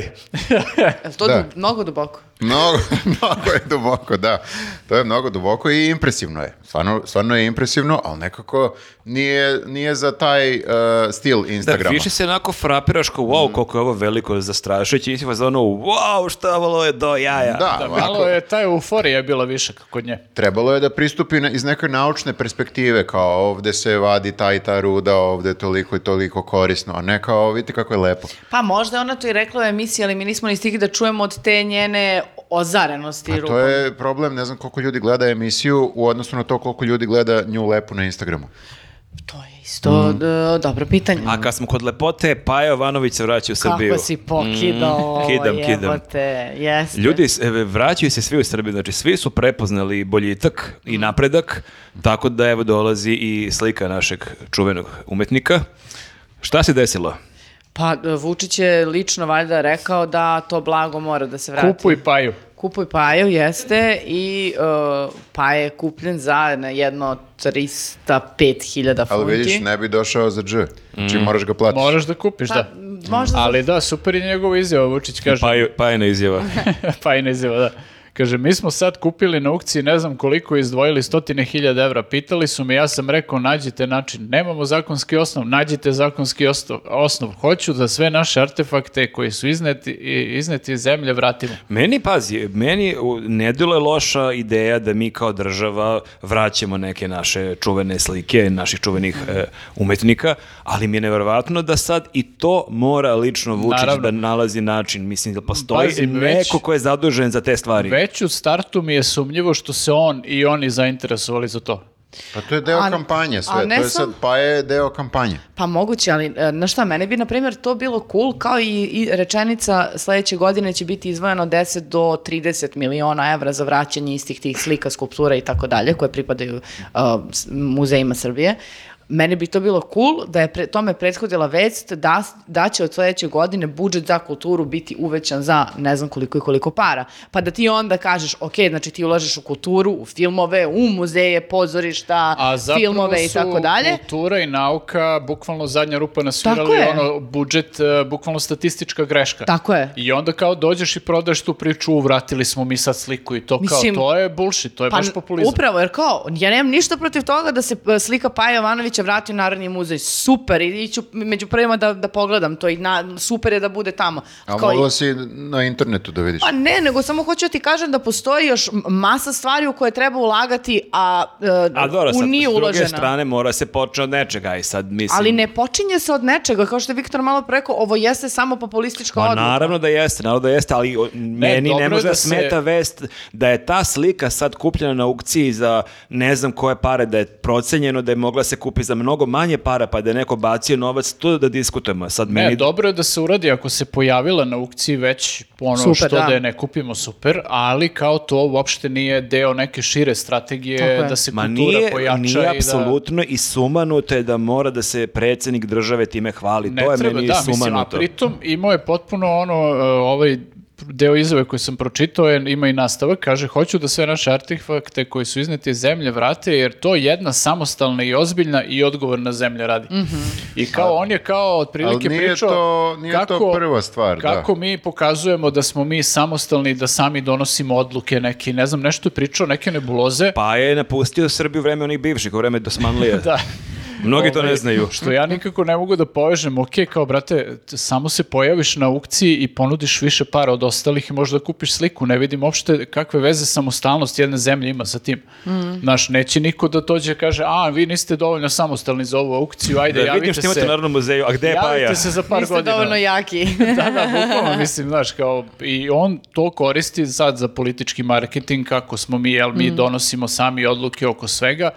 [SPEAKER 2] Jel to
[SPEAKER 1] Da.
[SPEAKER 2] du- mnogo duboko?
[SPEAKER 1] Mnogo, mnogo je duboko, da. To je mnogo duboko i impresivno je. Stvarno, stvarno je impresivno, ali nekako nije, nije za taj uh, stil
[SPEAKER 4] Da,
[SPEAKER 1] Instagrama.
[SPEAKER 4] više se onako frapiraš kao, wow, koliko je ovo veliko zastrašujuće. I si vas ono, wow, šta valo je do jaja.
[SPEAKER 1] Da,
[SPEAKER 3] Da,
[SPEAKER 1] ovako.
[SPEAKER 3] malo je, ta euforija je bila više kod nje.
[SPEAKER 1] Trebalo je da pristupi na- iz neke naučne perspektive, kao ovde se vadi ta i ta ruda, ovde je toliko i toliko korisno, a ne kao vidite kako je lepo.
[SPEAKER 2] Pa možda je ona to i rekla u emisiji, ali mi nismo ni stigli da čujemo od te njene ozarenosti
[SPEAKER 1] A to
[SPEAKER 2] rupom.
[SPEAKER 1] je problem, ne znam koliko ljudi gleda emisiju u odnosu na to koliko ljudi gleda nju lepu na Instagramu.
[SPEAKER 2] To je isto d- dobro pitanje.
[SPEAKER 4] A kad smo kod lepote, Paja Jovanović se vraća u Srbiju.
[SPEAKER 2] Kako si pokidao ovo,
[SPEAKER 4] kidam, kidam.
[SPEAKER 2] jebote, jeste.
[SPEAKER 4] Ljudi s- e, vraćaju se svi u Srbiju, znači svi su prepoznali boljitak
[SPEAKER 3] Mhm.
[SPEAKER 4] i napredak, tako da evo dolazi i slika našeg čuvenog umetnika. Šta se desilo?
[SPEAKER 2] Pa d- Vučić je lično valjda rekao da to blago mora da se vrati.
[SPEAKER 3] Kupuj paju.
[SPEAKER 2] Kupuj Paju jeste i uh, pa je kupljen za na jedno 305 hiljada funti.
[SPEAKER 1] Ali vidiš, ne bi došao za dž. Znači moraš ga platiti.
[SPEAKER 3] Moraš da kupiš,
[SPEAKER 2] Pa,
[SPEAKER 3] da.
[SPEAKER 2] možda
[SPEAKER 3] Ali da, super je njegova izjava, Vučić kaže.
[SPEAKER 4] Paju, pajina pa izjava.
[SPEAKER 3] Fajna izjava, da. Kaže, mi smo sad kupili na aukciji, ne znam koliko izdvojili, stotine hiljada evra. Pitali su mi, ja sam rekao, nađite način. Nemamo zakonski osnov, nađite zakonski osnov. osnov. Hoću da sve naše artefakte koji su izneti, i- izneti iz zemlje vratimo.
[SPEAKER 4] Meni, pazi, meni u- ne delo je loša ideja da mi kao država vraćamo neke naše čuvene slike, naših čuvenih e, umetnika, ali mi je neverovatno da sad i to mora lično Vučić
[SPEAKER 3] Naravno.
[SPEAKER 4] da nalazi način. Mislim da postoji
[SPEAKER 3] Pazi,
[SPEAKER 4] neko
[SPEAKER 3] već-
[SPEAKER 4] ko je zadužen za te stvari.
[SPEAKER 3] Već u startu mi je sumnjivo što se on i oni zainteresovali za to.
[SPEAKER 1] Pa to je deo
[SPEAKER 2] A-
[SPEAKER 1] kampanje sve.
[SPEAKER 2] a ne
[SPEAKER 1] To je sad,
[SPEAKER 2] sam-
[SPEAKER 1] pa je deo kampanje.
[SPEAKER 2] Pa moguće, ali e, na šta, mene bi na primjer to bilo cool, kao i, i rečenica sledeće godine će biti izvojeno 10 do 30 miliona evra za vraćanje istih tih slika, skulptura i tako dalje, koje pripadaju e, s- muzejima Srbije. Meni bi to bilo cool da je pre, tome prethodila vest da, s- da će od sledeće godine budžet za kulturu biti uvećan za ne znam koliko i koliko para. Pa da ti onda kažeš, ok, znači ti ulažeš u kulturu, u filmove, u muzeje, pozorišta,
[SPEAKER 3] A zapravo
[SPEAKER 2] filmove i
[SPEAKER 3] su
[SPEAKER 2] tako dalje.
[SPEAKER 3] kultura i nauka bukvalno zadnja rupa na svirali,
[SPEAKER 2] Tako je.
[SPEAKER 3] ono, budžet, e, bukvalno statistička greška.
[SPEAKER 2] Tako je.
[SPEAKER 3] I onda kao dođeš i prodaš tu priču, "U, vratili smo mi sad sliku i to
[SPEAKER 2] Mislim- pa
[SPEAKER 3] kao, to je bullshit, to je baš populizam.
[SPEAKER 2] Upravo, jer kao, ja nemam ništa protiv toga da se e, slika Paja Jovanovića vrati u Narodni muzej. Super, i iću među prvima da, da pogledam to i na, super je da bude tamo.
[SPEAKER 1] A
[SPEAKER 2] Kao i-
[SPEAKER 1] mogla si na internetu da vidiš.
[SPEAKER 2] Pa ne, nego samo hoću da ti kažem da postoji još m- masa stvari u koje treba ulagati, a, e,
[SPEAKER 4] A dobro,
[SPEAKER 2] u
[SPEAKER 4] sad,
[SPEAKER 2] nije
[SPEAKER 4] s druge
[SPEAKER 2] uložena.
[SPEAKER 4] strane mora se počne od nečega i sad mislim...
[SPEAKER 2] Ali ne počinje se od nečega, kao što je Viktor malo pre rekao, ovo jeste samo populistička
[SPEAKER 4] Pa
[SPEAKER 2] odluka.
[SPEAKER 4] naravno da jeste, naravno da jeste, ali o- meni
[SPEAKER 3] dobro
[SPEAKER 4] ne
[SPEAKER 3] je
[SPEAKER 4] može da
[SPEAKER 3] da se-
[SPEAKER 4] smeta vest da je ta slika sad kupljena na aukciji za ne znam koje pare, da je procenjeno da je mogla se kupi za mnogo manje para, pa da je neko bacio novac, to da diskutujemo. Sad
[SPEAKER 3] Ne,
[SPEAKER 4] meni...
[SPEAKER 3] dobro je da se uradi ako se pojavila na aukciji već ono
[SPEAKER 2] Super,
[SPEAKER 3] što
[SPEAKER 2] da.
[SPEAKER 3] da. je ne kupimo super, ali kao to uopšte nije deo neke šire
[SPEAKER 2] Tako
[SPEAKER 3] strategije
[SPEAKER 2] je.
[SPEAKER 3] da se
[SPEAKER 4] Ma
[SPEAKER 3] kultura
[SPEAKER 4] nije,
[SPEAKER 3] pojača
[SPEAKER 4] nije
[SPEAKER 3] i da...
[SPEAKER 4] apsolutno i sumanuto je da mora da se predsjednik države time hvali.
[SPEAKER 3] Ne
[SPEAKER 4] to je
[SPEAKER 3] treba,
[SPEAKER 4] meni
[SPEAKER 3] da, mislim, a
[SPEAKER 4] sumanuto.
[SPEAKER 3] pritom imao je potpuno ono, e, ovaj deo izjave koji sam pročitao je, ima i nastavak, kaže hoću da sve naše artefakte koji su izneti iz zemlje vrate jer to jedna samostalna i ozbiljna i odgovorna zemlja radi. I kao on je kao otprilike
[SPEAKER 1] Mhm. Ali nije
[SPEAKER 3] pričao
[SPEAKER 1] to- nije to
[SPEAKER 3] kako,
[SPEAKER 1] prva stvar, da.
[SPEAKER 3] kako mi pokazujemo da smo mi samostalni da sami donosimo odluke neki, ne znam, nešto je pričao, neke nebuloze.
[SPEAKER 4] Pa je napustio Srbiju vreme onih bivših, u vreme Dosmanlije.
[SPEAKER 3] Da.
[SPEAKER 4] Mnogi to ne
[SPEAKER 3] Ovaj,
[SPEAKER 4] znaju.
[SPEAKER 3] Što ja nikako ne mogu da povežem, ok, kao brate, t- samo se pojaviš na aukciji i ponudiš više para od ostalih i možda kupiš sliku, ne vidim uopšte kakve veze samostalnost jedne zemlje ima sa tim.
[SPEAKER 2] Mm.
[SPEAKER 3] Znaš, neće niko da dođe i kaže, a, vi niste dovoljno samostalni za ovu aukciju, ajde,
[SPEAKER 2] E,
[SPEAKER 4] da vidim
[SPEAKER 3] javite
[SPEAKER 4] što imate u
[SPEAKER 3] se.
[SPEAKER 4] Narodnom muzeju, a gde je Paja?
[SPEAKER 3] Javite se za par
[SPEAKER 2] Niste
[SPEAKER 3] godina.
[SPEAKER 2] dovoljno jaki.
[SPEAKER 3] da, da, bukvalno, mislim, znaš, kao, i on to koristi sad za politički marketing, kako smo mi, jel, mi donosimo sami odluke oko svega,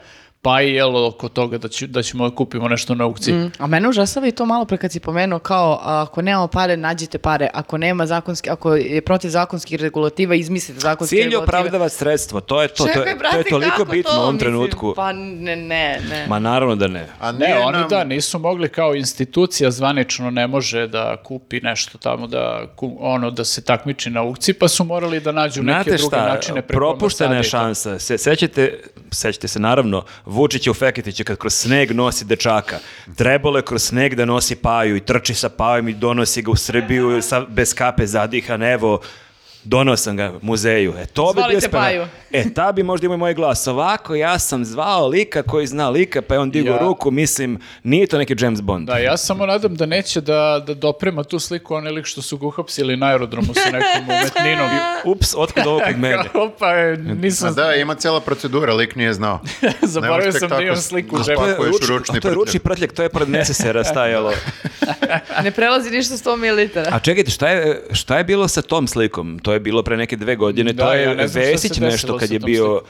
[SPEAKER 3] pa i, jel, oko toga da, ću- da ćemo da kupimo nešto na aukciji.
[SPEAKER 2] A mene užasava i to malo pre kad si pomenuo kao a, ako nemamo pare, nađite pare. Ako nema zakonski, ako je protiv zakonskih regulativa, izmislite zakonske
[SPEAKER 4] Cilj
[SPEAKER 2] regulative.
[SPEAKER 4] opravdava sredstvo, to je to, to,
[SPEAKER 2] Čekaj,
[SPEAKER 4] je-
[SPEAKER 2] brate,
[SPEAKER 4] to je toliko
[SPEAKER 2] kako
[SPEAKER 4] bitno u
[SPEAKER 2] to?
[SPEAKER 4] ovom
[SPEAKER 2] Mislim,
[SPEAKER 4] trenutku.
[SPEAKER 2] Pa ne, ne, ne.
[SPEAKER 4] Ma naravno da ne.
[SPEAKER 1] A nije
[SPEAKER 3] Ne, oni
[SPEAKER 1] nam-
[SPEAKER 3] da, nisu mogli kao institucija zvanično ne može da kupi nešto tamo da ku- ono da se takmiči na aukciji, pa su morali da nađu neke
[SPEAKER 4] Znate
[SPEAKER 3] druge
[SPEAKER 4] šta,
[SPEAKER 3] načine preko
[SPEAKER 4] propuštena je
[SPEAKER 3] ambasade i tako.
[SPEAKER 4] šansa. Se, sećate, sećate se naravno, Vučića u Feketiću kad kroz sneg nosi dečaka. Trebalo je kroz sneg da nosi paju i trči sa pajom i donosi ga u Srbiju sa, bez kape zadihan, evo, Donao sam ga muzeju. E, to bi
[SPEAKER 2] Zvali
[SPEAKER 4] bio
[SPEAKER 2] te
[SPEAKER 4] spena-
[SPEAKER 2] Paju.
[SPEAKER 4] E, ta bi možda imao i moj glas. Ovako, ja sam zvao lika koji zna lika, pa je on digao
[SPEAKER 3] Ja.
[SPEAKER 4] ruku, mislim, nije to neki James Bond.
[SPEAKER 3] Da, ja samo nadam da neće da, da doprema tu sliku one lik što su ga uhapsili na aerodromu sa nekom umetninom.
[SPEAKER 4] Ups, otkud ovo kod mene?
[SPEAKER 3] Opa, e,
[SPEAKER 1] A
[SPEAKER 3] nisam
[SPEAKER 1] da, ima cijela procedura, lik nije znao. Ne
[SPEAKER 3] Zaboravio
[SPEAKER 1] možeš
[SPEAKER 3] sam
[SPEAKER 1] tek
[SPEAKER 3] da
[SPEAKER 1] tako
[SPEAKER 3] imam
[SPEAKER 1] s-
[SPEAKER 3] sliku u
[SPEAKER 1] s-
[SPEAKER 3] džepu.
[SPEAKER 1] pa- Pakuješ
[SPEAKER 4] ruč-
[SPEAKER 1] ručni
[SPEAKER 4] a to je ručni prtljak, to je pored nesesera stajalo.
[SPEAKER 2] Ne prelazi ništa 100 mililitara.
[SPEAKER 4] A čekajte, šta je, šta je bilo sa tom slikom? To je bilo pre neke dve godine,
[SPEAKER 3] Da,
[SPEAKER 4] to je
[SPEAKER 3] ja ne znam šta se
[SPEAKER 4] Vesić
[SPEAKER 3] desilo
[SPEAKER 4] nešto kad
[SPEAKER 3] sa
[SPEAKER 4] je
[SPEAKER 3] tom
[SPEAKER 4] bio...
[SPEAKER 3] slikom.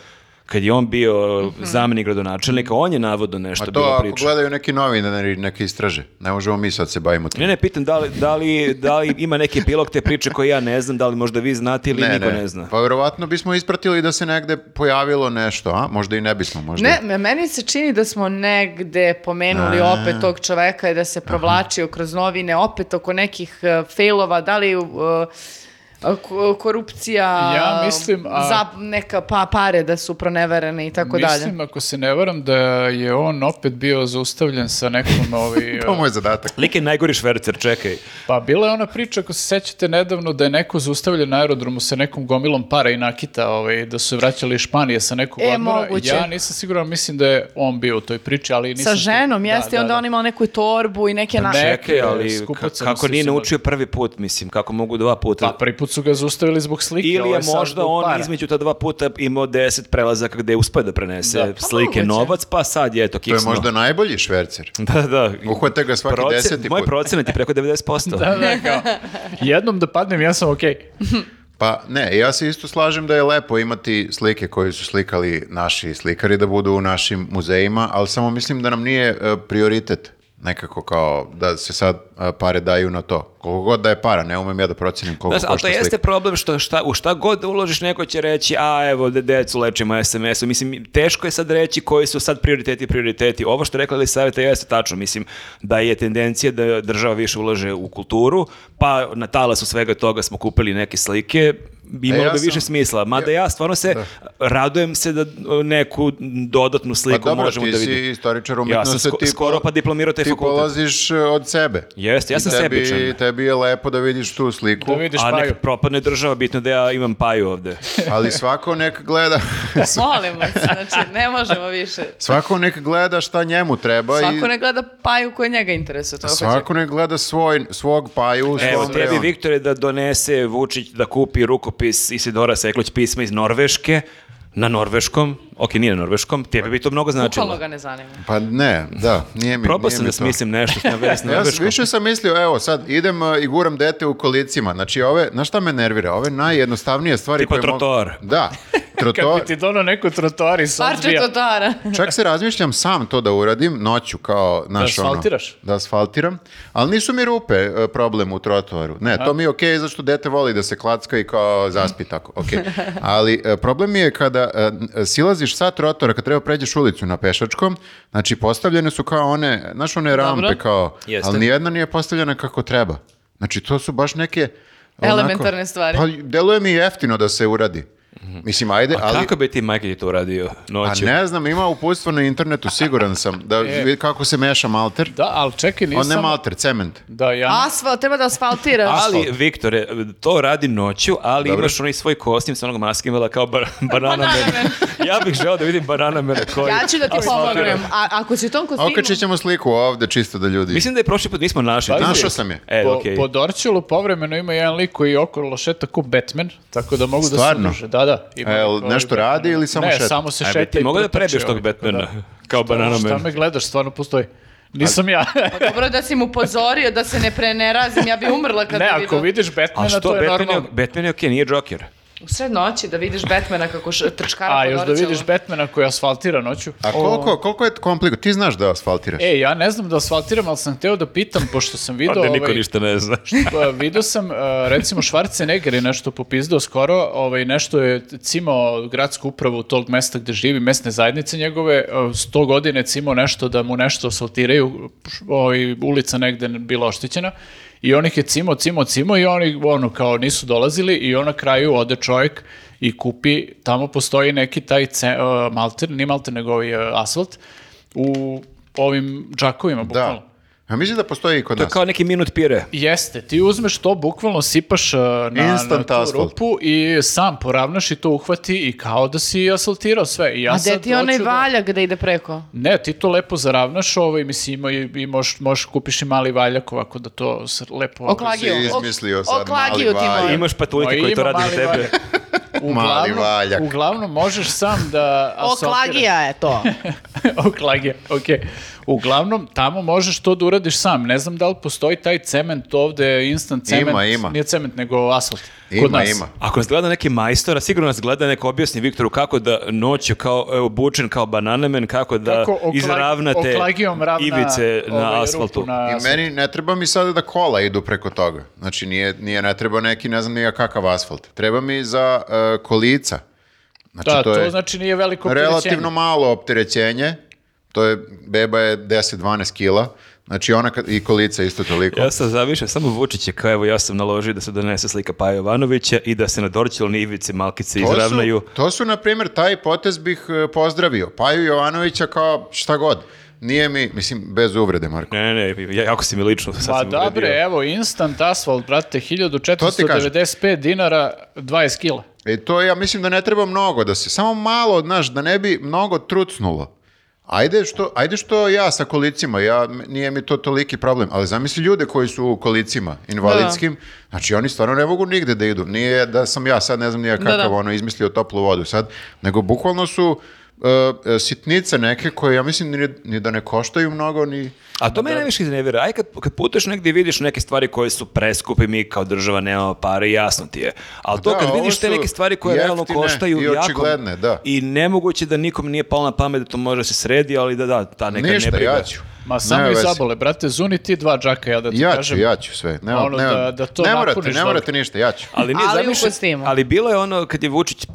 [SPEAKER 4] Kad je on bio zamjenik gradonačelnika, on je navodno nešto
[SPEAKER 1] A to
[SPEAKER 4] bilo
[SPEAKER 1] ako
[SPEAKER 4] pričao.
[SPEAKER 1] gledaju neki novinari, neke istraže. Ne možemo mi sad se bavimo tim.
[SPEAKER 4] Ne, ne, pitam da li, da, li, da li ima neki epilog te priče koje ja ne znam, da li možda vi znate ili niko ne, zna.
[SPEAKER 1] Pa verovatno bismo ispratili da se negde pojavilo nešto, a? Možda i ne bismo, možda.
[SPEAKER 2] Ne, me- meni se čini da smo negde pomenuli opet tog čoveka i da se provlačio kroz novine opet oko nekih e, failova, da li e, ko- korupcija,
[SPEAKER 3] Ja mislim, a-
[SPEAKER 2] za neka pa, pare da su proneverene i tako dalje.
[SPEAKER 3] Mislim, ako se ne varam, da je on opet bio zaustavljen sa nekom ovi...
[SPEAKER 1] To mu je zadatak.
[SPEAKER 4] Lik je najgori švercer, čekaj.
[SPEAKER 3] Pa bila je ona priča, ako se sećate nedavno, da je neko zaustavljen na aerodromu sa nekom gomilom para i nakita, ovaj, da su se vraćali iz Španije sa nekog
[SPEAKER 2] E,
[SPEAKER 3] odmora.
[SPEAKER 2] moguće.
[SPEAKER 3] Ja nisam siguran, mislim da je on bio u toj priči, ali nisam...
[SPEAKER 2] Sa ženom,
[SPEAKER 3] da,
[SPEAKER 2] jeste, i
[SPEAKER 3] da,
[SPEAKER 2] onda
[SPEAKER 3] da.
[SPEAKER 2] on imao neku torbu i neke... na-
[SPEAKER 3] Ne.
[SPEAKER 4] Čekaj, ali
[SPEAKER 3] skupac
[SPEAKER 4] ka-
[SPEAKER 3] sam
[SPEAKER 4] kako
[SPEAKER 3] se
[SPEAKER 4] nije
[SPEAKER 3] usimao.
[SPEAKER 4] naučio prvi put, mislim, kako mogu dva puta?
[SPEAKER 3] Pa prvi put su ga zaustavili zbog slike.
[SPEAKER 4] Ili
[SPEAKER 3] ovo
[SPEAKER 4] je
[SPEAKER 3] sad
[SPEAKER 4] možda
[SPEAKER 3] zbog
[SPEAKER 4] on
[SPEAKER 3] para.
[SPEAKER 4] između ta dva puta imao deset prelazaka gde uspe da prenese
[SPEAKER 3] Da.
[SPEAKER 2] Pa
[SPEAKER 4] slike
[SPEAKER 2] moguće.
[SPEAKER 4] novac, pa sad je to
[SPEAKER 1] To je
[SPEAKER 4] kiksno.
[SPEAKER 1] možda najbolji švercer.
[SPEAKER 4] Da, da.
[SPEAKER 1] Uhvate ga svaki
[SPEAKER 4] Proce-
[SPEAKER 1] deseti
[SPEAKER 4] Moj
[SPEAKER 1] put.
[SPEAKER 4] procenat je preko 90%.
[SPEAKER 3] Da, da, kao, jednom da padnem, ja sam okej.
[SPEAKER 1] Pa ne, ja se isto slažem da je lepo imati slike koje su slikali naši slikari da budu u našim muzejima, ali samo mislim da nam nije e, prioritet nekako kao da se sad e, pare daju na to. Koliko god da je para, ne umem ja da procenim koliko
[SPEAKER 4] Da, ali to
[SPEAKER 1] košta slika.
[SPEAKER 4] jeste problem što šta, u šta god da uložiš neko će reći a evo de- decu lečimo SMS-u. Mislim, teško je sad reći koji su sad prioriteti prioriteti. Ovo što je rekla Elisaveta jeste tačno. Mislim da je tendencija da država više ulaže u kulturu, pa na talasu svega toga smo kupili neke slike imalo
[SPEAKER 1] ja
[SPEAKER 4] bi više
[SPEAKER 1] sam-
[SPEAKER 4] smisla. Mada ja stvarno se radujem se da e, neku dodatnu sliku
[SPEAKER 1] Pa dobro,
[SPEAKER 4] možemo
[SPEAKER 1] ti
[SPEAKER 4] da
[SPEAKER 1] si
[SPEAKER 4] vidimo.
[SPEAKER 1] istoričar
[SPEAKER 4] Ja sam
[SPEAKER 1] umjetnosti.
[SPEAKER 4] sko- skoro pa diplomirao taj
[SPEAKER 1] Ti
[SPEAKER 4] fakultet.
[SPEAKER 1] polaziš e, od sebe.
[SPEAKER 4] Jeste, ja
[SPEAKER 1] I
[SPEAKER 4] sam
[SPEAKER 1] tebi,
[SPEAKER 4] sebičan.
[SPEAKER 1] Tebi je lepo da vidiš tu sliku,
[SPEAKER 3] Da vidiš
[SPEAKER 4] A
[SPEAKER 3] paju.
[SPEAKER 4] nek propadne država, bitno da ja imam paju ovde.
[SPEAKER 1] ali svako nek gleda...
[SPEAKER 2] Molim vas, znači ne možemo više.
[SPEAKER 1] Svako nek gleda šta njemu treba Pa i...
[SPEAKER 2] Svako ne gleda paju koji njega interesuje. To hoću.
[SPEAKER 1] Svako ne gleda svoj, svog pa paju, svoj
[SPEAKER 4] Evo tebi,
[SPEAKER 1] preon.
[SPEAKER 4] Viktore, da donese Vučić da kupi rukopis Isidora Sekloć pisma iz Norveške, na norveškom, ok, nije na norveškom, tebi bi to mnogo
[SPEAKER 3] znači,
[SPEAKER 2] Bukvalno
[SPEAKER 4] značilo.
[SPEAKER 2] ga ne zanima.
[SPEAKER 1] Pa ne, da, nije mi,
[SPEAKER 4] Probao
[SPEAKER 1] nije
[SPEAKER 4] sam
[SPEAKER 1] mi
[SPEAKER 4] da
[SPEAKER 1] to.
[SPEAKER 4] smislim nešto što ne vezi
[SPEAKER 1] Ja s-
[SPEAKER 4] s norveškom.
[SPEAKER 1] više sam mislio, evo sad idem e, i guram dete u kolicima. Znači ove, znaš šta me nervira? Ove najjednostavnije stvari
[SPEAKER 4] Tipa
[SPEAKER 1] koje mogu-
[SPEAKER 4] trotoar.
[SPEAKER 1] Da,
[SPEAKER 3] Kad
[SPEAKER 1] trotoar.
[SPEAKER 3] bi ti donao neko trotoari sa
[SPEAKER 2] Parče totara.
[SPEAKER 1] Čak se razmišljam sam to da uradim noću kao naš ono-
[SPEAKER 3] asfaltiraš?
[SPEAKER 1] da asfaltiram, ali nisu mi rupe e, problem u trotoaru. Ne, to mi je okej zato što dete voli da se klacka i kao zaspi tako, okej. Ali e, problem mi je kada e, n- silaziš sa trotoara, kad treba pređeš ulicu na pešačkom, znači postavljene su kao one, znaš one rampe kao,
[SPEAKER 4] Jeste.
[SPEAKER 1] ali nijedna nije postavljena kako treba. Znači to su baš neke... onako-
[SPEAKER 2] Elementarne stvari.
[SPEAKER 1] Pa deluje mi jeftino da se uradi. Mislim, ajde,
[SPEAKER 4] A
[SPEAKER 1] ali...
[SPEAKER 4] kako bi ti Michael to uradio
[SPEAKER 1] A
[SPEAKER 3] Znači-
[SPEAKER 4] noću?
[SPEAKER 1] Pa ne znam, ima uputstvo na internetu, siguran sam. Da vidi kako se meša malter.
[SPEAKER 3] E. Da, ali čekaj, nisam...
[SPEAKER 1] On ne malter, cement.
[SPEAKER 3] Da, ja
[SPEAKER 2] Asfalt, treba da asfaltiraš.
[SPEAKER 4] Ali, Viktore, to radi noću, ali
[SPEAKER 1] Dobro.
[SPEAKER 4] imaš onaj svoj kostim sa onog maskimela kao bar- banana man. ja bih želeo da vidim banana man koji...
[SPEAKER 2] Ja ću da ti pomognem. A, ako si u tom kostimu...
[SPEAKER 1] Okačit ćemo sliku ovde čisto da ljudi...
[SPEAKER 4] Mislim da je prošli put nismo našli.
[SPEAKER 3] Pazi.
[SPEAKER 1] Pa, Našao sam je.
[SPEAKER 4] E,
[SPEAKER 3] po,
[SPEAKER 4] okej.
[SPEAKER 3] po Dorćolu povremeno ima jedan lik koji okolo šeta ko Batman, tako da mogu da se
[SPEAKER 1] Stvarno?
[SPEAKER 3] udruže. Da, da. Ima
[SPEAKER 1] E, jel
[SPEAKER 3] lik koji
[SPEAKER 1] nešto
[SPEAKER 3] Batman.
[SPEAKER 1] radi ili samo
[SPEAKER 3] ne,
[SPEAKER 1] šeta?
[SPEAKER 3] samo se
[SPEAKER 4] Aj,
[SPEAKER 3] šeta
[SPEAKER 4] bi ti
[SPEAKER 3] i
[SPEAKER 4] mogao da
[SPEAKER 3] pretrče
[SPEAKER 4] prebiješ tog
[SPEAKER 3] ovaj, tako
[SPEAKER 4] Batmana
[SPEAKER 3] da.
[SPEAKER 4] kao banana
[SPEAKER 3] Šta
[SPEAKER 4] man.
[SPEAKER 3] me gledaš, stvarno postoji. Nisam ja.
[SPEAKER 2] Pa Dobro da si mu upozorio da se ne prenerazim, ja bi umrla kad
[SPEAKER 3] ne,
[SPEAKER 2] bi
[SPEAKER 3] ako
[SPEAKER 2] videla.
[SPEAKER 3] vidiš
[SPEAKER 4] A
[SPEAKER 3] Batmana,
[SPEAKER 4] što,
[SPEAKER 3] to je
[SPEAKER 4] Batman je,
[SPEAKER 3] normalno.
[SPEAKER 4] Batman je okej, nije Joker.
[SPEAKER 2] U sred noći da vidiš Batmana kako š, trčkara
[SPEAKER 3] A,
[SPEAKER 2] po
[SPEAKER 3] još da
[SPEAKER 2] Dorćolu.
[SPEAKER 3] vidiš Batmana koji asfaltira noću.
[SPEAKER 1] A koliko, koliko je komplikovan? Ti znaš da asfaltiraš.
[SPEAKER 3] E, ja ne znam da asfaltiram, ali sam hteo da pitam, pošto sam vidio...
[SPEAKER 4] Ovde Pa niko
[SPEAKER 3] ovaj,
[SPEAKER 4] ništa ne zna.
[SPEAKER 3] Pa, video sam, e, recimo, Schwarzenegger je nešto popizdao skoro, ovaj, nešto je cimao gradsku upravu tog mesta gde živi, mesne zajednice njegove, e, 100 godine je cimao nešto da mu nešto asfaltiraju, š- ovaj, ulica negde je bila oštećena, i onih je cimao, cimao, cimao i oni ono, kao nisu dolazili i on na kraju ode čovjek i kupi, tamo postoji neki taj ce, e, malter, nije malter nego ovaj e, asfalt, u ovim džakovima, bukvalno.
[SPEAKER 1] da. Ja mislim da postoji i kod
[SPEAKER 4] To je
[SPEAKER 1] nas.
[SPEAKER 4] kao neki minut pire.
[SPEAKER 3] Jeste, ti uzmeš to, bukvalno sipaš uh, na, na
[SPEAKER 1] Instant
[SPEAKER 3] tu
[SPEAKER 1] asfalt.
[SPEAKER 3] rupu i sam poravnaš i to uhvati i kao da si asfaltirao sve. I ja
[SPEAKER 2] A gde
[SPEAKER 3] sad
[SPEAKER 2] ti onaj
[SPEAKER 3] hoću da-
[SPEAKER 2] valjak da ide preko?
[SPEAKER 3] Ne, ti to lepo zaravnaš ovaj, mislim, ima i, i možeš, možeš kupiš i mali valjak ovako da to s- lepo...
[SPEAKER 2] Oklagio.
[SPEAKER 1] Si
[SPEAKER 2] ok-
[SPEAKER 1] izmislio sad
[SPEAKER 2] oklagio
[SPEAKER 1] mali
[SPEAKER 2] ti moj.
[SPEAKER 1] valjak.
[SPEAKER 4] Imaš patuljke
[SPEAKER 3] Ma,
[SPEAKER 4] koji to
[SPEAKER 3] ima
[SPEAKER 4] rade za
[SPEAKER 3] mali
[SPEAKER 4] tebe.
[SPEAKER 3] valjak. Uglavnom,
[SPEAKER 1] valjak.
[SPEAKER 3] uglavnom možeš sam da... asfaltiraš.
[SPEAKER 2] Oklagija je to.
[SPEAKER 3] Oklagija, okej. Uglavnom, tamo možeš to da uradiš sam. Ne znam da li postoji taj cement ovde, instant cement.
[SPEAKER 1] Ima, ima.
[SPEAKER 3] Nije cement, nego asfalt. kod
[SPEAKER 1] Ima,
[SPEAKER 3] nas.
[SPEAKER 1] ima.
[SPEAKER 4] Ako nas gleda neki majstora, sigurno nas gleda neko objasni Viktoru kako da noću kao evo, bučen kao bananamen, kako da
[SPEAKER 3] Kako oklag-
[SPEAKER 4] izravnate
[SPEAKER 3] oklagijom ravna
[SPEAKER 4] ivice
[SPEAKER 3] ovaj,
[SPEAKER 4] na
[SPEAKER 3] rupu
[SPEAKER 4] asfaltu.
[SPEAKER 3] na
[SPEAKER 1] I
[SPEAKER 3] asfalt.
[SPEAKER 1] meni ne treba mi sada da kola idu preko toga. Znači, nije, nije ne treba neki, ne znam nija kakav asfalt. Treba mi za e, kolica. Znači,
[SPEAKER 3] Da,
[SPEAKER 1] to,
[SPEAKER 3] to,
[SPEAKER 1] je
[SPEAKER 3] znači nije veliko
[SPEAKER 1] relativno
[SPEAKER 3] opterećenje.
[SPEAKER 1] malo opterećenje. To je, beba je 10-12 kila. Znači, ona kad, i kolica isto toliko.
[SPEAKER 4] Ja sam zamišljam samo Vučića kao evo ja sam naložio da se donese slika Paja Jovanovića i da se na dorčilni ivice malkice
[SPEAKER 1] To su-
[SPEAKER 4] izravnaju.
[SPEAKER 1] To su, na primjer, taj potez bih e, pozdravio. Paju Jovanovića kao šta god. Nije mi, mislim, bez uvrede, Marko.
[SPEAKER 4] Ne, ne, ja, jako si mi lično sad
[SPEAKER 3] Pa
[SPEAKER 4] sam
[SPEAKER 3] da
[SPEAKER 4] uvredio.
[SPEAKER 3] bre, evo, instant asfalt, brate,
[SPEAKER 1] ti kažem.
[SPEAKER 3] 1495 dinara, 20 kila.
[SPEAKER 1] E to ja mislim da ne treba mnogo da se, samo malo, znaš, da ne bi mnogo trucnulo. Ajde što, ajde što ja sa kolicima, ja, m- nije mi to toliki problem, ali zamisli ljude koji su u kolicima, invalidskim, znači oni stvarno ne mogu nigde da idu. Nije da sam ja sad, ne znam nije kakav,
[SPEAKER 2] da.
[SPEAKER 1] ono, izmislio toplu vodu sad, nego bukvalno su e, e, sitnice neke koje ja mislim ni, ni da ne koštaju mnogo, ni...
[SPEAKER 4] A to mene najviše iznevjera. Aj kad, kad putuješ negdje i vidiš neke stvari koje su preskupe, mi kao država nemamo pare, jasno ti je. Ali to
[SPEAKER 1] Da,
[SPEAKER 4] kad
[SPEAKER 1] ovo
[SPEAKER 4] vidiš te
[SPEAKER 1] su
[SPEAKER 4] neke stvari koje realno
[SPEAKER 1] jeftine
[SPEAKER 4] koštaju
[SPEAKER 1] i
[SPEAKER 4] jako-
[SPEAKER 1] očigledne, da.
[SPEAKER 4] I nemoguće da nikom nije palo na pamet da to može da se sredi, ali da da, ta neka
[SPEAKER 1] Ništa,
[SPEAKER 4] nebriga.
[SPEAKER 1] ja ću.
[SPEAKER 3] Ma samo
[SPEAKER 1] Nema
[SPEAKER 3] i
[SPEAKER 1] veze.
[SPEAKER 3] zabole, brate, zuni ti dva džaka, ja da ti
[SPEAKER 1] Ja ću,
[SPEAKER 3] kažem.
[SPEAKER 1] ja ću sve. Nema,
[SPEAKER 3] Ono,
[SPEAKER 1] nema-
[SPEAKER 3] da- da to
[SPEAKER 1] ne morate,
[SPEAKER 3] napuniš
[SPEAKER 1] ne
[SPEAKER 3] dobro.
[SPEAKER 1] morate ništa, ja ću.
[SPEAKER 4] Ali, nije,
[SPEAKER 2] Ali u
[SPEAKER 4] zamišljaj-
[SPEAKER 2] kostimu.
[SPEAKER 4] ali bilo je ono kad je Vučić e,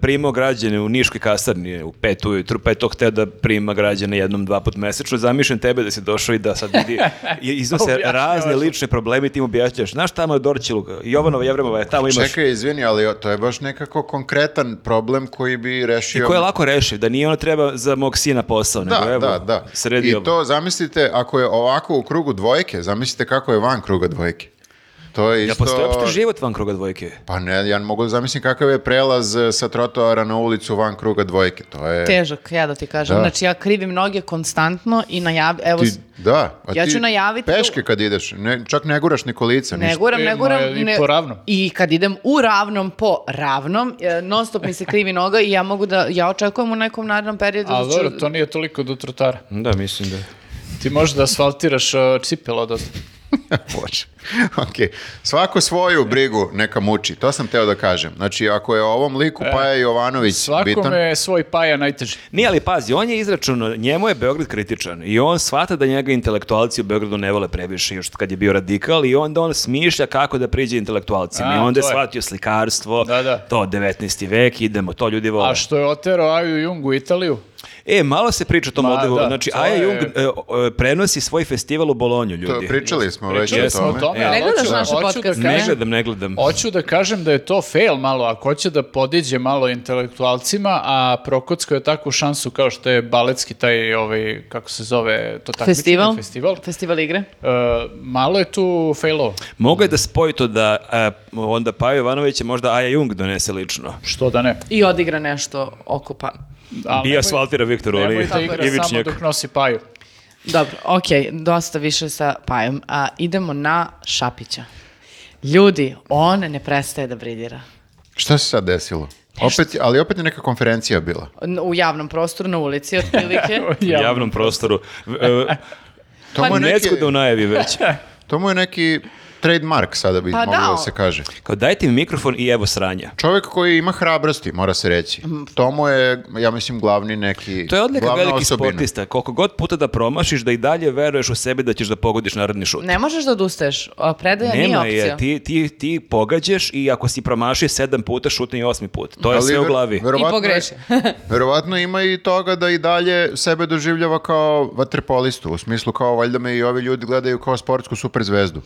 [SPEAKER 4] primao građane u Niškoj kasarni u pet ujutru, pa je to hteo da prima građane jednom, dva put mesečno. Zamišljam tebe da si došao i da sad vidi, i- iznose
[SPEAKER 3] Objašnjavaš
[SPEAKER 4] razne
[SPEAKER 3] mu.
[SPEAKER 4] lične probleme i ti mu objašnjaš. Znaš tamo je Dorčiluka, Jovanova Jevremova je, tamo imaš
[SPEAKER 1] Čekaj, izvini, ali to je baš nekako konkretan problem koji bi
[SPEAKER 4] I
[SPEAKER 1] rešio...
[SPEAKER 4] koje lako reši, da nije ono treba za mog sina posao,
[SPEAKER 1] Da,
[SPEAKER 4] nego evo,
[SPEAKER 1] da, da.
[SPEAKER 4] sredi ovo.
[SPEAKER 1] I to zamislite, ako je ovako u krugu dvojke, zamislite kako je van kruga dvojke. To je
[SPEAKER 4] Jel
[SPEAKER 1] isto...
[SPEAKER 4] postoji uopšte život van kruga dvojke?
[SPEAKER 1] Pa ne, ja ne mogu da zamislim kakav je prelaz e, sa trotoara na ulicu van kruga dvojke. To je...
[SPEAKER 2] Težak, ja da ti kažem.
[SPEAKER 1] Da.
[SPEAKER 2] Znači ja krivim noge konstantno i najav... Evo,
[SPEAKER 1] Ti, da, a
[SPEAKER 2] Ja
[SPEAKER 1] ti
[SPEAKER 2] ću najaviti da-
[SPEAKER 1] Peške kad ideš, ne, čak ne guraš ni kolica,
[SPEAKER 2] Ne
[SPEAKER 1] ništa.
[SPEAKER 2] guram, ne
[SPEAKER 3] E, ma,
[SPEAKER 2] guram.
[SPEAKER 3] i
[SPEAKER 2] ne-
[SPEAKER 3] po ravnom.
[SPEAKER 2] I kad idem u ravnom po ravnom, e, non stop mi se krivi noga i ja mogu da, ja očekujem u nekom narednom periodu
[SPEAKER 3] Ali
[SPEAKER 2] da ću...
[SPEAKER 3] dobro, to nije toliko do trotara.
[SPEAKER 4] Da, mislim da.
[SPEAKER 3] Ti možeš da asfaltiraš uh, cipela do...
[SPEAKER 1] Bože. Ok. Svako svoju brigu neka muči, to sam teo da kažem. Znači, ako je ovom liku Paja Jovanović bitan...
[SPEAKER 3] Svakome je svoj paja najteži.
[SPEAKER 4] Nije, ali pazi, on je izračunao, njemu je Beograd kritičan i on shvata da njega intelektualci u Beogradu ne vole previše još kad je bio radikal i onda on smišlja kako da priđe intelektualcima
[SPEAKER 3] A,
[SPEAKER 4] i onda je
[SPEAKER 3] to je.
[SPEAKER 4] shvatio slikarstvo,
[SPEAKER 3] Da, da.
[SPEAKER 4] to 19. vek, idemo, to ljudi vole.
[SPEAKER 3] A što je otero Aju Jung u Italiju?
[SPEAKER 4] E, malo se priča o tom
[SPEAKER 3] Ma,
[SPEAKER 4] odlivu,
[SPEAKER 3] da,
[SPEAKER 4] znači
[SPEAKER 3] to
[SPEAKER 4] Aja
[SPEAKER 3] je-
[SPEAKER 4] Jung e, o, e, prenosi svoj festival u Bolonju,
[SPEAKER 1] To,
[SPEAKER 4] ljudi.
[SPEAKER 1] pričali smo već
[SPEAKER 3] Pričali
[SPEAKER 1] o
[SPEAKER 3] smo o
[SPEAKER 1] tome.
[SPEAKER 3] tome,
[SPEAKER 4] E,
[SPEAKER 3] ali
[SPEAKER 2] Ne gledaš
[SPEAKER 3] hoću-
[SPEAKER 2] naše
[SPEAKER 3] hoću da
[SPEAKER 2] podcaste,
[SPEAKER 4] Ne
[SPEAKER 2] ne?
[SPEAKER 3] kažem-
[SPEAKER 4] gledam, ne gledam.
[SPEAKER 3] Hoću da kažem da je to fail malo, ako hoće da podiđe malo intelektualcima, a Prokocko je takvu šansu kao što je baletski taj, ovaj, kako se zove, to takmičenje,
[SPEAKER 2] Festival?
[SPEAKER 3] festival.
[SPEAKER 2] Festival igre?
[SPEAKER 3] E, malo je tu failo.
[SPEAKER 4] Mogu je da spoji to da e, onda Paju Jovanović je možda Aja Jung donese lično.
[SPEAKER 3] Što da ne.
[SPEAKER 2] I odigra nešto oko pa...
[SPEAKER 3] Ali
[SPEAKER 4] I
[SPEAKER 3] nemoj-
[SPEAKER 4] asfaltira Viktoru, ali
[SPEAKER 3] Nemoj da igra samo
[SPEAKER 4] Ivičnjak.
[SPEAKER 3] dok nosi paju.
[SPEAKER 2] Dobro, okej, dosta više sa pajom. A, idemo na Šapića. Ljudi, on ne prestaje da briljira.
[SPEAKER 1] Šta se sad desilo? Opet, ali opet je neka konferencija bila.
[SPEAKER 2] N- U javnom prostoru, na ulici, otprilike.
[SPEAKER 4] U javnom prostoru. E,
[SPEAKER 1] To
[SPEAKER 2] Pa
[SPEAKER 1] mu, je neki,
[SPEAKER 4] Necko da u najavi već.
[SPEAKER 1] to mu je neki trademark sada bi
[SPEAKER 2] Pa
[SPEAKER 1] moglo da.
[SPEAKER 2] da.
[SPEAKER 1] se kaže.
[SPEAKER 4] Kao dajte mi mikrofon i evo sranja.
[SPEAKER 1] Čovjek koji ima hrabrosti, mora se reći.
[SPEAKER 2] Mm.
[SPEAKER 1] To mu je, ja mislim, glavni neki...
[SPEAKER 4] To je odlika
[SPEAKER 1] glavna
[SPEAKER 4] velikih
[SPEAKER 1] osobina.
[SPEAKER 4] sportista. Koliko god puta da promašiš, da i dalje veruješ u sebe da ćeš da pogodiš naredni šut.
[SPEAKER 2] Ne možeš da odustaješ, a predaja nije
[SPEAKER 4] Nema
[SPEAKER 2] opcija.
[SPEAKER 4] je, ti, ti, ti pogađaš i ako si promašio sedam puta, šutni i osmi put. To je
[SPEAKER 1] Ali
[SPEAKER 4] sve u
[SPEAKER 1] ver-
[SPEAKER 4] glavi.
[SPEAKER 1] verovatno
[SPEAKER 2] I pogreši.
[SPEAKER 1] je- verovatno ima i toga da i dalje sebe doživljava kao vaterpolistu. U smislu kao, valjda me i ovi ljudi gledaju kao sportsku superzvezdu.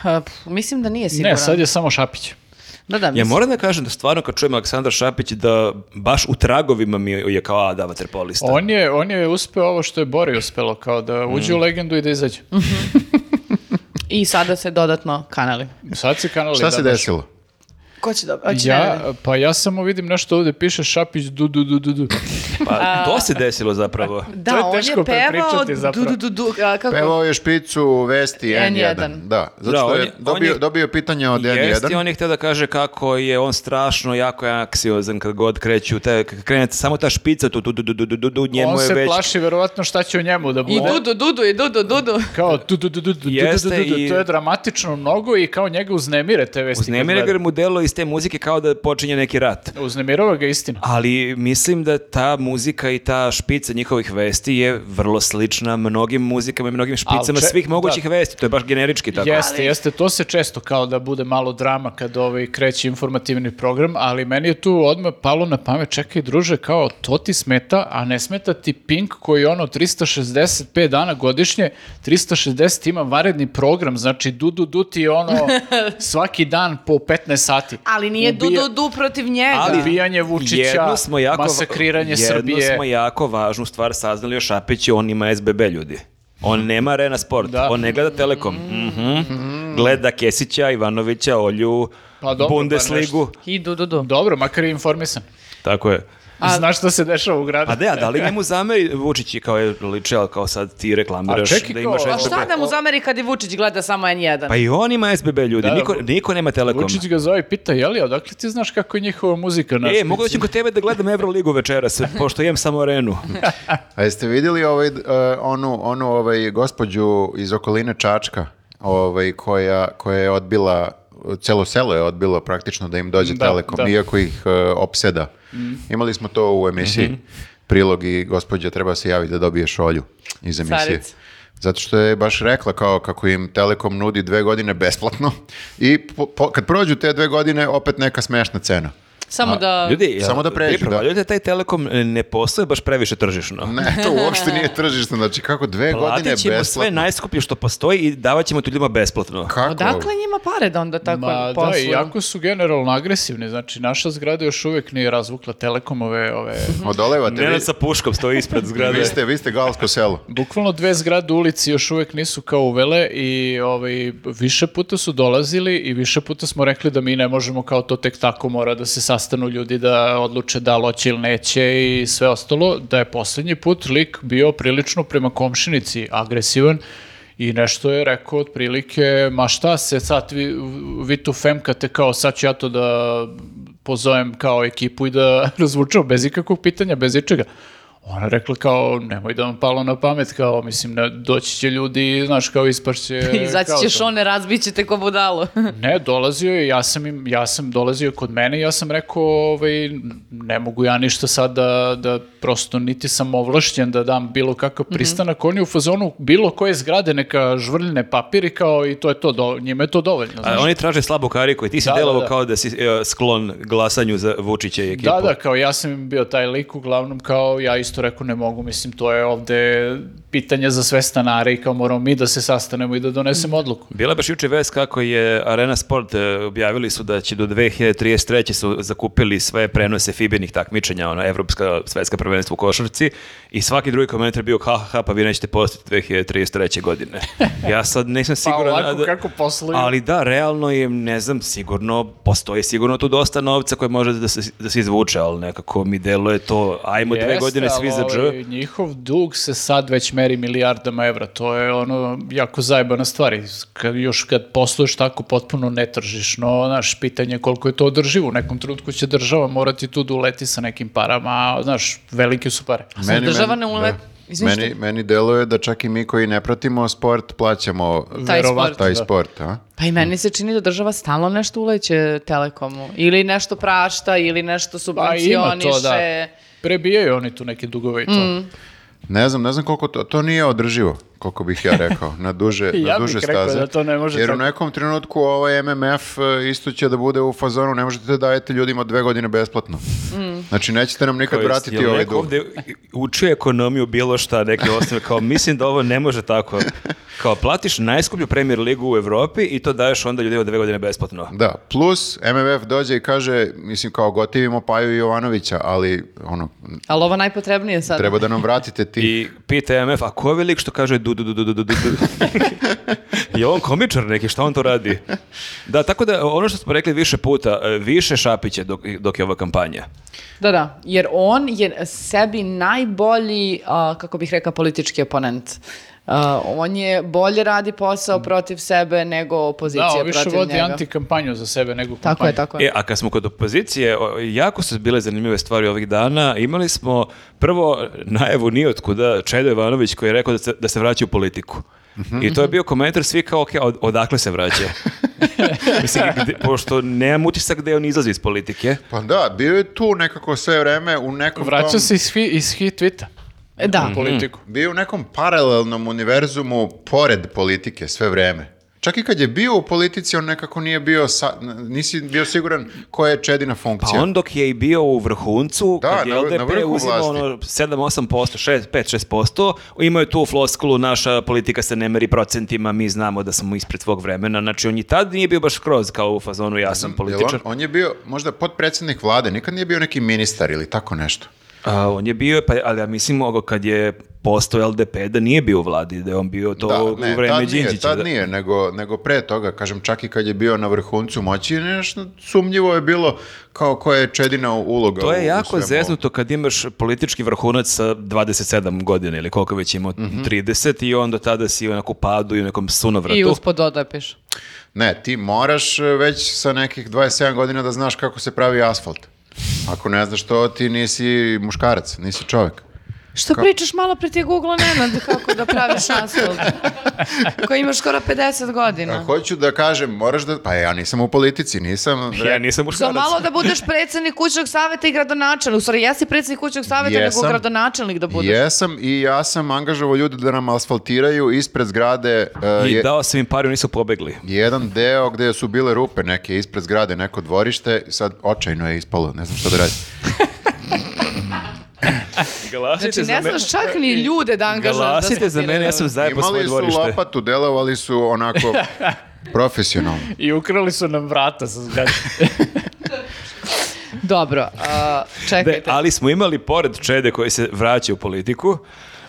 [SPEAKER 2] Ha, pf, mislim da nije siguran.
[SPEAKER 3] Ne, sad je samo Šapić.
[SPEAKER 2] Da, da,
[SPEAKER 4] ja
[SPEAKER 2] mislim.
[SPEAKER 4] moram da kažem da stvarno kad čujem Aleksandra Šapić da baš u tragovima mi je kao a da vaterpolista.
[SPEAKER 3] On je, on je uspeo ovo što je Bori uspelo, kao da
[SPEAKER 1] Mm.
[SPEAKER 3] uđe u legendu i da izađe.
[SPEAKER 2] I sada se dodatno kanali.
[SPEAKER 3] Sad se kanali
[SPEAKER 1] Šta se
[SPEAKER 3] da, baš.
[SPEAKER 1] desilo?
[SPEAKER 2] Ko će dobro? Hoće Nenade?
[SPEAKER 3] Ja, pa ja samo vidim nešto ovdje piše Šapić du du du du du.
[SPEAKER 4] Pa to se desilo zapravo.
[SPEAKER 2] Da,
[SPEAKER 3] To je
[SPEAKER 2] on
[SPEAKER 3] teško
[SPEAKER 2] je pevao
[SPEAKER 3] prepričati zapravo.
[SPEAKER 2] du, du, du, du, a, kako?
[SPEAKER 1] Pevao je špicu vesti N1.
[SPEAKER 2] N1.
[SPEAKER 1] Da, zato
[SPEAKER 4] Da,
[SPEAKER 1] što
[SPEAKER 4] on
[SPEAKER 1] je,
[SPEAKER 4] je- on
[SPEAKER 1] dobio,
[SPEAKER 4] je-
[SPEAKER 1] dobio pitanje od N1.
[SPEAKER 4] Jeste, on je htio da kaže kako je on strašno jako anksiozan kad god kreću, te, kad krene samo ta špica tu, tu, tu, tu, tu, tu, tu, tu, njemu
[SPEAKER 3] On
[SPEAKER 4] je
[SPEAKER 3] se
[SPEAKER 4] već...
[SPEAKER 3] plaši verovatno šta će o njemu da bude.
[SPEAKER 2] I Dudu, Dudu, i Dudu, Dudu.
[SPEAKER 3] Kao tu tu tu tu tu, tu, tu,
[SPEAKER 4] Jeste
[SPEAKER 3] tu, tu,
[SPEAKER 4] i-
[SPEAKER 3] to je dramatično mnogo i kao njega uznemire te vesti. kad
[SPEAKER 4] Uznemira
[SPEAKER 3] gleda.
[SPEAKER 4] ga mu delo iz te muzike kao da počinje neki rat.
[SPEAKER 3] Uznemirava ga istina.
[SPEAKER 4] Ali mislim da ta muzika i ta špica njihovih vesti je vrlo slična mnogim muzikama i mnogim špicama
[SPEAKER 3] če-
[SPEAKER 4] svih mogućih
[SPEAKER 3] da.
[SPEAKER 4] vesti. To je baš generički tako.
[SPEAKER 3] Jeste, jeste, to se često kao da bude malo drama kad ovaj kreće informativni program, ali meni je tu odmah palo na pamet, čekaj druže, kao to ti smeta, a ne smeta ti Pink koji ono 365 dana godišnje, 360 ima varedni program, znači du du du ti je ono svaki dan po 15 sati.
[SPEAKER 2] Ali nije
[SPEAKER 3] Ubija-
[SPEAKER 2] Dudu, Dudu protiv njega.
[SPEAKER 3] Ali- Ubijanje Vučića,
[SPEAKER 4] jednu smo jako,
[SPEAKER 3] masakriranje
[SPEAKER 4] jednu
[SPEAKER 3] Srbije.
[SPEAKER 4] smo jako važnu stvar saznali o Šapiću, on ima SBB ljudi. On nema Arena Sport,
[SPEAKER 3] Da. Mm-hmm.
[SPEAKER 4] on ne gleda Telekom. Mhm. Gleda Kesića, Ivanovića, Olju,
[SPEAKER 3] Pa dobro,
[SPEAKER 4] Bundesligu.
[SPEAKER 2] I Dudu, Dudu.
[SPEAKER 3] Dobro, makar je informisan.
[SPEAKER 4] Tako je.
[SPEAKER 2] A-
[SPEAKER 3] Znaš šta se dešava u gradu.
[SPEAKER 4] A da, a da li njemu zameri Vučić i kao je liče, ali kao sad ti reklamiraš
[SPEAKER 3] A čekaj,
[SPEAKER 4] da
[SPEAKER 3] kao,
[SPEAKER 4] imaš
[SPEAKER 3] a
[SPEAKER 2] A Pa šta
[SPEAKER 4] SBB.
[SPEAKER 2] da mu zameri kad i Vučić gleda samo N1?
[SPEAKER 4] Pa i on ima SBB ljudi,
[SPEAKER 3] Da, da.
[SPEAKER 4] niko, niko nema Telekom.
[SPEAKER 3] Vučić ga zove i pita, jeli, odakle ti znaš kako je njihova muzika na
[SPEAKER 4] E,
[SPEAKER 3] špici?"
[SPEAKER 4] mogu da ću kod tebe da gledam Euroligu večeras, pošto imam samo arenu.
[SPEAKER 1] A jeste vidjeli ovaj, d- e, onu, onu ovaj, gospođu iz okoline Čačka ovaj, koja, koja je odbila, celo selo je odbilo praktično da im dođe
[SPEAKER 3] Da,
[SPEAKER 1] Telekom,
[SPEAKER 3] da. Mhm.
[SPEAKER 1] iako ih e, opseda. Imali smo to u emisiji. Prilog i gospođa treba se javiti da dobije šolju iz emisije.
[SPEAKER 2] Carica.
[SPEAKER 1] Zato što je baš rekla kao kako im Telekom nudi dve godine besplatno i po- po- kad prođu te dve godine opet neka smešna cena.
[SPEAKER 2] Samo da...
[SPEAKER 4] Ljudi, jel-
[SPEAKER 1] Samo da pređu,
[SPEAKER 4] vi provaljujete taj Telekom e, ne posluje baš previše tržišno.
[SPEAKER 1] Ne, to uopšte nije tržišno. Znači kako dve godine
[SPEAKER 4] Platit ćemo
[SPEAKER 1] besplatno.
[SPEAKER 4] sve najskuplje što postoji i davat ćemo to ljudima besplatno.
[SPEAKER 1] Kako?
[SPEAKER 2] Odakle njima pare da onda tako
[SPEAKER 4] Pa,
[SPEAKER 3] Ma da,
[SPEAKER 2] posluju?
[SPEAKER 3] i jako su generalno agresivni, znači naša zgrada još uvijek nije razvukla telekomove, ove,
[SPEAKER 1] Odolevate vi.
[SPEAKER 4] Nenad sa puškom stoji ispred zgrade.
[SPEAKER 1] Vi ste, vi ste galsko selo.
[SPEAKER 3] bukvalno dve zgrade u ulici još uvijek nisu kao uvele i ovaj, više puta su dolazili i više puta smo rekli da mi ne možemo kao to tek tako mora da se sastanu ljudi da odluče da li hoće ili neće i sve ostalo, da je posljednji put lik bio prilično prema komšinici agresivan I nešto je rekao otprilike, ma šta se sad vi, vi tu femkate kao sad ću ja to da pozovem kao ekipu i da razvučem bez ikakvog pitanja, bez ičega. Ona je rekla kao, nemoj da vam palo na pamet, kao, mislim, ne, doći će ljudi, znaš, kao ispašće...
[SPEAKER 2] I zaći
[SPEAKER 3] kao
[SPEAKER 2] ćeš
[SPEAKER 3] to.
[SPEAKER 2] one, razbićete ko budalo.
[SPEAKER 3] Ne, dolazio je, ja sam, im, ja sam dolazio kod mene i ja sam rekao, ovaj, ne mogu ja ništa sad da, da prosto niti sam ovlašćen da dam bilo kakav pristanak, oni u fazonu bilo koje zgrade neka žvrljne papiri kao i to je to, do, njima je to dovoljno.
[SPEAKER 4] A
[SPEAKER 3] znaš.
[SPEAKER 4] oni traže slabu kariku i ti si
[SPEAKER 3] Da, da,
[SPEAKER 4] delovo
[SPEAKER 3] da.
[SPEAKER 4] kao da si e, sklon glasanju za Vučića i ekipu.
[SPEAKER 3] Da, da, kao ja sam im bio taj lik, uglavnom kao ja isto rekao ne mogu, mislim to je ovde pitanje za sve stanare i kao moramo mi da se sastanemo i da donesemo odluku.
[SPEAKER 4] Bila je baš juče vest kako je Arena Sport e, objavili su da će do 2033. su zakupili sve prenose fibernih takmičenja, ona evropska svetska prvenstva u košarci i svaki drugi komentar je bio ha ha ha, pa vi nećete postati 2033. godine. Ja sad nisam siguran.
[SPEAKER 3] Pa ovako
[SPEAKER 4] da-
[SPEAKER 3] kako posluju.
[SPEAKER 4] Ali da, realno je, ne znam, sigurno postoji sigurno tu dosta novca koje može da se, da se izvuče, ali nekako mi deluje to, ajmo dve
[SPEAKER 3] Jeste,
[SPEAKER 4] godine svi
[SPEAKER 3] ali
[SPEAKER 4] za dž.
[SPEAKER 3] ovaj, Njihov dug se sad već meri milijardama evra, to je ono jako zajebana stvar. i Kad, još kad posluješ tako potpuno netržišno, znaš, pitanje je koliko je to održivo. U nekom trenutku će država morati tu da uleti sa nekim parama, a, znaš, velike su pare.
[SPEAKER 2] država ne ume-
[SPEAKER 1] da.
[SPEAKER 2] Izvini,
[SPEAKER 1] Meni, meni deluje da čak i mi koji ne pratimo sport plaćamo
[SPEAKER 2] Taj
[SPEAKER 3] Verovatno,
[SPEAKER 2] sport.
[SPEAKER 1] taj
[SPEAKER 3] da.
[SPEAKER 1] sport. A?
[SPEAKER 2] Pa i meni se čini da država stalno nešto uleće Telekomu. Ili nešto prašta, ili nešto
[SPEAKER 3] Pa ima
[SPEAKER 2] subvencioniše.
[SPEAKER 3] to, da. Prebijaju oni tu neke dugove i to.
[SPEAKER 2] Mm,
[SPEAKER 1] Ne znam, ne znam koliko to, to nije održivo. koliko bih ja rekao, na duže,
[SPEAKER 3] Ja
[SPEAKER 1] na
[SPEAKER 3] bih
[SPEAKER 1] duže
[SPEAKER 3] rekao
[SPEAKER 1] staze.
[SPEAKER 3] da to ne može
[SPEAKER 1] Jer u
[SPEAKER 3] tako.
[SPEAKER 1] nekom trenutku ovaj MMF e, isto će da bude u fazonu, ne možete da dajete ljudima dve godine besplatno.
[SPEAKER 2] Mm.
[SPEAKER 1] Znači, nećete nam nikad
[SPEAKER 4] Kao,
[SPEAKER 1] vratiti
[SPEAKER 4] jel
[SPEAKER 1] ovaj
[SPEAKER 4] neko
[SPEAKER 1] dug.
[SPEAKER 4] ovdje učio ekonomiju bilo šta, neke osnove, kao mislim da ovo ne može tako. Kao platiš najskuplju premier ligu u Evropi i to daješ onda ljudima dve godine besplatno.
[SPEAKER 1] Da, plus MMF dođe i kaže, mislim kao gotivimo Paju Jovanovića, ali ono,
[SPEAKER 2] Ali ovo najpotrebnije sad.
[SPEAKER 1] treba da nam vratite ti.
[SPEAKER 4] I pita MF, a ko je velik što kaže du du du du du du du du? je on komičar neki, šta on to radi? Da, tako da ono što smo rekli više puta, e, više šapiće dok, dok je ova kampanja.
[SPEAKER 2] Da, da, jer on je sebi najbolji, a, kako bih rekla, politički oponent. A, on je bolje radi posao protiv sebe nego opozicija
[SPEAKER 3] Da, on
[SPEAKER 2] protiv
[SPEAKER 3] više
[SPEAKER 2] njega.
[SPEAKER 3] vodi antikampanju za sebe nego kampanju.
[SPEAKER 2] Tako je, tako je.
[SPEAKER 4] E, a kad smo kod opozicije, o, jako su bile zanimljive stvari ovih dana. Imali smo prvo najavu nijotkuda Čedo Ivanović koji je rekao da se, da se vraća u politiku. I to je bio komentar svi kao, ok, od- odakle se vraća? Mislim, gde- pošto nemam utisak da on izlazi iz politike.
[SPEAKER 1] Pa da, bio je tu nekako sve vreme u nekom
[SPEAKER 3] Vraća
[SPEAKER 1] tom-
[SPEAKER 3] se iz, hi- iz hit tweeta
[SPEAKER 2] E, Da,
[SPEAKER 3] u politiku.
[SPEAKER 1] Bio je u nekom paralelnom univerzumu pored politike sve vreme. Čak i kad je bio u politici, on nekako nije bio, sa- nisi bio siguran koja je Čedina
[SPEAKER 4] Pa
[SPEAKER 1] funkcija.
[SPEAKER 4] on dok je i bio u vrhuncu,
[SPEAKER 1] Da,
[SPEAKER 4] kad je
[SPEAKER 1] na vr- na
[SPEAKER 4] LDP
[SPEAKER 1] vrhu
[SPEAKER 4] uzimao
[SPEAKER 1] vlasti.
[SPEAKER 4] ono 7-8%, 6, 5-6%, imao je tu floskulu, naša politika se ne meri procentima, mi znamo da smo ispred svog vremena, znači on i tad nije bio baš skroz kao u fazonu ja sam
[SPEAKER 1] Jel
[SPEAKER 4] političar.
[SPEAKER 1] On, on je bio možda potpredsjednik vlade, nikad nije bio neki ministar ili tako nešto.
[SPEAKER 4] A, on je bio, pa, ali ja mislim ovo kad je postao LDP da nije bio u vladi, da je on bio to
[SPEAKER 1] da, ne,
[SPEAKER 4] u vreme
[SPEAKER 1] tad nije,
[SPEAKER 4] Đinđića.
[SPEAKER 1] tad
[SPEAKER 4] da-
[SPEAKER 1] nije, nego, nego pre toga, kažem, čak i kad je bio na vrhuncu moći, nešto sumnjivo je bilo kao koja je Čedina uloga.
[SPEAKER 4] To
[SPEAKER 1] u-
[SPEAKER 4] je
[SPEAKER 1] u
[SPEAKER 4] jako
[SPEAKER 1] svemu
[SPEAKER 4] zeznuto kad imaš politički vrhunac sa 27 godina ili koliko već imao, 30 i onda tada si onako u padu i u nekom sunovratu.
[SPEAKER 2] i uspod odepiš.
[SPEAKER 1] Ne, ti moraš e, već sa nekih 27 godina da znaš kako se pravi asfalt. Ako ne znaš to, ti nisi muškarac, nisi čovjek.
[SPEAKER 2] Što pričaš malo pre ti Google Nenad kako da praviš asfalt? Koji imaš skoro 50
[SPEAKER 1] A
[SPEAKER 2] godina.
[SPEAKER 1] hoću da kažem, moraš da... Pa ja nisam u politici, nisam...
[SPEAKER 4] Ja E, nisam
[SPEAKER 2] Što
[SPEAKER 4] muškarac.
[SPEAKER 2] malo da budeš predsjednik kućnog savjeta i gradonačelnik. U stvari, jesi predsjednik kućnog savjeta, nego
[SPEAKER 1] Jesam.
[SPEAKER 2] gradonačelnik da budeš.
[SPEAKER 1] Jesam i ja sam angažovao ljude da nam asfaltiraju ispred zgrade e,
[SPEAKER 4] I
[SPEAKER 1] je-
[SPEAKER 4] dao sam im par, i oni su pobegli.
[SPEAKER 1] jedan deo gdje su bile rupe neke ispred zgrade, neko dvorište, sad očajno je ispalo, ne znam šta da radim.
[SPEAKER 2] Znači, ne znaš čak ni ljude da angažaš. da
[SPEAKER 4] Glasite za
[SPEAKER 2] asfaltiraju.
[SPEAKER 4] mene, ja sam zajebo pa
[SPEAKER 1] Imali
[SPEAKER 4] svoje
[SPEAKER 1] su
[SPEAKER 4] dvorište.
[SPEAKER 1] lopatu, delovali su onako profesionalno.
[SPEAKER 3] I ukrali su nam vrata sa zgrade.
[SPEAKER 2] Dobro, a,
[SPEAKER 4] De,
[SPEAKER 2] čekajte.
[SPEAKER 4] ali smo imali pored Čede koji se vraća u politiku,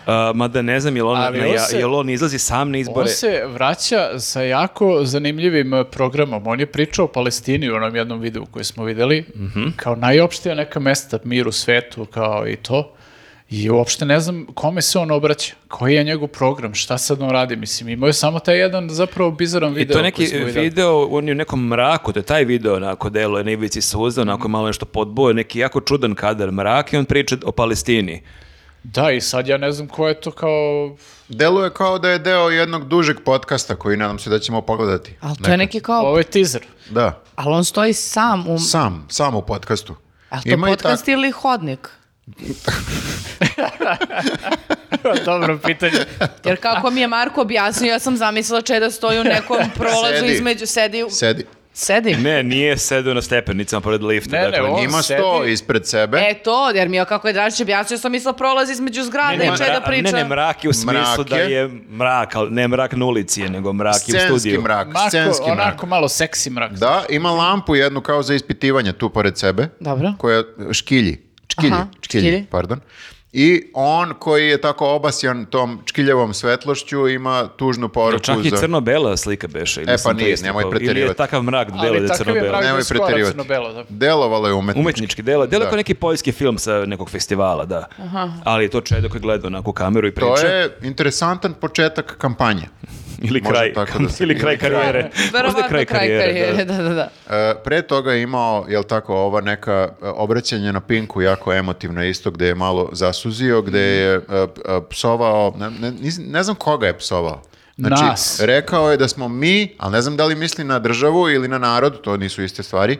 [SPEAKER 4] a, mada ne znam jel on,
[SPEAKER 3] Ali
[SPEAKER 4] na-
[SPEAKER 3] on
[SPEAKER 4] ja-
[SPEAKER 3] se-
[SPEAKER 4] jel on izlazi sam na
[SPEAKER 3] On
[SPEAKER 4] izbore.
[SPEAKER 3] se vraća sa jako zanimljivim eh, programom. On je pričao o Palestini u onom jednom videu koji smo videli,
[SPEAKER 4] Mhm.
[SPEAKER 3] kao najopštija neka mesta, mir u svetu, kao i to. I uopšte ne znam kome se on obraća, koji je njegov program, šta sad on radi. Mislim, imao je samo taj jedan zapravo bizaran
[SPEAKER 4] I
[SPEAKER 3] video.
[SPEAKER 4] to je neki
[SPEAKER 3] koji smo videli.
[SPEAKER 4] video, on je u nekom mraku, to je taj video onako delo je na ivici suza,
[SPEAKER 3] Mhm.
[SPEAKER 4] onako malo nešto podboje, neki jako čudan kadar mrak i on priča o Palestini.
[SPEAKER 3] Da, i sad ja ne znam ko je to kao...
[SPEAKER 1] Deluje kao da je deo jednog dužeg podcasta koji nadam se da ćemo pogledati.
[SPEAKER 2] Ali to je neki kao...
[SPEAKER 3] Ovo je ovaj teaser.
[SPEAKER 1] Da,
[SPEAKER 2] Ali on stoji sam u...
[SPEAKER 1] sam, sam u podcastu.
[SPEAKER 2] Ali to
[SPEAKER 1] i
[SPEAKER 2] podcast
[SPEAKER 1] tak-
[SPEAKER 2] ili hodnik?
[SPEAKER 3] Dobro pitanje.
[SPEAKER 2] Jer kako mi je Marko objasnio, ja sam zamislila če da stoji u nekom prolazu
[SPEAKER 1] Sedi.
[SPEAKER 2] između, sedi, u-
[SPEAKER 1] Sedi.
[SPEAKER 2] sedi.
[SPEAKER 4] Ne, nije sedeo na stepenicama pored lifta.
[SPEAKER 3] Ne, ne,
[SPEAKER 4] dakle,
[SPEAKER 3] on-
[SPEAKER 1] Ima
[SPEAKER 3] sedi.
[SPEAKER 1] sto ispred sebe.
[SPEAKER 2] E to, jer mi je kako je Dražić objasnio, sam mislila prolaz između zgrade,
[SPEAKER 4] Ne,
[SPEAKER 2] ne,
[SPEAKER 4] ne,
[SPEAKER 2] da
[SPEAKER 4] mra-
[SPEAKER 2] priča.
[SPEAKER 4] ne, ne, mrak je u smislu
[SPEAKER 1] Mrak
[SPEAKER 4] da
[SPEAKER 1] je.
[SPEAKER 4] je mrak, ali ne mrak na ulici, je, nego mrak je u
[SPEAKER 1] Scenski
[SPEAKER 4] studiju.
[SPEAKER 1] mrak,
[SPEAKER 3] Mako,
[SPEAKER 1] scenski mrak.
[SPEAKER 3] onako malo seksi mrak.
[SPEAKER 1] Da, ima lampu jednu kao za ispitivanje tu pored sebe.
[SPEAKER 2] Dobro.
[SPEAKER 1] Koja škilji. Čkilji,
[SPEAKER 2] Aha,
[SPEAKER 1] čkilji,
[SPEAKER 2] čkilji.
[SPEAKER 1] pardon. I on koji je tako obasjan tom čkiljevom svetlošću ima tužnu poruku
[SPEAKER 4] Čak i
[SPEAKER 1] za...
[SPEAKER 4] crno-bela slika beše. ili
[SPEAKER 1] E, pa
[SPEAKER 4] sam to
[SPEAKER 1] nije,
[SPEAKER 4] isto
[SPEAKER 1] nemoj
[SPEAKER 4] kao- Ili je
[SPEAKER 1] preterivati.
[SPEAKER 4] takav mrak delo da
[SPEAKER 3] Ali
[SPEAKER 4] je
[SPEAKER 3] takav je
[SPEAKER 4] crno-bela.
[SPEAKER 3] mrak da je
[SPEAKER 1] Nemoj
[SPEAKER 3] skoro
[SPEAKER 1] preterivati.
[SPEAKER 3] crno-belo. Da.
[SPEAKER 1] Delovalo je umetnički.
[SPEAKER 4] Umetnički delo, delo
[SPEAKER 1] Da.
[SPEAKER 4] kao neki poljski film sa nekog festivala, da. Ali je to čedo koji gleda onako u kameru i priča.
[SPEAKER 1] To je interesantan početak kampanje.
[SPEAKER 4] Ili
[SPEAKER 1] Može
[SPEAKER 4] kraj,
[SPEAKER 1] tako da se-
[SPEAKER 4] ili kraj karijere. Možda
[SPEAKER 2] Verovatno
[SPEAKER 4] je kraj karijere, da.
[SPEAKER 2] da, da, da.
[SPEAKER 1] E, pre toga je imao, jel tako, ova neka e, obraćanje na Pinku jako emotivna isto, gde je malo zasuzio, gde
[SPEAKER 3] Mm.
[SPEAKER 1] je e, p- e, psovao, ne, ne- niz- ne znam koga je psovao. Znači,
[SPEAKER 3] Nas.
[SPEAKER 1] rekao je da smo mi, ali ne znam da li misli na državu ili na narod, to nisu iste stvari,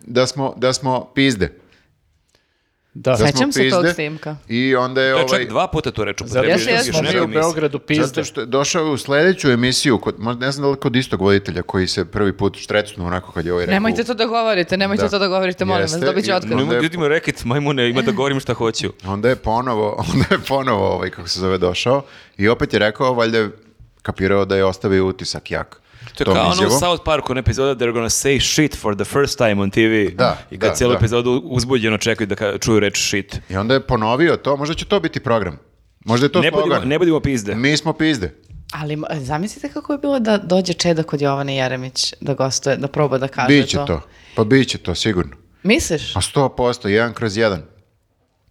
[SPEAKER 1] da smo, da smo pizde.
[SPEAKER 3] Da.
[SPEAKER 1] Da smo
[SPEAKER 2] Sećam se tog
[SPEAKER 1] pizde.
[SPEAKER 2] snimka.
[SPEAKER 1] I onda je
[SPEAKER 4] To je
[SPEAKER 1] ovaj...
[SPEAKER 4] čak dva puta tu reč upotrebio.
[SPEAKER 3] Zato
[SPEAKER 2] Jeste,
[SPEAKER 3] što
[SPEAKER 2] jeste.
[SPEAKER 3] smo mi u Beogradu pizde.
[SPEAKER 1] Zato što je došao u sledeću emisiju, kod, možda ne znam da li kod istog voditelja koji se prvi put štrecnu onako kad je ovaj rekao.
[SPEAKER 2] Nemojte to da govorite, nemojte
[SPEAKER 1] Da.
[SPEAKER 2] to da govorite, molim vas,
[SPEAKER 1] Jeste,
[SPEAKER 2] dobit ću
[SPEAKER 1] i-
[SPEAKER 2] otkaz.
[SPEAKER 1] Ne-
[SPEAKER 4] Nemoj ljudima rekit, majmune, ima da govorim šta hoću.
[SPEAKER 1] Onda je ponovo, onda je ponovo ovaj, kako se zove, došao i opet je rekao, valjda je kapirao da je ostavio utisak jak.
[SPEAKER 4] To je
[SPEAKER 1] tom
[SPEAKER 4] kao ono u
[SPEAKER 1] izjavom.
[SPEAKER 4] South Parku, ona epizoda they're gonna say shit for the first time on TV.
[SPEAKER 1] Da,
[SPEAKER 4] I kad
[SPEAKER 1] da,
[SPEAKER 4] cijelu
[SPEAKER 1] da.
[SPEAKER 4] epizodu uzbuđeno čekaju da ka- čuju reč shit.
[SPEAKER 1] I onda je ponovio to, možda će to biti program. Možda je to
[SPEAKER 4] Ne budimo,
[SPEAKER 1] slogan.
[SPEAKER 4] ne budimo pizde.
[SPEAKER 1] Mi smo pizde.
[SPEAKER 2] Ali m, zamislite kako je bilo da dođe Čeda kod Jovane Jeremić da gostuje, da proba da kaže
[SPEAKER 1] Biće to. Pa biće to, sigurno.
[SPEAKER 2] Misliš?
[SPEAKER 1] A 100%, jedan kroz jedan.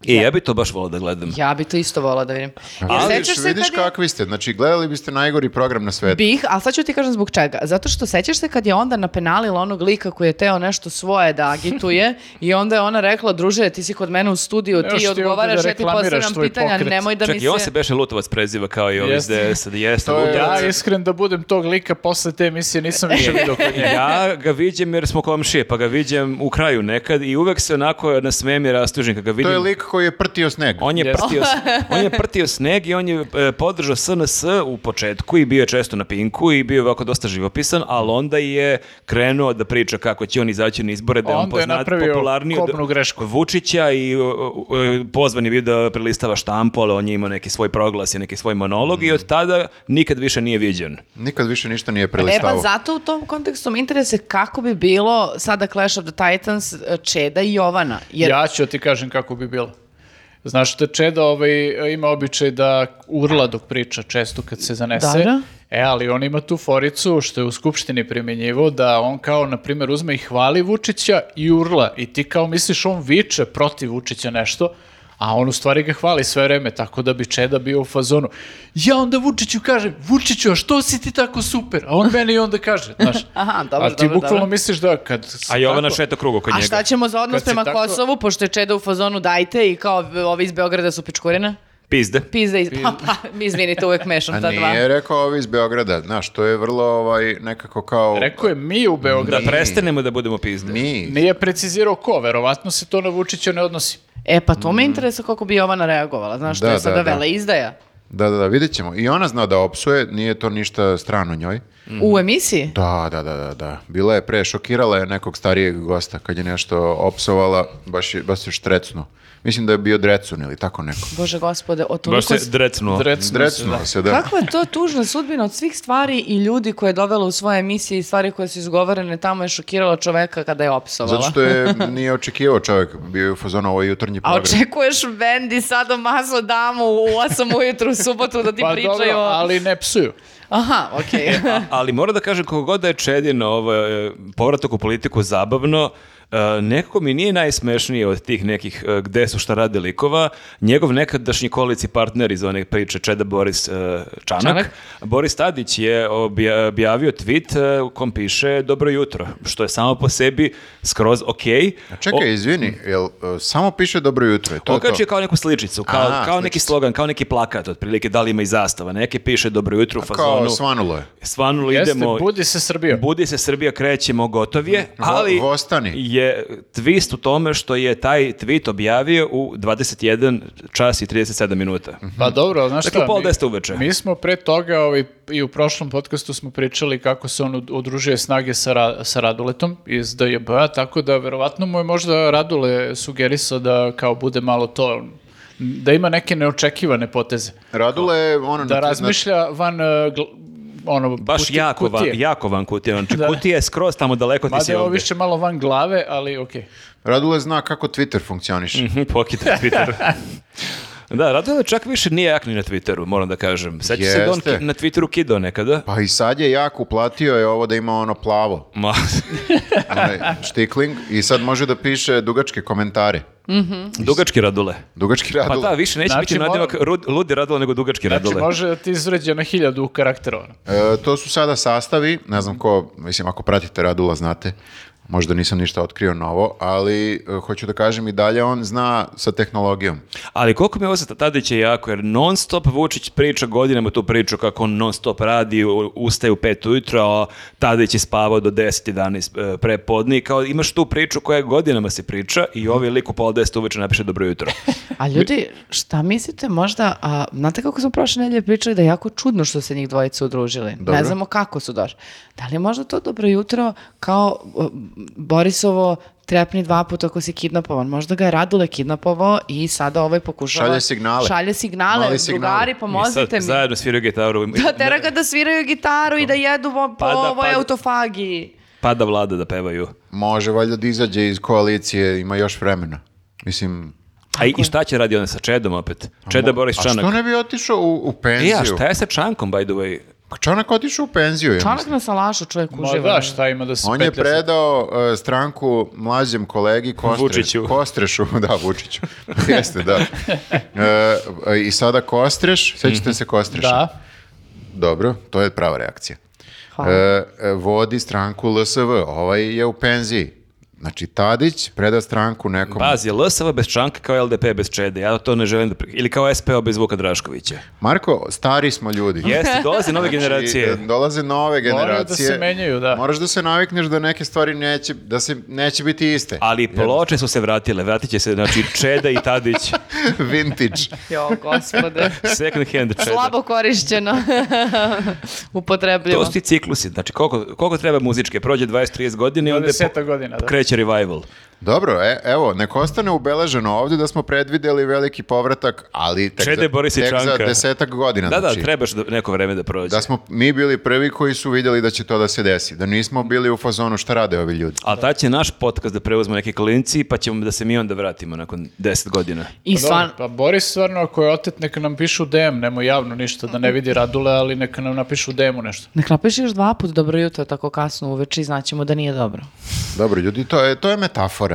[SPEAKER 4] I E, ja bi to baš volao da gledam.
[SPEAKER 2] Ja bi to isto volao da vidim. Jel
[SPEAKER 1] Ali
[SPEAKER 2] sećaš se
[SPEAKER 1] vidiš
[SPEAKER 2] kad je-
[SPEAKER 1] kakvi ste. Znači, gledali biste najgori program na svetu.
[SPEAKER 2] Bih, ali sad ću ti kažem zbog čega. Zato što sećaš se kad je onda napenalila onog lika koji je teo nešto svoje da agituje i onda je ona rekla, druže, ti si kod mene u studiju,
[SPEAKER 3] Evo
[SPEAKER 2] ti
[SPEAKER 3] što ti
[SPEAKER 2] odgovaraš,
[SPEAKER 3] ovde da
[SPEAKER 2] ja ti
[SPEAKER 3] reklamiraš
[SPEAKER 2] postavljam
[SPEAKER 3] tvoj
[SPEAKER 2] pitanja,
[SPEAKER 3] pokret.
[SPEAKER 2] nemoj da mi
[SPEAKER 4] Čak
[SPEAKER 2] se...
[SPEAKER 4] i on se beše Lutovac preziva kao i ovi iz
[SPEAKER 3] Jeste.
[SPEAKER 4] DS-a. Jeste,
[SPEAKER 1] To je-
[SPEAKER 4] Lutovac.
[SPEAKER 3] Ja iskren da budem tog lika posle te emisije nisam više vidio kod njega.
[SPEAKER 4] Ja ga viđem jer smo komšije, pa ga viđem u kraju nekad i uvek se onako nasmijem i rastužim kad ga
[SPEAKER 1] To
[SPEAKER 4] vidim.
[SPEAKER 1] je lik koji je prtio sneg.
[SPEAKER 4] On je,
[SPEAKER 3] Jeste.
[SPEAKER 4] prtio, on je prtio sneg i on je e, podržao SNS u početku i bio je često na pinku i bio je ovako dosta živopisan, ali onda je krenuo da priča kako će on izaći na izbore, da je on
[SPEAKER 3] Onda je
[SPEAKER 4] poznat,
[SPEAKER 3] napravio
[SPEAKER 4] popularniji od
[SPEAKER 3] kobnu grešku.
[SPEAKER 4] Vučića i o, o, o, pozvan je bio da prelistava štampu, ali on je imao neki svoj proglas i neki svoj monolog i od tada nikad više nije viđen.
[SPEAKER 1] Nikad više ništa nije
[SPEAKER 2] E pa
[SPEAKER 1] prelistavo.
[SPEAKER 2] zato u tom kontekstu me interese kako bi bilo sada Clash of the Titans, e, Čeda i Jovana. Jer
[SPEAKER 3] Ja ću ti kažem kako bi bilo. Znaš što Čeda ovaj, ima običaj da urla dok priča često kad se zanese.
[SPEAKER 2] Da, da.
[SPEAKER 3] E, ali on ima tu foricu što je u Skupštini primjenjivo da on kao, na primjer, uzme i hvali Vučića i urla. I ti kao misliš on viče protiv Vučića nešto, a on u stvari ga hvali sve vreme, tako da bi Čeda bio u fazonu. Ja onda Vučiću kažem, Vučiću, a što si ti tako super? A on meni onda kaže, znaš.
[SPEAKER 2] Aha, dobro,
[SPEAKER 3] a ti
[SPEAKER 2] dobro,
[SPEAKER 3] bukvalno
[SPEAKER 2] dobro.
[SPEAKER 3] misliš da kad...
[SPEAKER 4] A Jovana
[SPEAKER 3] tako-
[SPEAKER 4] šeta krugu oko njega.
[SPEAKER 2] A šta ćemo za odnos
[SPEAKER 3] Kad si
[SPEAKER 2] prema
[SPEAKER 3] tako-
[SPEAKER 2] Kosovu, pošto je Čeda u fazonu dajte i kao ovi iz Beograda su pičkurina?
[SPEAKER 4] Pizde.
[SPEAKER 2] Pizda iz... Pa, pa, izvinite, uvek mešam ta
[SPEAKER 1] A
[SPEAKER 2] dva.
[SPEAKER 1] nije rekao ovi iz Beograda, znaš, to je vrlo ovaj, nekako kao...
[SPEAKER 3] Rekao je mi u
[SPEAKER 4] Da
[SPEAKER 3] Beogradu.
[SPEAKER 4] prestanemo da budemo pizde.
[SPEAKER 1] Ni.
[SPEAKER 3] Nije precizirao ko, verovatno se to na Vučića ne odnosi.
[SPEAKER 2] E pa to me interesa kako bi Jovana reagovala, znaš, što
[SPEAKER 1] Da,
[SPEAKER 2] je sada
[SPEAKER 1] da, da.
[SPEAKER 2] vele izdaja.
[SPEAKER 1] Da, da, da, vidjet ćemo. I ona zna da opsuje, nije to ništa strano njoj.
[SPEAKER 2] U emisiji?
[SPEAKER 1] Da, da, da, da, da. Bila je pre, šokirala je nekog starijeg gosta kad je nešto opsovala, baš je, baš se štrecnuo. Mislim da je bio drecun ili tako neko.
[SPEAKER 2] Bože gospode, o toliko...
[SPEAKER 4] Baš se
[SPEAKER 2] s-
[SPEAKER 4] drecnuo.
[SPEAKER 3] Drecno se, da.
[SPEAKER 1] Drecnuo se, da.
[SPEAKER 2] Kakva je to tužna sudbina od svih stvari i ljudi koje je dovela u svoje emisije i stvari koje su izgovorene, tamo je šokirala čoveka kada je opsovala.
[SPEAKER 1] Zato što je nije očekivao čovjek, bio je u fazonu ovo je jutarnji
[SPEAKER 2] A
[SPEAKER 1] program.
[SPEAKER 2] očekuješ Vendi sada mazo damu u 8 ujutru u subotu da ti
[SPEAKER 3] Pa
[SPEAKER 2] pričaju...
[SPEAKER 3] dobro,
[SPEAKER 2] o-
[SPEAKER 3] ali ne psuju.
[SPEAKER 2] Aha, okej.
[SPEAKER 4] A- ali moram da kažem, kako god da je Čedin ovo, e, povratak u politiku zabavno, e, nekako mi nije najsmešnije od tih nekih e, gde su šta rade likova. Njegov nekadašnji kolici partner iz one priče Čeda Boris e, Čanak.
[SPEAKER 2] Čanak.
[SPEAKER 4] Boris Tadić je obja- objavio tweet e, u kom piše Dobro jutro, što je samo po sebi skroz okej.
[SPEAKER 1] A Čekaj, izvini, jel, e, samo piše dobro jutro, je to je to.
[SPEAKER 4] Okačio kao neku sličicu, kao,
[SPEAKER 1] Aha,
[SPEAKER 4] kao neki
[SPEAKER 1] sličicu.
[SPEAKER 4] slogan, kao neki plakat, otprilike da li ima i zastava. Neki piše dobro jutro u
[SPEAKER 1] Kao
[SPEAKER 4] fazonu.
[SPEAKER 1] svanulo je.
[SPEAKER 4] Stvarno
[SPEAKER 3] Jeste,
[SPEAKER 4] idemo...
[SPEAKER 3] budi se Srbijo.
[SPEAKER 4] Budi se Srbija, krećemo, gotov je, ali
[SPEAKER 1] vostani.
[SPEAKER 4] je twist u tome što je taj tweet objavio u 21 čas i 37 minuta.
[SPEAKER 3] Pa dobro, ali znaš
[SPEAKER 4] Dakle,
[SPEAKER 3] šta?
[SPEAKER 4] pola
[SPEAKER 3] mi-
[SPEAKER 4] deset uveče.
[SPEAKER 3] Mi smo pre toga ovaj, i u prošlom podcastu smo pričali kako se on ud- udružuje snage sa, Ra- sa Raduletom iz DJB-a, tako da verovatno mu je možda Radule sugerisao da kao bude malo to, da ima neke neočekivane poteze.
[SPEAKER 4] Znači,
[SPEAKER 1] Radula je ono...
[SPEAKER 3] Da
[SPEAKER 1] na-
[SPEAKER 3] razmišlja van e, gl- ono,
[SPEAKER 4] Baš
[SPEAKER 3] kuti-
[SPEAKER 4] jako, van,
[SPEAKER 3] kutije.
[SPEAKER 4] jako van kutije. Znači, kutija je skroz tamo daleko, ti
[SPEAKER 3] Mada
[SPEAKER 4] si
[SPEAKER 3] je ovo
[SPEAKER 4] ovdje.
[SPEAKER 3] više malo van glave, ali okej.
[SPEAKER 1] Radula zna kako Twitter
[SPEAKER 3] Mm.
[SPEAKER 1] funkcioniše.
[SPEAKER 4] Mhm, Pokita Twitter. Da, Radule čak više nije jak ni na Twitteru, moram da kažem. Sveća se da on
[SPEAKER 1] Jeste.
[SPEAKER 4] ki- na Twitteru kidao nekada.
[SPEAKER 1] Pa i sad je jako uplatio je ovo da ima ono plavo,
[SPEAKER 4] Ma,
[SPEAKER 1] onaj štikling i sad može da piše dugačke komentare.
[SPEAKER 4] dugački Radule.
[SPEAKER 1] Dugački
[SPEAKER 4] Pa
[SPEAKER 1] radula.
[SPEAKER 4] da, više neće
[SPEAKER 3] Znači,
[SPEAKER 4] biti
[SPEAKER 3] moram-
[SPEAKER 4] nadimak rud- ludi Radule nego dugački
[SPEAKER 3] Znači,
[SPEAKER 4] Radule.
[SPEAKER 3] može da ti izvređa na hiljadu karaktera. ono.
[SPEAKER 1] E, to su sada sastavi, ne znam ko, mislim ako pratite Radula znate, Možda nisam ništa otkrio novo, ali e, hoću da kažem i dalje on zna sa tehnologijom.
[SPEAKER 4] Ali koliko mi je ovo sa Tadića jako, jer non stop Vučić priča godinama tu priču kako on non stop radi, u- ustaje u pet ujutro, a Tadić je spavao do 10-11 pre podne i kao imaš tu priču koja godinama se priča i ovi lik u pola 10 uveče napiše dobro jutro.
[SPEAKER 2] A ljudi, šta mislite možda, a, znate kako smo prošle nedelje pričali da je jako čudno što se njih dvojica udružili. Ne
[SPEAKER 1] Dobro.
[SPEAKER 2] znamo kako su došli. Da li je možda to dobro jutro kao o, Borisovo trepni dva puta ako si kidnapovan. Možda ga je Radule kidnapovao i sada ovaj pokušava...
[SPEAKER 1] Šalje signale.
[SPEAKER 2] Šalje signale.
[SPEAKER 1] Mali signali.
[SPEAKER 2] Drugari,
[SPEAKER 4] I sad
[SPEAKER 2] pomozite mi.
[SPEAKER 4] zajedno sviraju gitaru.
[SPEAKER 2] Da tera ga da sviraju gitaru i da jedu po
[SPEAKER 4] Pada,
[SPEAKER 2] ovoj
[SPEAKER 4] pada.
[SPEAKER 2] autofagiji.
[SPEAKER 4] Pada vlada da pevaju.
[SPEAKER 1] Može valjda da izađe iz koalicije, ima još vremena. Mislim,
[SPEAKER 4] A i, i šta će radi onda sa Čedom opet? Čeda Boris
[SPEAKER 1] a što
[SPEAKER 4] Čanak.
[SPEAKER 1] ne bi otišao u, u
[SPEAKER 4] E,
[SPEAKER 1] penziju?
[SPEAKER 4] a šta je sa Čankom, by the way?
[SPEAKER 1] Pa Čanak otišao u penziju. ja
[SPEAKER 2] Čanak
[SPEAKER 1] mislim.
[SPEAKER 2] na salašu čovjek
[SPEAKER 3] Ma
[SPEAKER 2] uživa.
[SPEAKER 3] da, šta ima da se
[SPEAKER 1] On je
[SPEAKER 3] petlja sa-
[SPEAKER 1] predao e, stranku mlađem kolegi Kostre,
[SPEAKER 4] Vučiću.
[SPEAKER 1] Kostrešu. Da, Vučiću. Jeste, da. E, e, I sada Kostreš, sećate se Kostreša?
[SPEAKER 3] Da.
[SPEAKER 1] Dobro, to je prava reakcija.
[SPEAKER 2] Hvala.
[SPEAKER 1] E, e, vodi stranku LSV, ovaj je u penziji. Znači, Tadić preda stranku nekom...
[SPEAKER 4] Pazi, LSV bez Čanka kao LDP bez Čede. Ja to ne želim da... pri- Ili kao SPO bez Vuka Draškovića.
[SPEAKER 1] Marko, stari smo ljudi.
[SPEAKER 4] Jeste, dolaze nove
[SPEAKER 1] Znači,
[SPEAKER 4] generacije.
[SPEAKER 1] e, dolaze nove generacije.
[SPEAKER 3] da se menjaju, da.
[SPEAKER 1] Moraš da se navikneš da neke stvari neće, da se neće biti iste.
[SPEAKER 4] Ali ploče su se vratile, vratit će se, znači Čeda i Tadić,
[SPEAKER 1] Vintage.
[SPEAKER 2] Jo, gospode.
[SPEAKER 4] second hand Čeda.
[SPEAKER 2] Slabo korišćeno. Upotrebljivo.
[SPEAKER 4] To su ti ciklusi, znači koliko, koliko treba muzičke, prođe 20-30 godina i onda je
[SPEAKER 3] 20-ak
[SPEAKER 4] po-
[SPEAKER 3] godina, da.
[SPEAKER 4] kreće revival.
[SPEAKER 1] Dobro, e, evo, neko ostane ubeleženo ovdje da smo predvidjeli veliki povratak, ali tek,
[SPEAKER 4] Čede,
[SPEAKER 1] za,
[SPEAKER 4] Boris i
[SPEAKER 1] tek za
[SPEAKER 4] Čanka.
[SPEAKER 1] desetak godina.
[SPEAKER 4] Da, da,
[SPEAKER 1] znači,
[SPEAKER 4] trebaš da- neko vreme da prođe.
[SPEAKER 1] da smo mi bili prvi koji su vidjeli da će to da se desi, da nismo bili u fazonu šta rade ovi ljudi.
[SPEAKER 4] A tad će naš podcast da preuzmu neki klinci, pa ćemo da se mi onda vratimo nakon 10 godina.
[SPEAKER 2] I
[SPEAKER 3] Pa
[SPEAKER 2] stvarno,
[SPEAKER 3] dobro, Pa Boris stvarno, ako je otet, neka nam pišu DM, nemoj javno ništa, da ne vidi Radule, ali neka nam napišu DM-u nešto.
[SPEAKER 2] Nek napiši još dva put dobro jutro, tako kasno uveče i znaćemo da nije dobro.
[SPEAKER 1] Dobro, ljudi, to je, to je metafora.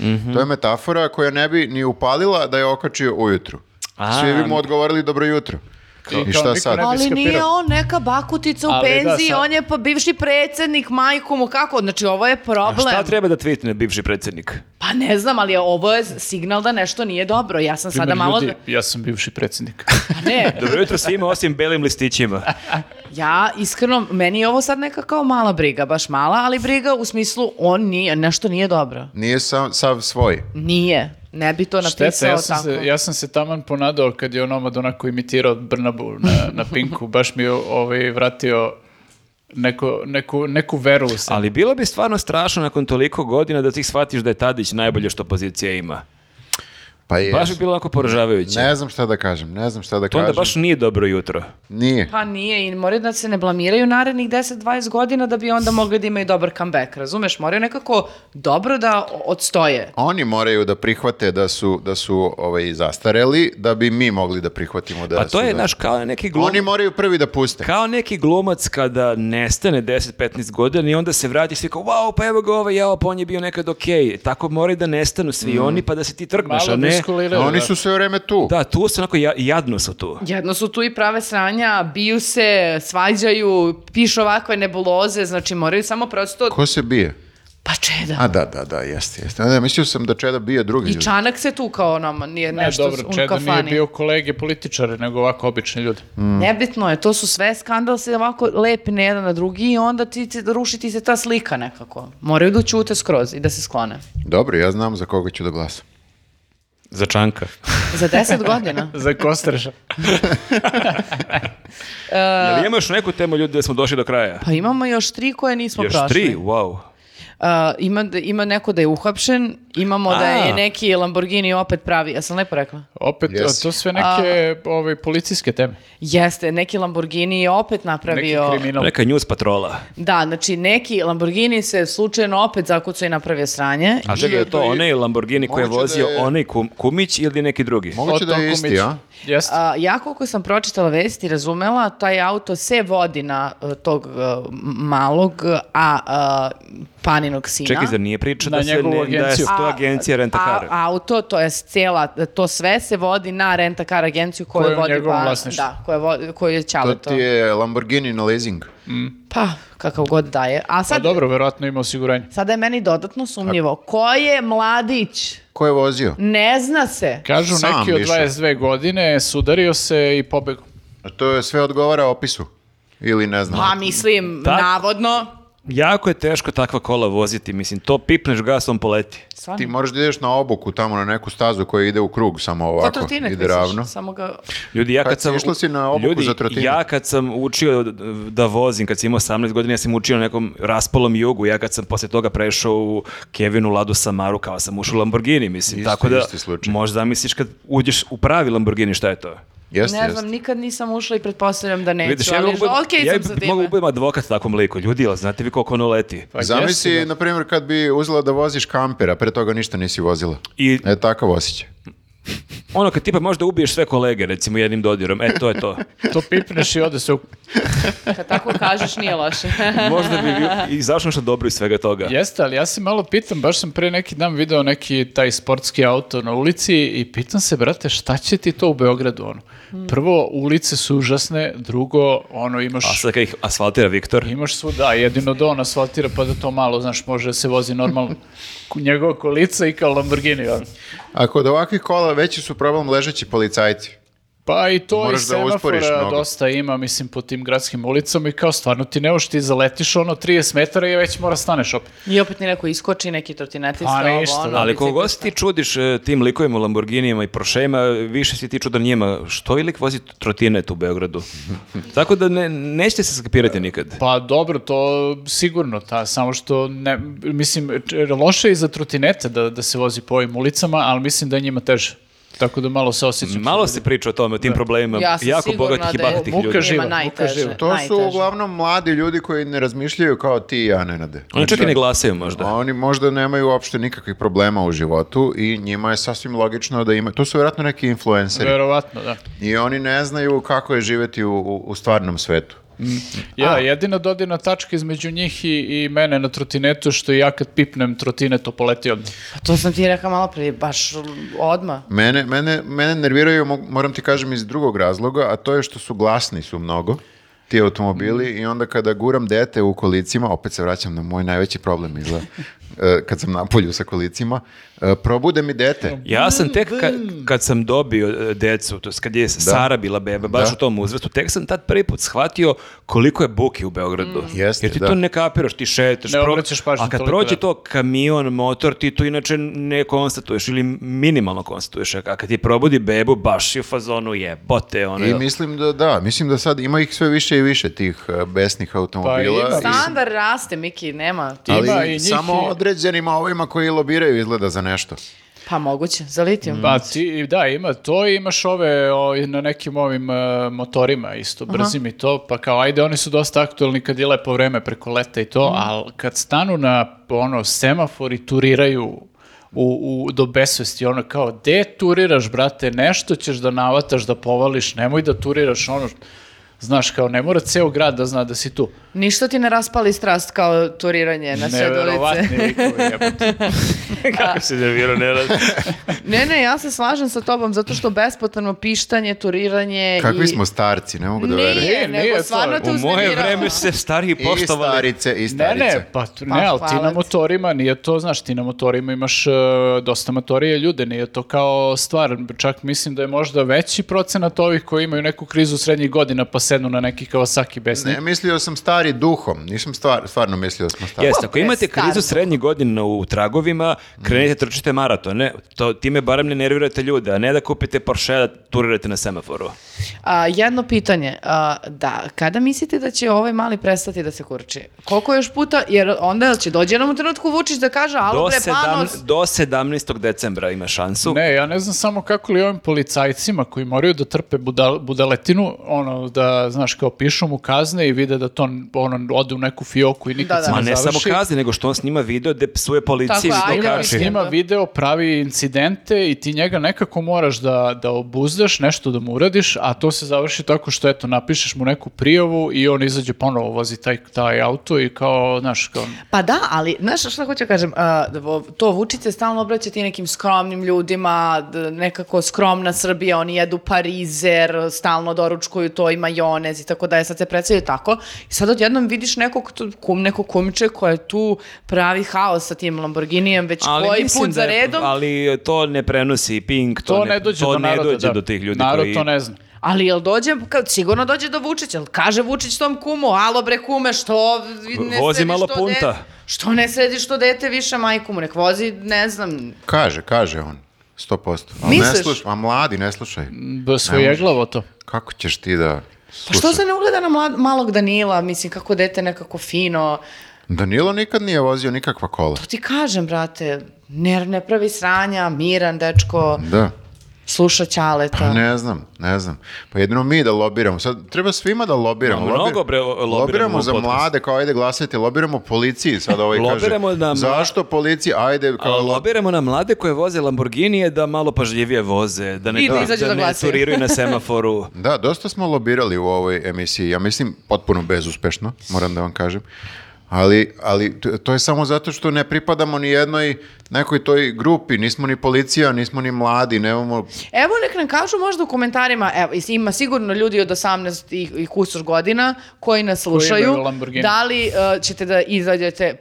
[SPEAKER 4] Mhm.
[SPEAKER 1] To je metafora koja ne bi ni upalila da je okačio ujutru.
[SPEAKER 4] A.
[SPEAKER 1] Svi bi mu odgovorili dobro jutro. I
[SPEAKER 3] kao
[SPEAKER 1] šta
[SPEAKER 3] niko
[SPEAKER 1] sad?
[SPEAKER 3] ne bi
[SPEAKER 2] Ali nije
[SPEAKER 3] skapirao.
[SPEAKER 2] on neka bakutica u
[SPEAKER 3] Ali da,
[SPEAKER 2] penziji,
[SPEAKER 3] sad-
[SPEAKER 2] on je pa bivši predsednik, majku mu kako, znači ovo je
[SPEAKER 4] A šta
[SPEAKER 2] problem.
[SPEAKER 4] treba da tweetne bivši predsjednik?
[SPEAKER 2] Pa ne znam, ali ovo je signal da nešto nije dobro. Ja sam sada
[SPEAKER 3] Primer,
[SPEAKER 2] malo...
[SPEAKER 3] ljudi, ja sam bivši predsjednik.
[SPEAKER 2] Pa ne,
[SPEAKER 4] Dobro jutro svima osim belim listićima.
[SPEAKER 1] Znači.
[SPEAKER 2] ja iskreno, meni je ovo sad neka kao mala briga, baš mala, ali briga u smislu on nije, nešto nije dobro.
[SPEAKER 1] Nije sav, sav svoj.
[SPEAKER 2] Nije. Ne bi to napisao
[SPEAKER 3] Šteta, ja sam,
[SPEAKER 2] tako.
[SPEAKER 3] se, ja sam se taman ponadao kad je onomad onako imitirao Brnabu na, na Pinku, baš mi je ovaj, vratio neko, neku, neku veru u sebe.
[SPEAKER 4] Ali bilo bi stvarno strašno nakon toliko godina da ti shvatiš da je Tadić najbolje što pozicija ima.
[SPEAKER 1] Pa je.
[SPEAKER 4] Baš bi bilo jako poražavajuće.
[SPEAKER 1] Ne znam šta da kažem, ne znam šta da
[SPEAKER 4] To onda
[SPEAKER 1] kažem.
[SPEAKER 4] baš nije dobro jutro.
[SPEAKER 1] Nije.
[SPEAKER 2] Pa nije i moraju da se ne blamiraju narednih 10-20 godina da bi onda mogli da imaju dobar comeback, razumeš? Moraju nekako dobro da o- odstoje.
[SPEAKER 1] Oni moraju da prihvate da su, da su ovaj, zastareli, da bi mi mogli da prihvatimo da
[SPEAKER 4] Pa to
[SPEAKER 1] su
[SPEAKER 4] je,
[SPEAKER 1] da-
[SPEAKER 4] znaš, kao neki glumac,
[SPEAKER 1] Oni moraju prvi da puste.
[SPEAKER 4] kao neki glumac kada nestane 10-15 godina i onda se vrati svi kao, wow, pa evo ga ovaj, jao, pa on je bio nekad okej. Tako moraju da nestanu svi oni, pa da se ti trgneš,
[SPEAKER 3] Malo
[SPEAKER 4] a ne...
[SPEAKER 3] biskuliraju,
[SPEAKER 1] Oni
[SPEAKER 3] da.
[SPEAKER 1] su sve vreme tu.
[SPEAKER 4] Da, tu su onako, ja- jadno su tu.
[SPEAKER 2] Jedno su tu i prave sranja, biju se, svađaju, pišu ovakve nebuloze, znači moraju samo prosto...
[SPEAKER 1] Ko se bije?
[SPEAKER 2] Pa čeda.
[SPEAKER 1] A da, da, da, jeste, jeste. A Ne, mislio sam da Čeda bije drugi
[SPEAKER 2] I
[SPEAKER 1] ljudi.
[SPEAKER 2] Čanak se tu kao nama, nije
[SPEAKER 3] Ne,
[SPEAKER 2] nešto
[SPEAKER 3] dobro,
[SPEAKER 2] u
[SPEAKER 3] Čeda nije
[SPEAKER 2] kafani.
[SPEAKER 3] bio kolege političare, nego ovako obični ljudi.
[SPEAKER 2] Nebitno je, to su sve skandal se ovako lepi na jedan na drugi i onda ti, ti ruši ti se ta slika nekako. Moraju da ćute skroz i da se sklone.
[SPEAKER 1] Dobro, ja znam za koga ću da glasam.
[SPEAKER 4] Za čanka.
[SPEAKER 2] Za 10 godina.
[SPEAKER 3] Za Kostreša.
[SPEAKER 4] Jel ima još neku temu ljudi da smo došli do kraja?
[SPEAKER 2] Pa imamo još tri koje nismo
[SPEAKER 4] Još
[SPEAKER 2] prošli.
[SPEAKER 4] tri, wow.
[SPEAKER 2] Uh, ima, da- ima neko da je uhapšen, imamo da je
[SPEAKER 4] A.
[SPEAKER 2] neki Lamborghini opet pravi, ja sam lepo rekla?
[SPEAKER 3] Opet,
[SPEAKER 1] Yes.
[SPEAKER 3] a to sve neke ovaj, policijske teme.
[SPEAKER 2] Jeste, neki Lamborghini je opet
[SPEAKER 3] Neki
[SPEAKER 2] napravio...
[SPEAKER 3] kriminal.
[SPEAKER 4] Neka news patrola.
[SPEAKER 2] Da, znači neki Lamborghini se slučajno opet zakucao i napravio sranje.
[SPEAKER 4] A čekaj, je to onaj Lamborghini koji je
[SPEAKER 1] Moguće da
[SPEAKER 4] vozio
[SPEAKER 1] je-
[SPEAKER 4] onaj kum- kumić ili neki drugi?
[SPEAKER 1] Moguće da je
[SPEAKER 3] Otom
[SPEAKER 1] isti,
[SPEAKER 3] Kumić.
[SPEAKER 1] a?
[SPEAKER 3] Jeste.
[SPEAKER 2] A, ja koliko sam pročitala vesti i razumela, taj auto se vodi na e, tog e, malog, a eh, e, paninog sina.
[SPEAKER 4] Čekaj, zar nije priča
[SPEAKER 3] Na
[SPEAKER 4] da se
[SPEAKER 3] njegovu
[SPEAKER 4] ne, da je
[SPEAKER 3] agenciju.
[SPEAKER 4] sto to agencija rentakara.
[SPEAKER 2] A, auto, to je cijela, to sve se vodi na rentakar agenciju koju
[SPEAKER 3] Koja je u
[SPEAKER 2] vodi
[SPEAKER 3] njegovom
[SPEAKER 2] pa-
[SPEAKER 3] vlasništvu.
[SPEAKER 2] Da, koju vodi, koju je
[SPEAKER 1] To
[SPEAKER 2] Ćale to.
[SPEAKER 1] ti je Lamborghini na leasing.
[SPEAKER 2] Pa, kakav god daje. A
[SPEAKER 3] Pa
[SPEAKER 2] sad,
[SPEAKER 3] dobro, verovatno ima osiguranje.
[SPEAKER 2] sada je meni dodatno sumnjivo. Ko je mladić?
[SPEAKER 1] Ko je vozio?
[SPEAKER 2] Ne zna se.
[SPEAKER 3] Kažu
[SPEAKER 1] Sam
[SPEAKER 3] neki od
[SPEAKER 1] više.
[SPEAKER 3] 22 godine, sudario se i pobegao.
[SPEAKER 1] A To je sve odgovara opisu. Ili ne znam.
[SPEAKER 2] Pa mislim,
[SPEAKER 4] Tak.
[SPEAKER 2] navodno.
[SPEAKER 4] Jako je teško takva kola voziti, mislim, to pipneš gasom poleti.
[SPEAKER 2] Stvarno.
[SPEAKER 1] Ti moraš da ideš na obuku tamo na neku stazu koja ide u krug samo
[SPEAKER 2] Ko
[SPEAKER 1] ovako.
[SPEAKER 2] trotinet
[SPEAKER 1] Ide
[SPEAKER 2] misliš?
[SPEAKER 1] ravno.
[SPEAKER 2] Samo ga...
[SPEAKER 4] Ljudi, ja
[SPEAKER 1] Kad
[SPEAKER 4] kad,
[SPEAKER 1] si
[SPEAKER 4] sam
[SPEAKER 1] išla Pa si na obuku
[SPEAKER 4] ljudi,
[SPEAKER 1] za trotinet?
[SPEAKER 4] ja kad sam učio da vozim, kad sam imao 18 godina, ja sam učio na nekom raspalom jugu. Ja kad sam posle toga prešao u Kevinu Ladu Samaru, kao sam ušao u Lamborghini, mislim.
[SPEAKER 1] Isto,
[SPEAKER 4] Tako da,
[SPEAKER 1] isti slučaj.
[SPEAKER 4] možda zamisliš kad uđeš u pravi Lamborghini, šta je to?
[SPEAKER 1] Jeste,
[SPEAKER 2] ne
[SPEAKER 1] jeste.
[SPEAKER 2] znam, nikad nisam ušla i pretpostavljam da neću,
[SPEAKER 4] ja,
[SPEAKER 2] ali
[SPEAKER 4] mogu, budem-
[SPEAKER 2] E, okej
[SPEAKER 4] ja
[SPEAKER 2] sam sa
[SPEAKER 4] bi-
[SPEAKER 2] time.
[SPEAKER 4] mogu budem advokat takvom liku. Ljudi, ali znate vi koliko ono leti?
[SPEAKER 3] Pa
[SPEAKER 1] Zamisli,
[SPEAKER 3] jesi,
[SPEAKER 1] na primjer, kad bi uzela da voziš kampera, pre toga ništa nisi vozila.
[SPEAKER 4] I
[SPEAKER 1] E, takav osjećaj.
[SPEAKER 4] ono kad tipa možda ubiješ sve kolege, recimo jednim dodirom, e to je to.
[SPEAKER 3] da. To pipneš i ode se u...
[SPEAKER 2] Kad tako kažeš, nije loše.
[SPEAKER 4] Možda bi bio, i zašto nešto dobro iz svega toga.
[SPEAKER 3] Jeste, ali ja se malo pitam, baš sam pre neki dan video neki taj sportski auto na ulici i pitam se, brate, šta će ti to u Beogradu, ono?
[SPEAKER 2] Hmm.
[SPEAKER 3] Prvo, ulice su užasne, drugo, ono, imaš...
[SPEAKER 4] A sad kad ih asfaltira Viktor,
[SPEAKER 3] Imaš svuda, jedino da on asfaltira pa da to malo, znaš, može da se vozi normalno. Njegova kolica i kao Lamborghini. ono.
[SPEAKER 1] A kod ovakvih kola veći su problem ležeći policajci.
[SPEAKER 3] Pa i to
[SPEAKER 1] Moraš
[SPEAKER 3] i
[SPEAKER 1] da usporiš
[SPEAKER 3] semafora
[SPEAKER 1] mnogo.
[SPEAKER 3] dosta ima, mislim, po tim gradskim ulicama i kao stvarno ti ne možeš ti zaletiš ono 30 metara i već mora staneš opet.
[SPEAKER 2] I opet mi neko iskoči, neki trotinetista,
[SPEAKER 3] Pa
[SPEAKER 2] ovo,
[SPEAKER 3] ništa,
[SPEAKER 2] ono,
[SPEAKER 4] Ali koliko god se
[SPEAKER 2] biciklista.
[SPEAKER 4] ti čudiš e, tim likovima u Lamborghinijima i Porschejima, više si ti čudan njima. Što je lik vozi trotinet u Beogradu? Tako da ne, nećete se skapirati nikad.
[SPEAKER 3] Pa dobro, to sigurno, ta, samo što, ne, mislim, č- loše je i za trotinete da, da se vozi po ovim ulicama, ali mislim da je njima teže. Tako da malo se osjećam.
[SPEAKER 4] Malo se priča o tome, o tim problemima.
[SPEAKER 2] Ja sam
[SPEAKER 4] jako
[SPEAKER 2] sigurna
[SPEAKER 4] bogatih i
[SPEAKER 2] da je
[SPEAKER 4] bahatih
[SPEAKER 3] Muka
[SPEAKER 4] ljudi.
[SPEAKER 3] živa,
[SPEAKER 2] Njima
[SPEAKER 3] muka
[SPEAKER 2] najteže.
[SPEAKER 3] živa.
[SPEAKER 1] To su
[SPEAKER 2] najteže.
[SPEAKER 1] uglavnom mladi ljudi koji ne razmišljaju kao ti i ja, Nenade.
[SPEAKER 4] Oni čak i ne glasaju možda.
[SPEAKER 1] Oni možda nemaju uopšte nikakvih problema u životu i njima je sasvim logično da imaju... To su vjerojatno neki influenceri
[SPEAKER 3] Verovatno, da.
[SPEAKER 1] i oni ne znaju kako je živjeti u, u, u stvarnom svetu.
[SPEAKER 3] Ja, jedina dodirna tačka između njih i, i mene na trotinetu je što ja kad pipnem trotinet to poleti odmah.
[SPEAKER 2] Pa to sam ti rekao malo prije, baš odma.
[SPEAKER 1] Mene, mene, mene nerviraju, mo- moram ti kažem, iz drugog razloga, a to je što su glasni su mnogo ti automobili
[SPEAKER 3] Mm.
[SPEAKER 1] i onda kada guram dete u kolicima, opet se vraćam na moj najveći problem izgleda, e, kad sam na polju sa kolicima, e, probude mi dete.
[SPEAKER 4] Ja
[SPEAKER 3] Mm,
[SPEAKER 4] sam tek ka- kad sam dobio e, decu, to jest kad je Sara bila beba, baš
[SPEAKER 1] Da.
[SPEAKER 4] u tom uzrastu, tek sam tad prvi put shvatio koliko je buke u Beogradu.
[SPEAKER 1] Jeste,
[SPEAKER 4] Jer ti
[SPEAKER 1] da.
[SPEAKER 4] to ne kapiraš, ti šetaš.
[SPEAKER 3] Mm. Ne
[SPEAKER 4] pro-
[SPEAKER 3] obraćaš pažnju
[SPEAKER 4] A kad
[SPEAKER 3] toliko,
[SPEAKER 4] prođe
[SPEAKER 3] da.
[SPEAKER 4] to kamion, motor, ti to inače ne konstatuješ ili minimalno konstatuješ. A kad ti probudi bebu, baš je u fazonu jebote. Ono,
[SPEAKER 1] I mislim da da, mislim da sad ima ih sve više i više tih e, besnih automobila.
[SPEAKER 3] Pa ima.
[SPEAKER 1] i-
[SPEAKER 2] Standard raste, Miki, nema.
[SPEAKER 3] Ima i
[SPEAKER 1] ali
[SPEAKER 3] njih
[SPEAKER 1] samo
[SPEAKER 3] i-
[SPEAKER 1] određenima ovima koji lobiraju izgleda za nešto.
[SPEAKER 2] Pa moguće, za litijum.
[SPEAKER 3] Pa ti, da, ima to i imaš ove o, i na nekim ovim e, motorima isto, brzim i to, pa kao ajde, oni su dosta aktualni kad je lepo vreme preko leta i to, ali kad stanu na ono semafor i turiraju u, u, do besvesti, ono kao, de turiraš, brate, nešto ćeš da navataš, da povališ, nemoj da turiraš, ono, znaš, kao, ne mora ceo grad da zna da si tu.
[SPEAKER 2] Ništa ti ne raspali strast kao turiranje na sred
[SPEAKER 3] Neverovatni
[SPEAKER 2] ulice.
[SPEAKER 3] likovi, jebote.
[SPEAKER 4] kako se nervirao, ne radi.
[SPEAKER 2] ne, ne, ja se slažem sa tobom zato što bespotrebno pištanje, turiranje
[SPEAKER 3] E,
[SPEAKER 1] Kakvi
[SPEAKER 2] i...
[SPEAKER 1] smo starci, ne mogu da
[SPEAKER 2] Nije,
[SPEAKER 1] verujem.
[SPEAKER 3] Nije,
[SPEAKER 2] nego
[SPEAKER 3] nije to.
[SPEAKER 2] stvarno te
[SPEAKER 4] U moje
[SPEAKER 2] uznemirava.
[SPEAKER 4] vreme se stariji
[SPEAKER 1] I
[SPEAKER 4] poštovali.
[SPEAKER 1] starice, i
[SPEAKER 3] Ne,
[SPEAKER 1] starice.
[SPEAKER 3] ne, pa, tu-
[SPEAKER 2] Pa,
[SPEAKER 3] ne, ali ti
[SPEAKER 2] hvala
[SPEAKER 3] na
[SPEAKER 2] ti.
[SPEAKER 3] motorima nije to, znaš, ti na motorima imaš e, dosta motorije ljude, nije to kao stvar, čak mislim da je možda veći procenat ovih koji imaju neku krizu srednjih godina pa sednu na neki Kawasaki besni.
[SPEAKER 1] Ne, mislio sam stari duhom, nisam stvar, stvarno mislio da smo stari.
[SPEAKER 4] Jeste, ako
[SPEAKER 2] je
[SPEAKER 4] imate
[SPEAKER 2] staro.
[SPEAKER 4] krizu srednjih godina u tragovima, krenite trčite maratone, to, time barem ne nervirate ljude, a ne da kupite Porsche da turirate na semaforu.
[SPEAKER 2] A, jedno pitanje, a, da, kada mislite da će ovaj mali prestati da se kurči? Koliko još puta, jer onda će dođe jednom u trenutku Vučić da kaže, alo
[SPEAKER 4] Do,
[SPEAKER 2] bre,
[SPEAKER 4] sedam,
[SPEAKER 2] Panos,
[SPEAKER 4] do 17. decembra ima šansu.
[SPEAKER 3] Ne, ja ne znam samo kako li ovim policajcima koji moraju da trpe budal- budaletinu, ono, da da, znaš, kao pišu mu kazne i vide da to ono, ode u neku fioku i nikad
[SPEAKER 2] Da, da.
[SPEAKER 3] se
[SPEAKER 4] Ma
[SPEAKER 3] ne
[SPEAKER 4] ne
[SPEAKER 3] završi.
[SPEAKER 4] samo kazni, nego što on snima video gde psuje policiji.
[SPEAKER 2] Tako je,
[SPEAKER 4] i
[SPEAKER 2] ajde,
[SPEAKER 3] Ajde,
[SPEAKER 4] to kaže.
[SPEAKER 2] mislim.
[SPEAKER 3] snima
[SPEAKER 2] Da.
[SPEAKER 3] video, pravi incidente i ti njega nekako moraš da, da obuzdaš, nešto da mu uradiš, a to se završi tako što, eto, napišeš mu neku prijavu i on izađe ponovo, vozi taj, taj auto i kao, znaš, kao...
[SPEAKER 2] Pa da, ali znaš šta hoću da kažem, a, da vo- to Vučice stalno obraća ti nekim skromnim ljudima, d- nekako skromna Srbija, oni jedu parizer, stalno doručkuju to i majonez i tako da je, sad se predstavljaju tako. I sad odjednom vidiš nekog, tu- kum, neko kumče koja je tu pravi haos sa tim Lamborghinijem već koji
[SPEAKER 4] mislim
[SPEAKER 2] put za
[SPEAKER 4] da je-
[SPEAKER 2] redom.
[SPEAKER 4] Ali to ne prenosi Pink, to,
[SPEAKER 3] To ne dođe,
[SPEAKER 4] to
[SPEAKER 3] do,
[SPEAKER 4] ne
[SPEAKER 3] naroda,
[SPEAKER 4] dođe
[SPEAKER 3] da.
[SPEAKER 4] do tih ljudi
[SPEAKER 3] Narod
[SPEAKER 4] koji...
[SPEAKER 3] to ne zna.
[SPEAKER 2] Ali jel dođe, ka- sigurno dođe do Vučića, jel kaže Vučić tom kumu, alo bre kume, što ne
[SPEAKER 4] Vozi
[SPEAKER 2] središ
[SPEAKER 4] malo
[SPEAKER 2] to
[SPEAKER 4] punta."
[SPEAKER 2] dete- što ne središ to dete više majku mu, nek vozi, ne znam,
[SPEAKER 1] Kaže, kaže on. 100%. Ali ne
[SPEAKER 2] Misliš?
[SPEAKER 1] slušaj, a mladi ne slušaj.
[SPEAKER 3] Da svojeglavo to.
[SPEAKER 1] Kako ćeš ti da
[SPEAKER 2] Pa što
[SPEAKER 1] slušaš?
[SPEAKER 2] se ne ugleda na mlad- malog Danila, mislim, kako dete nekako fino.
[SPEAKER 1] Danilo nikad nije vozio nikakva kola.
[SPEAKER 2] To ti kažem, brate, ne, ne pravi sranja, miran dečko,
[SPEAKER 1] Da.
[SPEAKER 2] sluša ćaleta.
[SPEAKER 1] Pa ne znam, ne znam. Pa jedino mi da lobiramo. Sad treba svima da lobiramo.
[SPEAKER 4] Ma, mnogo, bre, lobiramo u
[SPEAKER 1] za
[SPEAKER 4] podcastu.
[SPEAKER 1] mlade, kao ajde glasajte, lobiramo policiji. Sad ovaj
[SPEAKER 4] Lobiramo
[SPEAKER 1] kaže,
[SPEAKER 4] da-
[SPEAKER 1] zašto policiji, ajde, kao
[SPEAKER 4] Ali
[SPEAKER 1] lo-
[SPEAKER 4] lobiramo na mlade koje voze Lamborghinije da malo pažljivije voze, da ne,
[SPEAKER 2] I da izađu da
[SPEAKER 4] ne
[SPEAKER 2] glasaju.
[SPEAKER 4] curiraju na semaforu.
[SPEAKER 1] Da, dosta smo lobirali u ovoj emisiji, ja mislim potpuno bezuspešno, moram da vam kažem. Ali, ali t- to je samo zato što ne pripadamo ni jednoj nekoj toj grupi, nismo ni policija, nismo ni mladi, nemamo...
[SPEAKER 2] Evo nek nam kažu možda u komentarima, evo, is- ima sigurno ljudi od 18 i, i kusur godina koji nas slušaju.
[SPEAKER 3] imaju Lamborghini.
[SPEAKER 2] da li e, ćete da izađete e,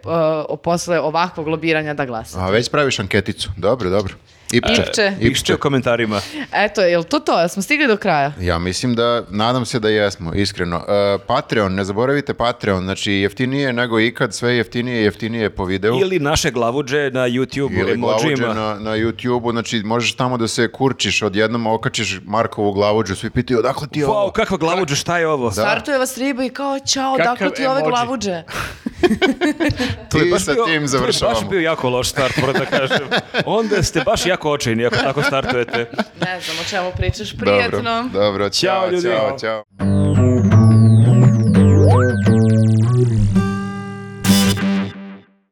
[SPEAKER 2] o- posle ovakvog lobiranja da glasa?
[SPEAKER 1] A već praviš anketicu, dobro, dobro. Ipče.
[SPEAKER 2] Ipče.
[SPEAKER 4] Pišite u komentarima.
[SPEAKER 2] Eto, jel to to? Jel smo stigli do kraja?
[SPEAKER 1] Ja mislim da, nadam se da jesmo, iskreno. E, Patreon, ne zaboravite Patreon, znači jeftinije nego ikad, sve jeftinije, jeftinije po videu.
[SPEAKER 4] Ili naše glavuđe na YouTube-u,
[SPEAKER 1] Ili glavuđe
[SPEAKER 4] emojima.
[SPEAKER 1] na, na YouTube-u, znači možeš tamo da se kurčiš, odjednom okačiš Markovu glavuđu, svi pitaju odakle ti je ovo?
[SPEAKER 4] Wow, kakva glavuđa, šta je ovo?
[SPEAKER 2] Startuje vas riba i kao, čao,
[SPEAKER 3] Kakav
[SPEAKER 2] dakle ti ove
[SPEAKER 3] emoji.
[SPEAKER 2] glavuđe?
[SPEAKER 1] Ti
[SPEAKER 4] je baš
[SPEAKER 1] sa
[SPEAKER 4] bio-
[SPEAKER 1] tim
[SPEAKER 4] To je
[SPEAKER 1] završavamo.
[SPEAKER 4] baš bio jako loš start, moram da kažem. Onda ste baš jako očajni ako tako startujete.
[SPEAKER 2] Ne znam o čemu pričaš,
[SPEAKER 1] Dobro,
[SPEAKER 2] prijetno.
[SPEAKER 1] dobro,
[SPEAKER 4] Ćao,
[SPEAKER 1] ćao,
[SPEAKER 4] ljudi.
[SPEAKER 1] ćao, ćao.